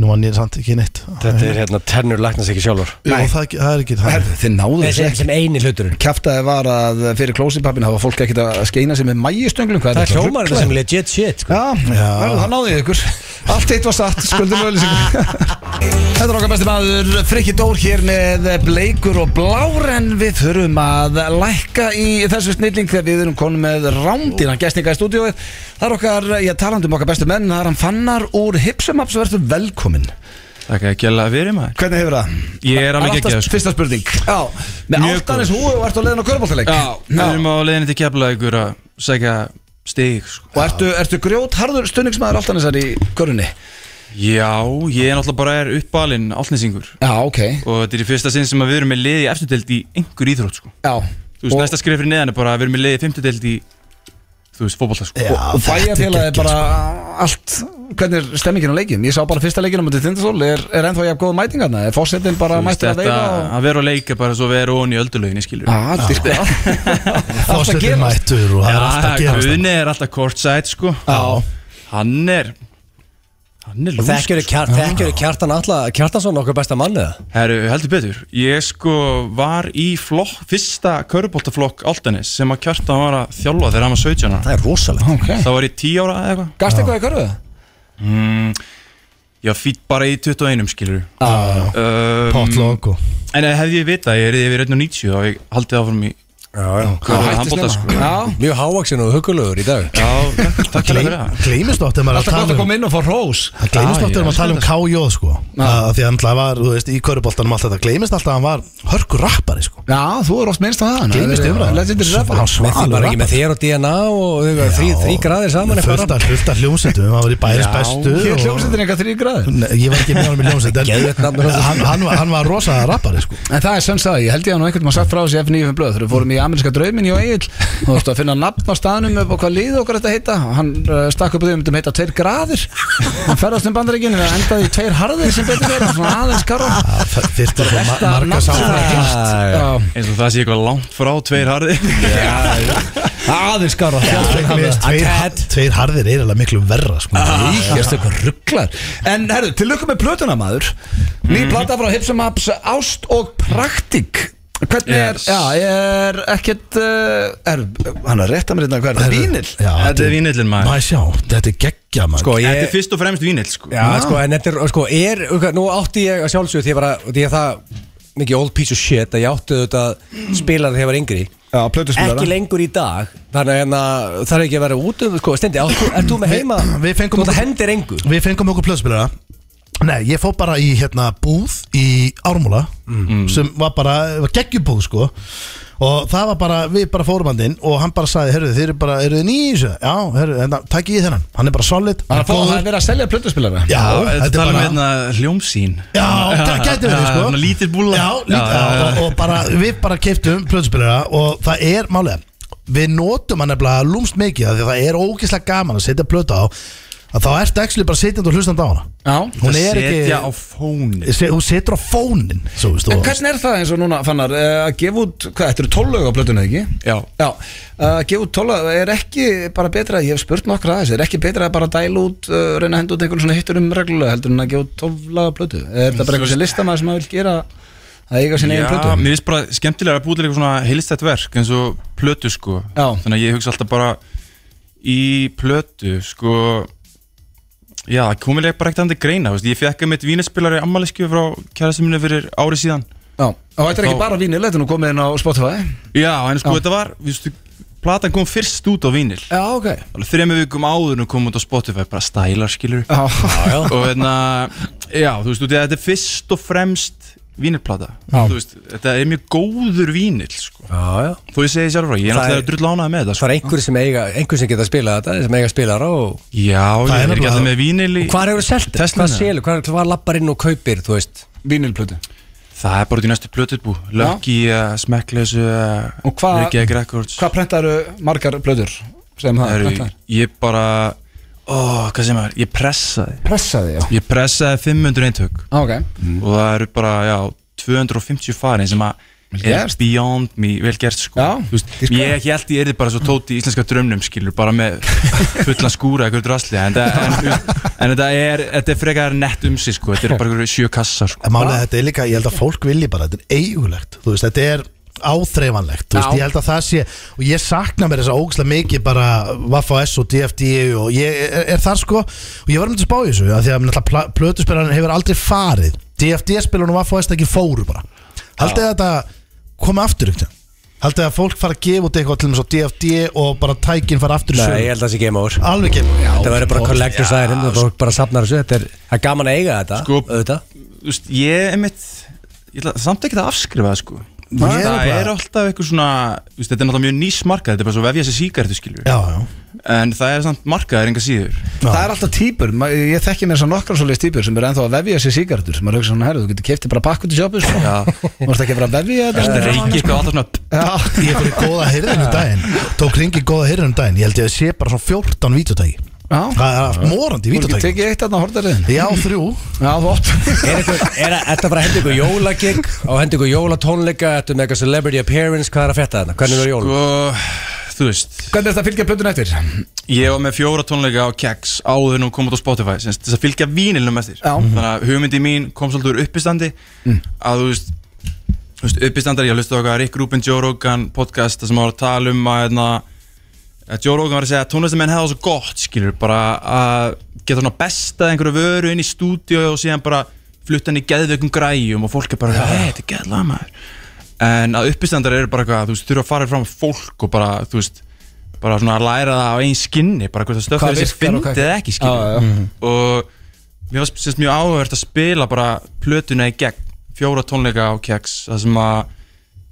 Nú hann ég samt ekki neitt
Þetta er hérna tennur læknas ekki sjálfur
Jú, það, er- það er ekki það
Herðu, þið náðu
Þetta
þessu
er
ekki
sem eini hluturinn
Kæftaði var að fyrir klósipappin hafa fólk ekkert að skeina sig með mæjustönglu
Það er hljómar þetta sem legit shit sko.
Já, já. það náði ég ykkur Allt eitt var satt, skuldum auðlýsingar Þetta er okkar besti maður Frikki Dór hér með bleikur og blár en við þurfum að lækka í þessu snilling þegar við erum konum með rándina gæstninga í stúdíóið Það er okkar, ég talandi um okkar bestu menn það er hann Fannar úr Hipsumaps verður velkomin
Takk að gæla að verið maður
Hvernig hefur það?
Ég er alveg
Alltaf
geggjað, sko.
Fyrsta spurning Já, með
Mjög
áltanis húi og ertu að leiðin á körbóltaleik
Já, við erum á leiðinni til Keflavíkur að segja stig sko.
Og ertu, ertu grjót harður stunningsmaður áltanisar í körunni?
Já, ég er náttúrulega bara er uppalinn álnesingur
Já, ok
og þetta er í fyrsta sinn sem að við erum með liði í eftirdeld í einhver íþrótt sko.
Já
Þú veist, næsta skrif fyrir neðan er bara að við erum með liði í fymtudeld í þú veist, fótbolta sko.
Já,
og bæjarfélagi
þetta er
er sko. bara allt hvernig er stemmingin á leikin ég sá bara fyrsta leikin á mútið Tindastól er, er ennþá jafn góða mætingarna er fórsetin bara
Þú veist,
mættir að
þetta
veila og
að vera á leika bara svo vera ón í öldulöginni skilur
Já, allt ykkur allt að
Fórsetin
gera
mættur og það er alltaf að gera
Guðni er alltaf courtside sko.
Já.
Hann er Hann er lúsk
Þekkjur er kjartan alla Kjartansson okkar besta mann eða?
Herru, heldur betur. Ég sko var í flokk, fyrsta köruboltaflokk Altanis sem að kjartan var að þjálfa þegar hann var 17 ára.
Það er rosalegt
okay.
Það var ég 10 ára eða eitthvað.
gasta eitthvað í körfu
Ég var fýtt bara í 21 skilur.
Já.
Um,
Potlokk og
en ef hefði ég vitað, ég er yfir 1.90 og ég haldið áfram í
Já, hætti
handbólta
snemma.
sko.
Já.
Mjög hávaksin og hugulegur í dag
Já, takk, takk fyrir það.
Gleimist oft þegar maður er
alltaf gott
að tala
að
um
koma inn og fá rós
Það gleymist
Já,
alltaf
ég
um að tala um KJ sko að Því að hann var, þú veist, í köruboltanum allt þetta Gleymist alltaf að hann var hörkur rappari sko
já, þú er oft minnst á það
Gleymist yfir
það
að
legendir rappa
Með
Hann
því
svalur
bara ekki með
rappari
þér og DNA og þau verður þrý, þrý graðir saman eitthvað
Fullt
rann
af- fullt af hljómsveitum, hann var í bæris
Já,
bestu
hér
og-
er hljómsveitin eitthvað þrý græður
Nei, Ég var ekki með honum í hljómsveit en-
Geðveikt nafn,
en hann- hann var- Hann var rosa rappari sko
En það er sanns að ég held ég að nú einhvern maður sagt frá þessi F95 blöð þegar við fórum í ameríska draumin hjá Egil og þú veist að finna nafn á staðnum upp á hvað lið okkar þetta heita og hann uh, stakk upp á því um þetta heita tveir graðir hann ferðast um bandaríkinu og endaði í tveir harðir sem betur verið svona aðeins karra
Fyrst að
Besta
marga
nafn sem
sáfæri
það heyrst. Ah, Já,
Eins og það sé eitthvað langt frá, tveir harði.
aðeins karra
Tveir- tveir- Tveir harðir er alveg miklu verra sko.
Íkjast eitthvað rugglar En herru, til lukkum með plötuna maður Ný plata frá Hipsum Apps Ást og praktik Hvernig er,
Yes.
já, er ekkert uh, er, Hann er að rétta mér hérna hvað er það, vínil?
Já,
Þetta er vínillin
Má
maður.
ég sjá, þetta er geggja maður
Sko
Þetta er
ég
fyrst og fremst vínill sko.
Já sko en þetta er sko er Nú átti ég að sjálfsögðu því ég bara Því ég það mikið old piece of shit að ég átti þetta spilaði þegar ég var yngri
Já,
ekki
plötuspilara
lengur í dag þannig að hérna, það er ekki að vera út um sko, stendi, áttu, er þú með
Við-
heima
Hérna, við fengum-
þú hendir engu
Við fengum okkur plöðspilara Nei, ég fór bara í hérna búð í Ármúla sem var bara, var geggjubúð sko og það var bara, við bara fórum hann inn og hann bara sagði, herruðu, þið eru bara, eru þið nýjum þessu? Já, herruðu, en það, takk ég þennan hann er bara solid,
Það er að fá- það
góður.
er verið að selja plötuspilara
Já,
þetta
þetta er
tala um
bara
hérna hljómsýn.
Já, það gæti verið sko
svona lítil búlla.
Já, lít, já, og, og bara, við bara keiptum plöðspilara og það er málega Við notum hann nefnilega lúmst mikið af því að það er ógeðslega gaman að setja plöta á að þá ertu ekki bara setjandi og hlustandi á hana
Já
Hún
Það
er
setja á
ekki,
fónin.
se- hún setur á fónin Svo veist þú
En hvernig er það eins og núna, Fannar, eh, að gefa út, hvað, þetta eru tólög á plötuna, ekki?
Já.
Já, Eh, að gefa út tólög, er ekki bara betra, ég hef spurt nokkra aðeins, er ekki betra að bara dæla út, uh, reyna að henda út einhvern svona hittur um reglulega heldur en að gefa út tólög á plötu? Eh, Er það bara eitthvað sem listamaður sem að vil gera að eiga sinni eigin
Já,
plötu?
mér finnst bara skemmtilega að búið til eitthvað svona heilistætt verk eins og plötu sko
Já.
Þannig að ég hugsa alltaf bara í plötu sko Já, komilega bara ekkert andri greina, þú veist, ég fekk einmitt vínaspilari ammaliskju frá kærastum minni fyrir ári síðan
Já, og þetta er ekki
Þá-
bara vínil, þetta er nú komið inn á Spotify
Já, en sko
Já.
þetta var, þú veist, platan kom fyrst út á vínil
Já, ok
Alveg þremur vikum áður en hún kom út á Spotify bara stælar skilur
Já,
já Og hérna, já, þú veist, út í að þetta er fyrst og fremst vínilplata
Já.
Þú veist, þetta er mjög góður vínil, sko
Já, já
Þú ég segi sjálfur, ég
Það
er náttúrulega
er-
drull ánað með sko. þetta,
Það er einhver sem, eiga, einhver sem geta að spila þetta sem eiga að spila það og
sko Já,
Það
ég
er
er ekki
nefnilega-
alltaf með vínil í
Hvar hefur þú selt þetta?
Tesluna.
Hvað selur? Hvar, hvar lappar inn og kaupir, þú veist?
Vínilplötu
Það er bara út í næstu plötutbú Lucky, uh, Smekkleysu,
Og hvað-
Reykjavík Records
Hvað prentaru margar plötur sem það
Það eru,
prentaðir?
ég bara, ó, hvað sem er, ég pressaði
Pressaði, já
Ég pressaði 500 eintök
Á, Ah, ok
Mm. og það eru bara, já, 250 farin sem að er
gert.
beyond me, vel gert sko
Já,
Þú veist,
dýrka.
ég held ég erði bara svo tóti í íslenska drömnum skilur, bara með fullan skúra eitthvað drasli, en, það- en, þú veist, en þetta er þetta er frekar nett um sig sko, þetta er bara einhverju sjö kassar sko.
En málið að þetta er líka, ég held að fólk vilji bara, þetta er eigulegt, þú veist, þetta er áþreifanlegt, þú veist,
Já.
ég held að það sé og ég sakna mér þess að ógæslega mikið bara Vaffa S og DFD E og ég er, er þar sko, og ég var um til að spá í þessu að því að náttúrulega pla- plötuspilarinn hefur aldrei farið DFD spilun og Vaffa S ekki fóru bara, haldið að þetta komi aftur ykkur, haldið að fólk fara að gefa út eitthvað til þess að DFD E og bara tækin fara aftur í
Nei, ég
sögur
held að það sé game over sko.
alveg kemur, já,
Þetta verður bara collector's item og hérna, fólk bara safnar þessu Þetta er, það er gaman að eiga þetta
Sko-
auðvitað.
Þú veist, ég er mitt ég ætla samt ekki að afskrifa það sko
Ég er
það
bara-
er alltaf eitthvað svona þú veist, þetta er náttúrulega mjög nýsmarkað, þetta er bara svo vefja sér síkartu skilur
já, já,
en það er samt markaðir enga síður
Það er alltaf típur, ma- ég þekki mér svo nokkra svoleiðis típur sem eru ennþá að vefja sér sígardur sem maður hugsa svona, herru, þú getur keftið bara pakk út í sjópu sko. Þú veist ekki bara að vefja
þetta
þetta sko.
er reykir eitthvað alltaf svona
Já,
ég fyrir góða hirðinu daginn tók ringi góða hirðinu daginn ég held ég að sé bara svona 14 vítjótæki
já Þú
það er morandi
getur
vítjótæki
tekið eitt aðna hortariðin
já þrjú
Já, þú ótt
Er eitthvað, er að- ertu að fara að henda ykkur jólagig og henda ykkur jólatónleika, ertu með eitthvað celebrity appearance, hvað er að fetta þetta? Hvernig er jól?
sko, þú veist
Hvernig er þetta að fylgja plötun eftir? Já,
Ég var með fjóra tónleika á Keks áður en hún kom út á Spotify sem sagt, þess að fylgja vínilnum eftir
Já.
Þannig að hugmyndi mín kom svolítið úr uppistandi að þú veist, þú veist uppistandar, ég hlusti okkar Rick Rubin, Joe Rogan podcast þar sem var að tala um að, hérna, að Joe Rogan var að segja að tónlistamenn hefði það svo gott skilur bara að geta svona bestað einhverju vöru inn í stúdíu og síðan bara flutta hann í geðveikum græjum og fólk er bara, hei, þetta er geðlega maður en að uppistandar eru bara eitthvað, þú veist, þurfa að fara fram á fólk og bara, þú veist bara svona að læra það á einn skinni bara hvort það stöfn
Hvað
er þessi
virkar og hvað
fyndið eða ekki skinni
Já, Mhm. já.
og mér var semst mjög áhugavert að spila bara plötuna í gegn fjóra tónleika á keks það sem að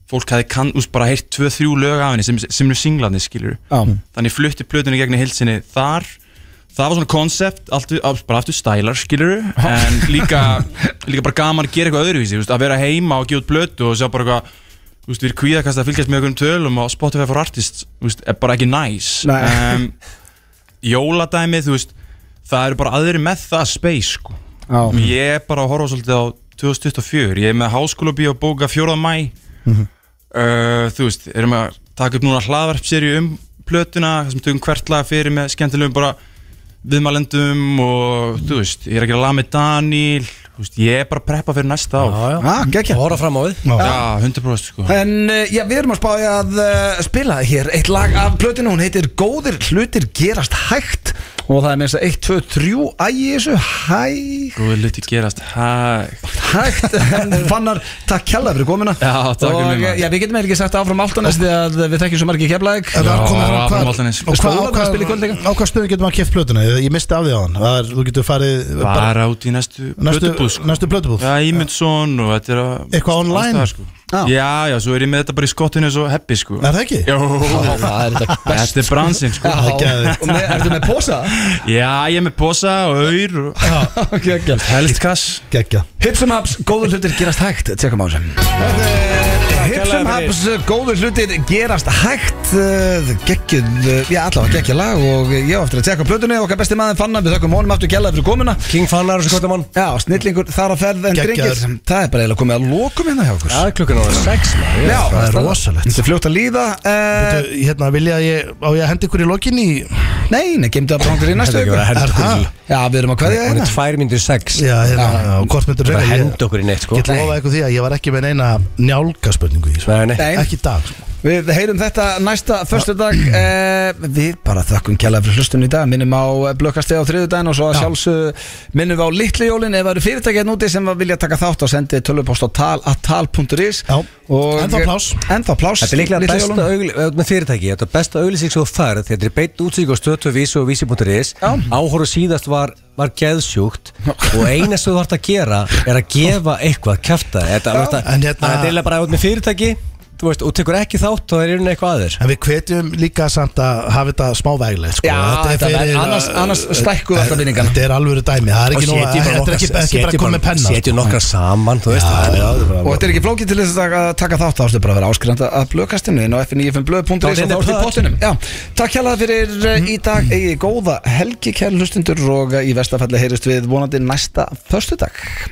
fólk hefði kann, úst, bara heyrt tvö, þrjú lög af henni sem, sem er singlarnir skilur þannig ég flutti plötunni gegn í hilsinni þar það var svona koncept, allt- allt- bara aftur stælar skilur, en líka líka bara gaman að gera eitthvað öðruvísi þú veist, að vera heima og gefa út plötu og sjá bara eitthvað þú veist, við erum kvíðakast að fylgjast með einhverjum tölum og Spotify for Artists, þú veist, er bara ekki næs
Nei.
Em, jóladæmið, þú veist það eru bara aðri með það space sko.
Mhm.
já,
ég er bara að horfa svolítið á 2024, ég er með háskóla bíó að bóka 4. mæ
Mhm.
uh, þú veist, erum að taka upp núna hlaðvarpseri um plötuna þar sem tökum hvert lag fyrir með skemmtilegum bara viðmælendum og þú veist, ég er að gera lag með Daniel þú veist, ég er bara að preppa fyrir næsta ár
Já, já.
já, gekkja
Og horfa fram á við.
Já, 100% sko
En eh, já, við erum að spája að eh, spila hér eitt lag af plötinu, hún heitir Góðir hlutir gerast hægt og það er minnst að 1, 2, 3, æ, í þessu, hæ,
Góði luti gerast hægt
hægt en fannar, takk kjalla fyrir komina
Já, takk fyrir
og, eh,
mig, maður.
já, við getum eiginlega ekki sagt áfram áltanes því að við þekkjum svo margir keflæk
Það var komið fram
Já,
hvað-
Valdanes.
og hvað-
Skólan
á hvað-
að spila í kvöld líka?
Á hvað stöðu getur maður að keft plötuna? Ég ég misti af því á hann Það er, þú getur farið bara,
Bara út í næstu
Næstu,
plötubúð sko
næstu plötubúð
Já, Ímundsson og þetta er að
Eitthvað online?
allstaðar, sko.
Já.
Já, já, svo er ég með þetta bara í skottinu svo heppi sko
Er það ekki?
Jó,
það er þetta
þetta er bransinn sko
Það er geðveikt.
og með, ertu með posa?
Já, ég er með posa og aur og
ok, ok
helst kass
Gekja
Hipsum Haps, góður hlutir gerast hægt Tjekkum á þessu Hipsum Haps, góður hlutir gerast hægt Gekkið, já allavega gekkið lag Og ég á eftir að tjekka á plötunni Okkar besti maður fannar, við þökkum honum aftur Gjalla fyrir komuna
King Fannar og svo gott að mann.
Já, snillingur þar að ferð en
Geggjaður.
drengir Það er bara eiginlega komið að lokum hérna hjá okkur
Það er klukkan á það. Sex, maður.
Já,
það er rosalegt.
Þetta er fljótt að líða uh,
Hérna, vilja að ég, á ég að henda ykkur í lokin í
Nei, nei, gemdu að brangur í næstu
Þetta
ykkur
er ekki verið að henda okkur í.
Já, við erum að kveðja
Hún er
hérna
tvær myndir sex.
Já, hérna, og hvort myndur
Það er að
reyna
henda okkur í neitt, sko.
Ég lofa ykkur því að ég var ekki með neina njálga spurningu í þessu
Nei, nei.
Nei.
Ekki í dag sko.
Við heyrum þetta næsta förstu dag eh, Við bara þökkum kjalla fyrir hlustun í dag Minnum á eh, blökkasteg á þriðu daginn Og svo að sjálfsög minnum við á litli jólin Ef það eru fyrirtækið núti sem að vilja taka þátt Og sendi tölvupost á tal, að tal.is
Ennþá pláss.
Ennþá plás
Þetta er líklega besta auglýsing með fyrirtæki, þetta er besta auglýsing sem þú færð þetta er beitt útsík á stötu vísi og vísi.is áhóru síðast var, var geðsjúkt og eina sem þú vart að gera er að gefa eitthvað kæfta þetta
Já.
þetta-
En hérna-
þetta er eiginlega bara út með fyrirtæki þú veist, og tekur ekki þátt þá er einhvern eitthvað aður
En við hvetjum líka samt að hafa þetta smá veglegt sko.
Já, þetta verður- annars- annars stækkum við alltaf vinningana.
Þetta er alvöru dæmi, það er ekki, nóg, þetta er ekki, ekki bara komið penna sko.
setjum nokkra saman þú veist þannig að-
Og þetta er ekki flókið til þess að taka- taka þátt Þá ætlum bara að vera áskrifandi að blökkastinu Inn á fn95blöð.is
Þá er
og
þetta
þá ertu í
pöll.
pottinum Já, Takk hjá fyrir mm. í dag Egið eh, góða helgi kæra hlustundur Og eh, í vestafalli heyrist við vonandi næsta förstu dag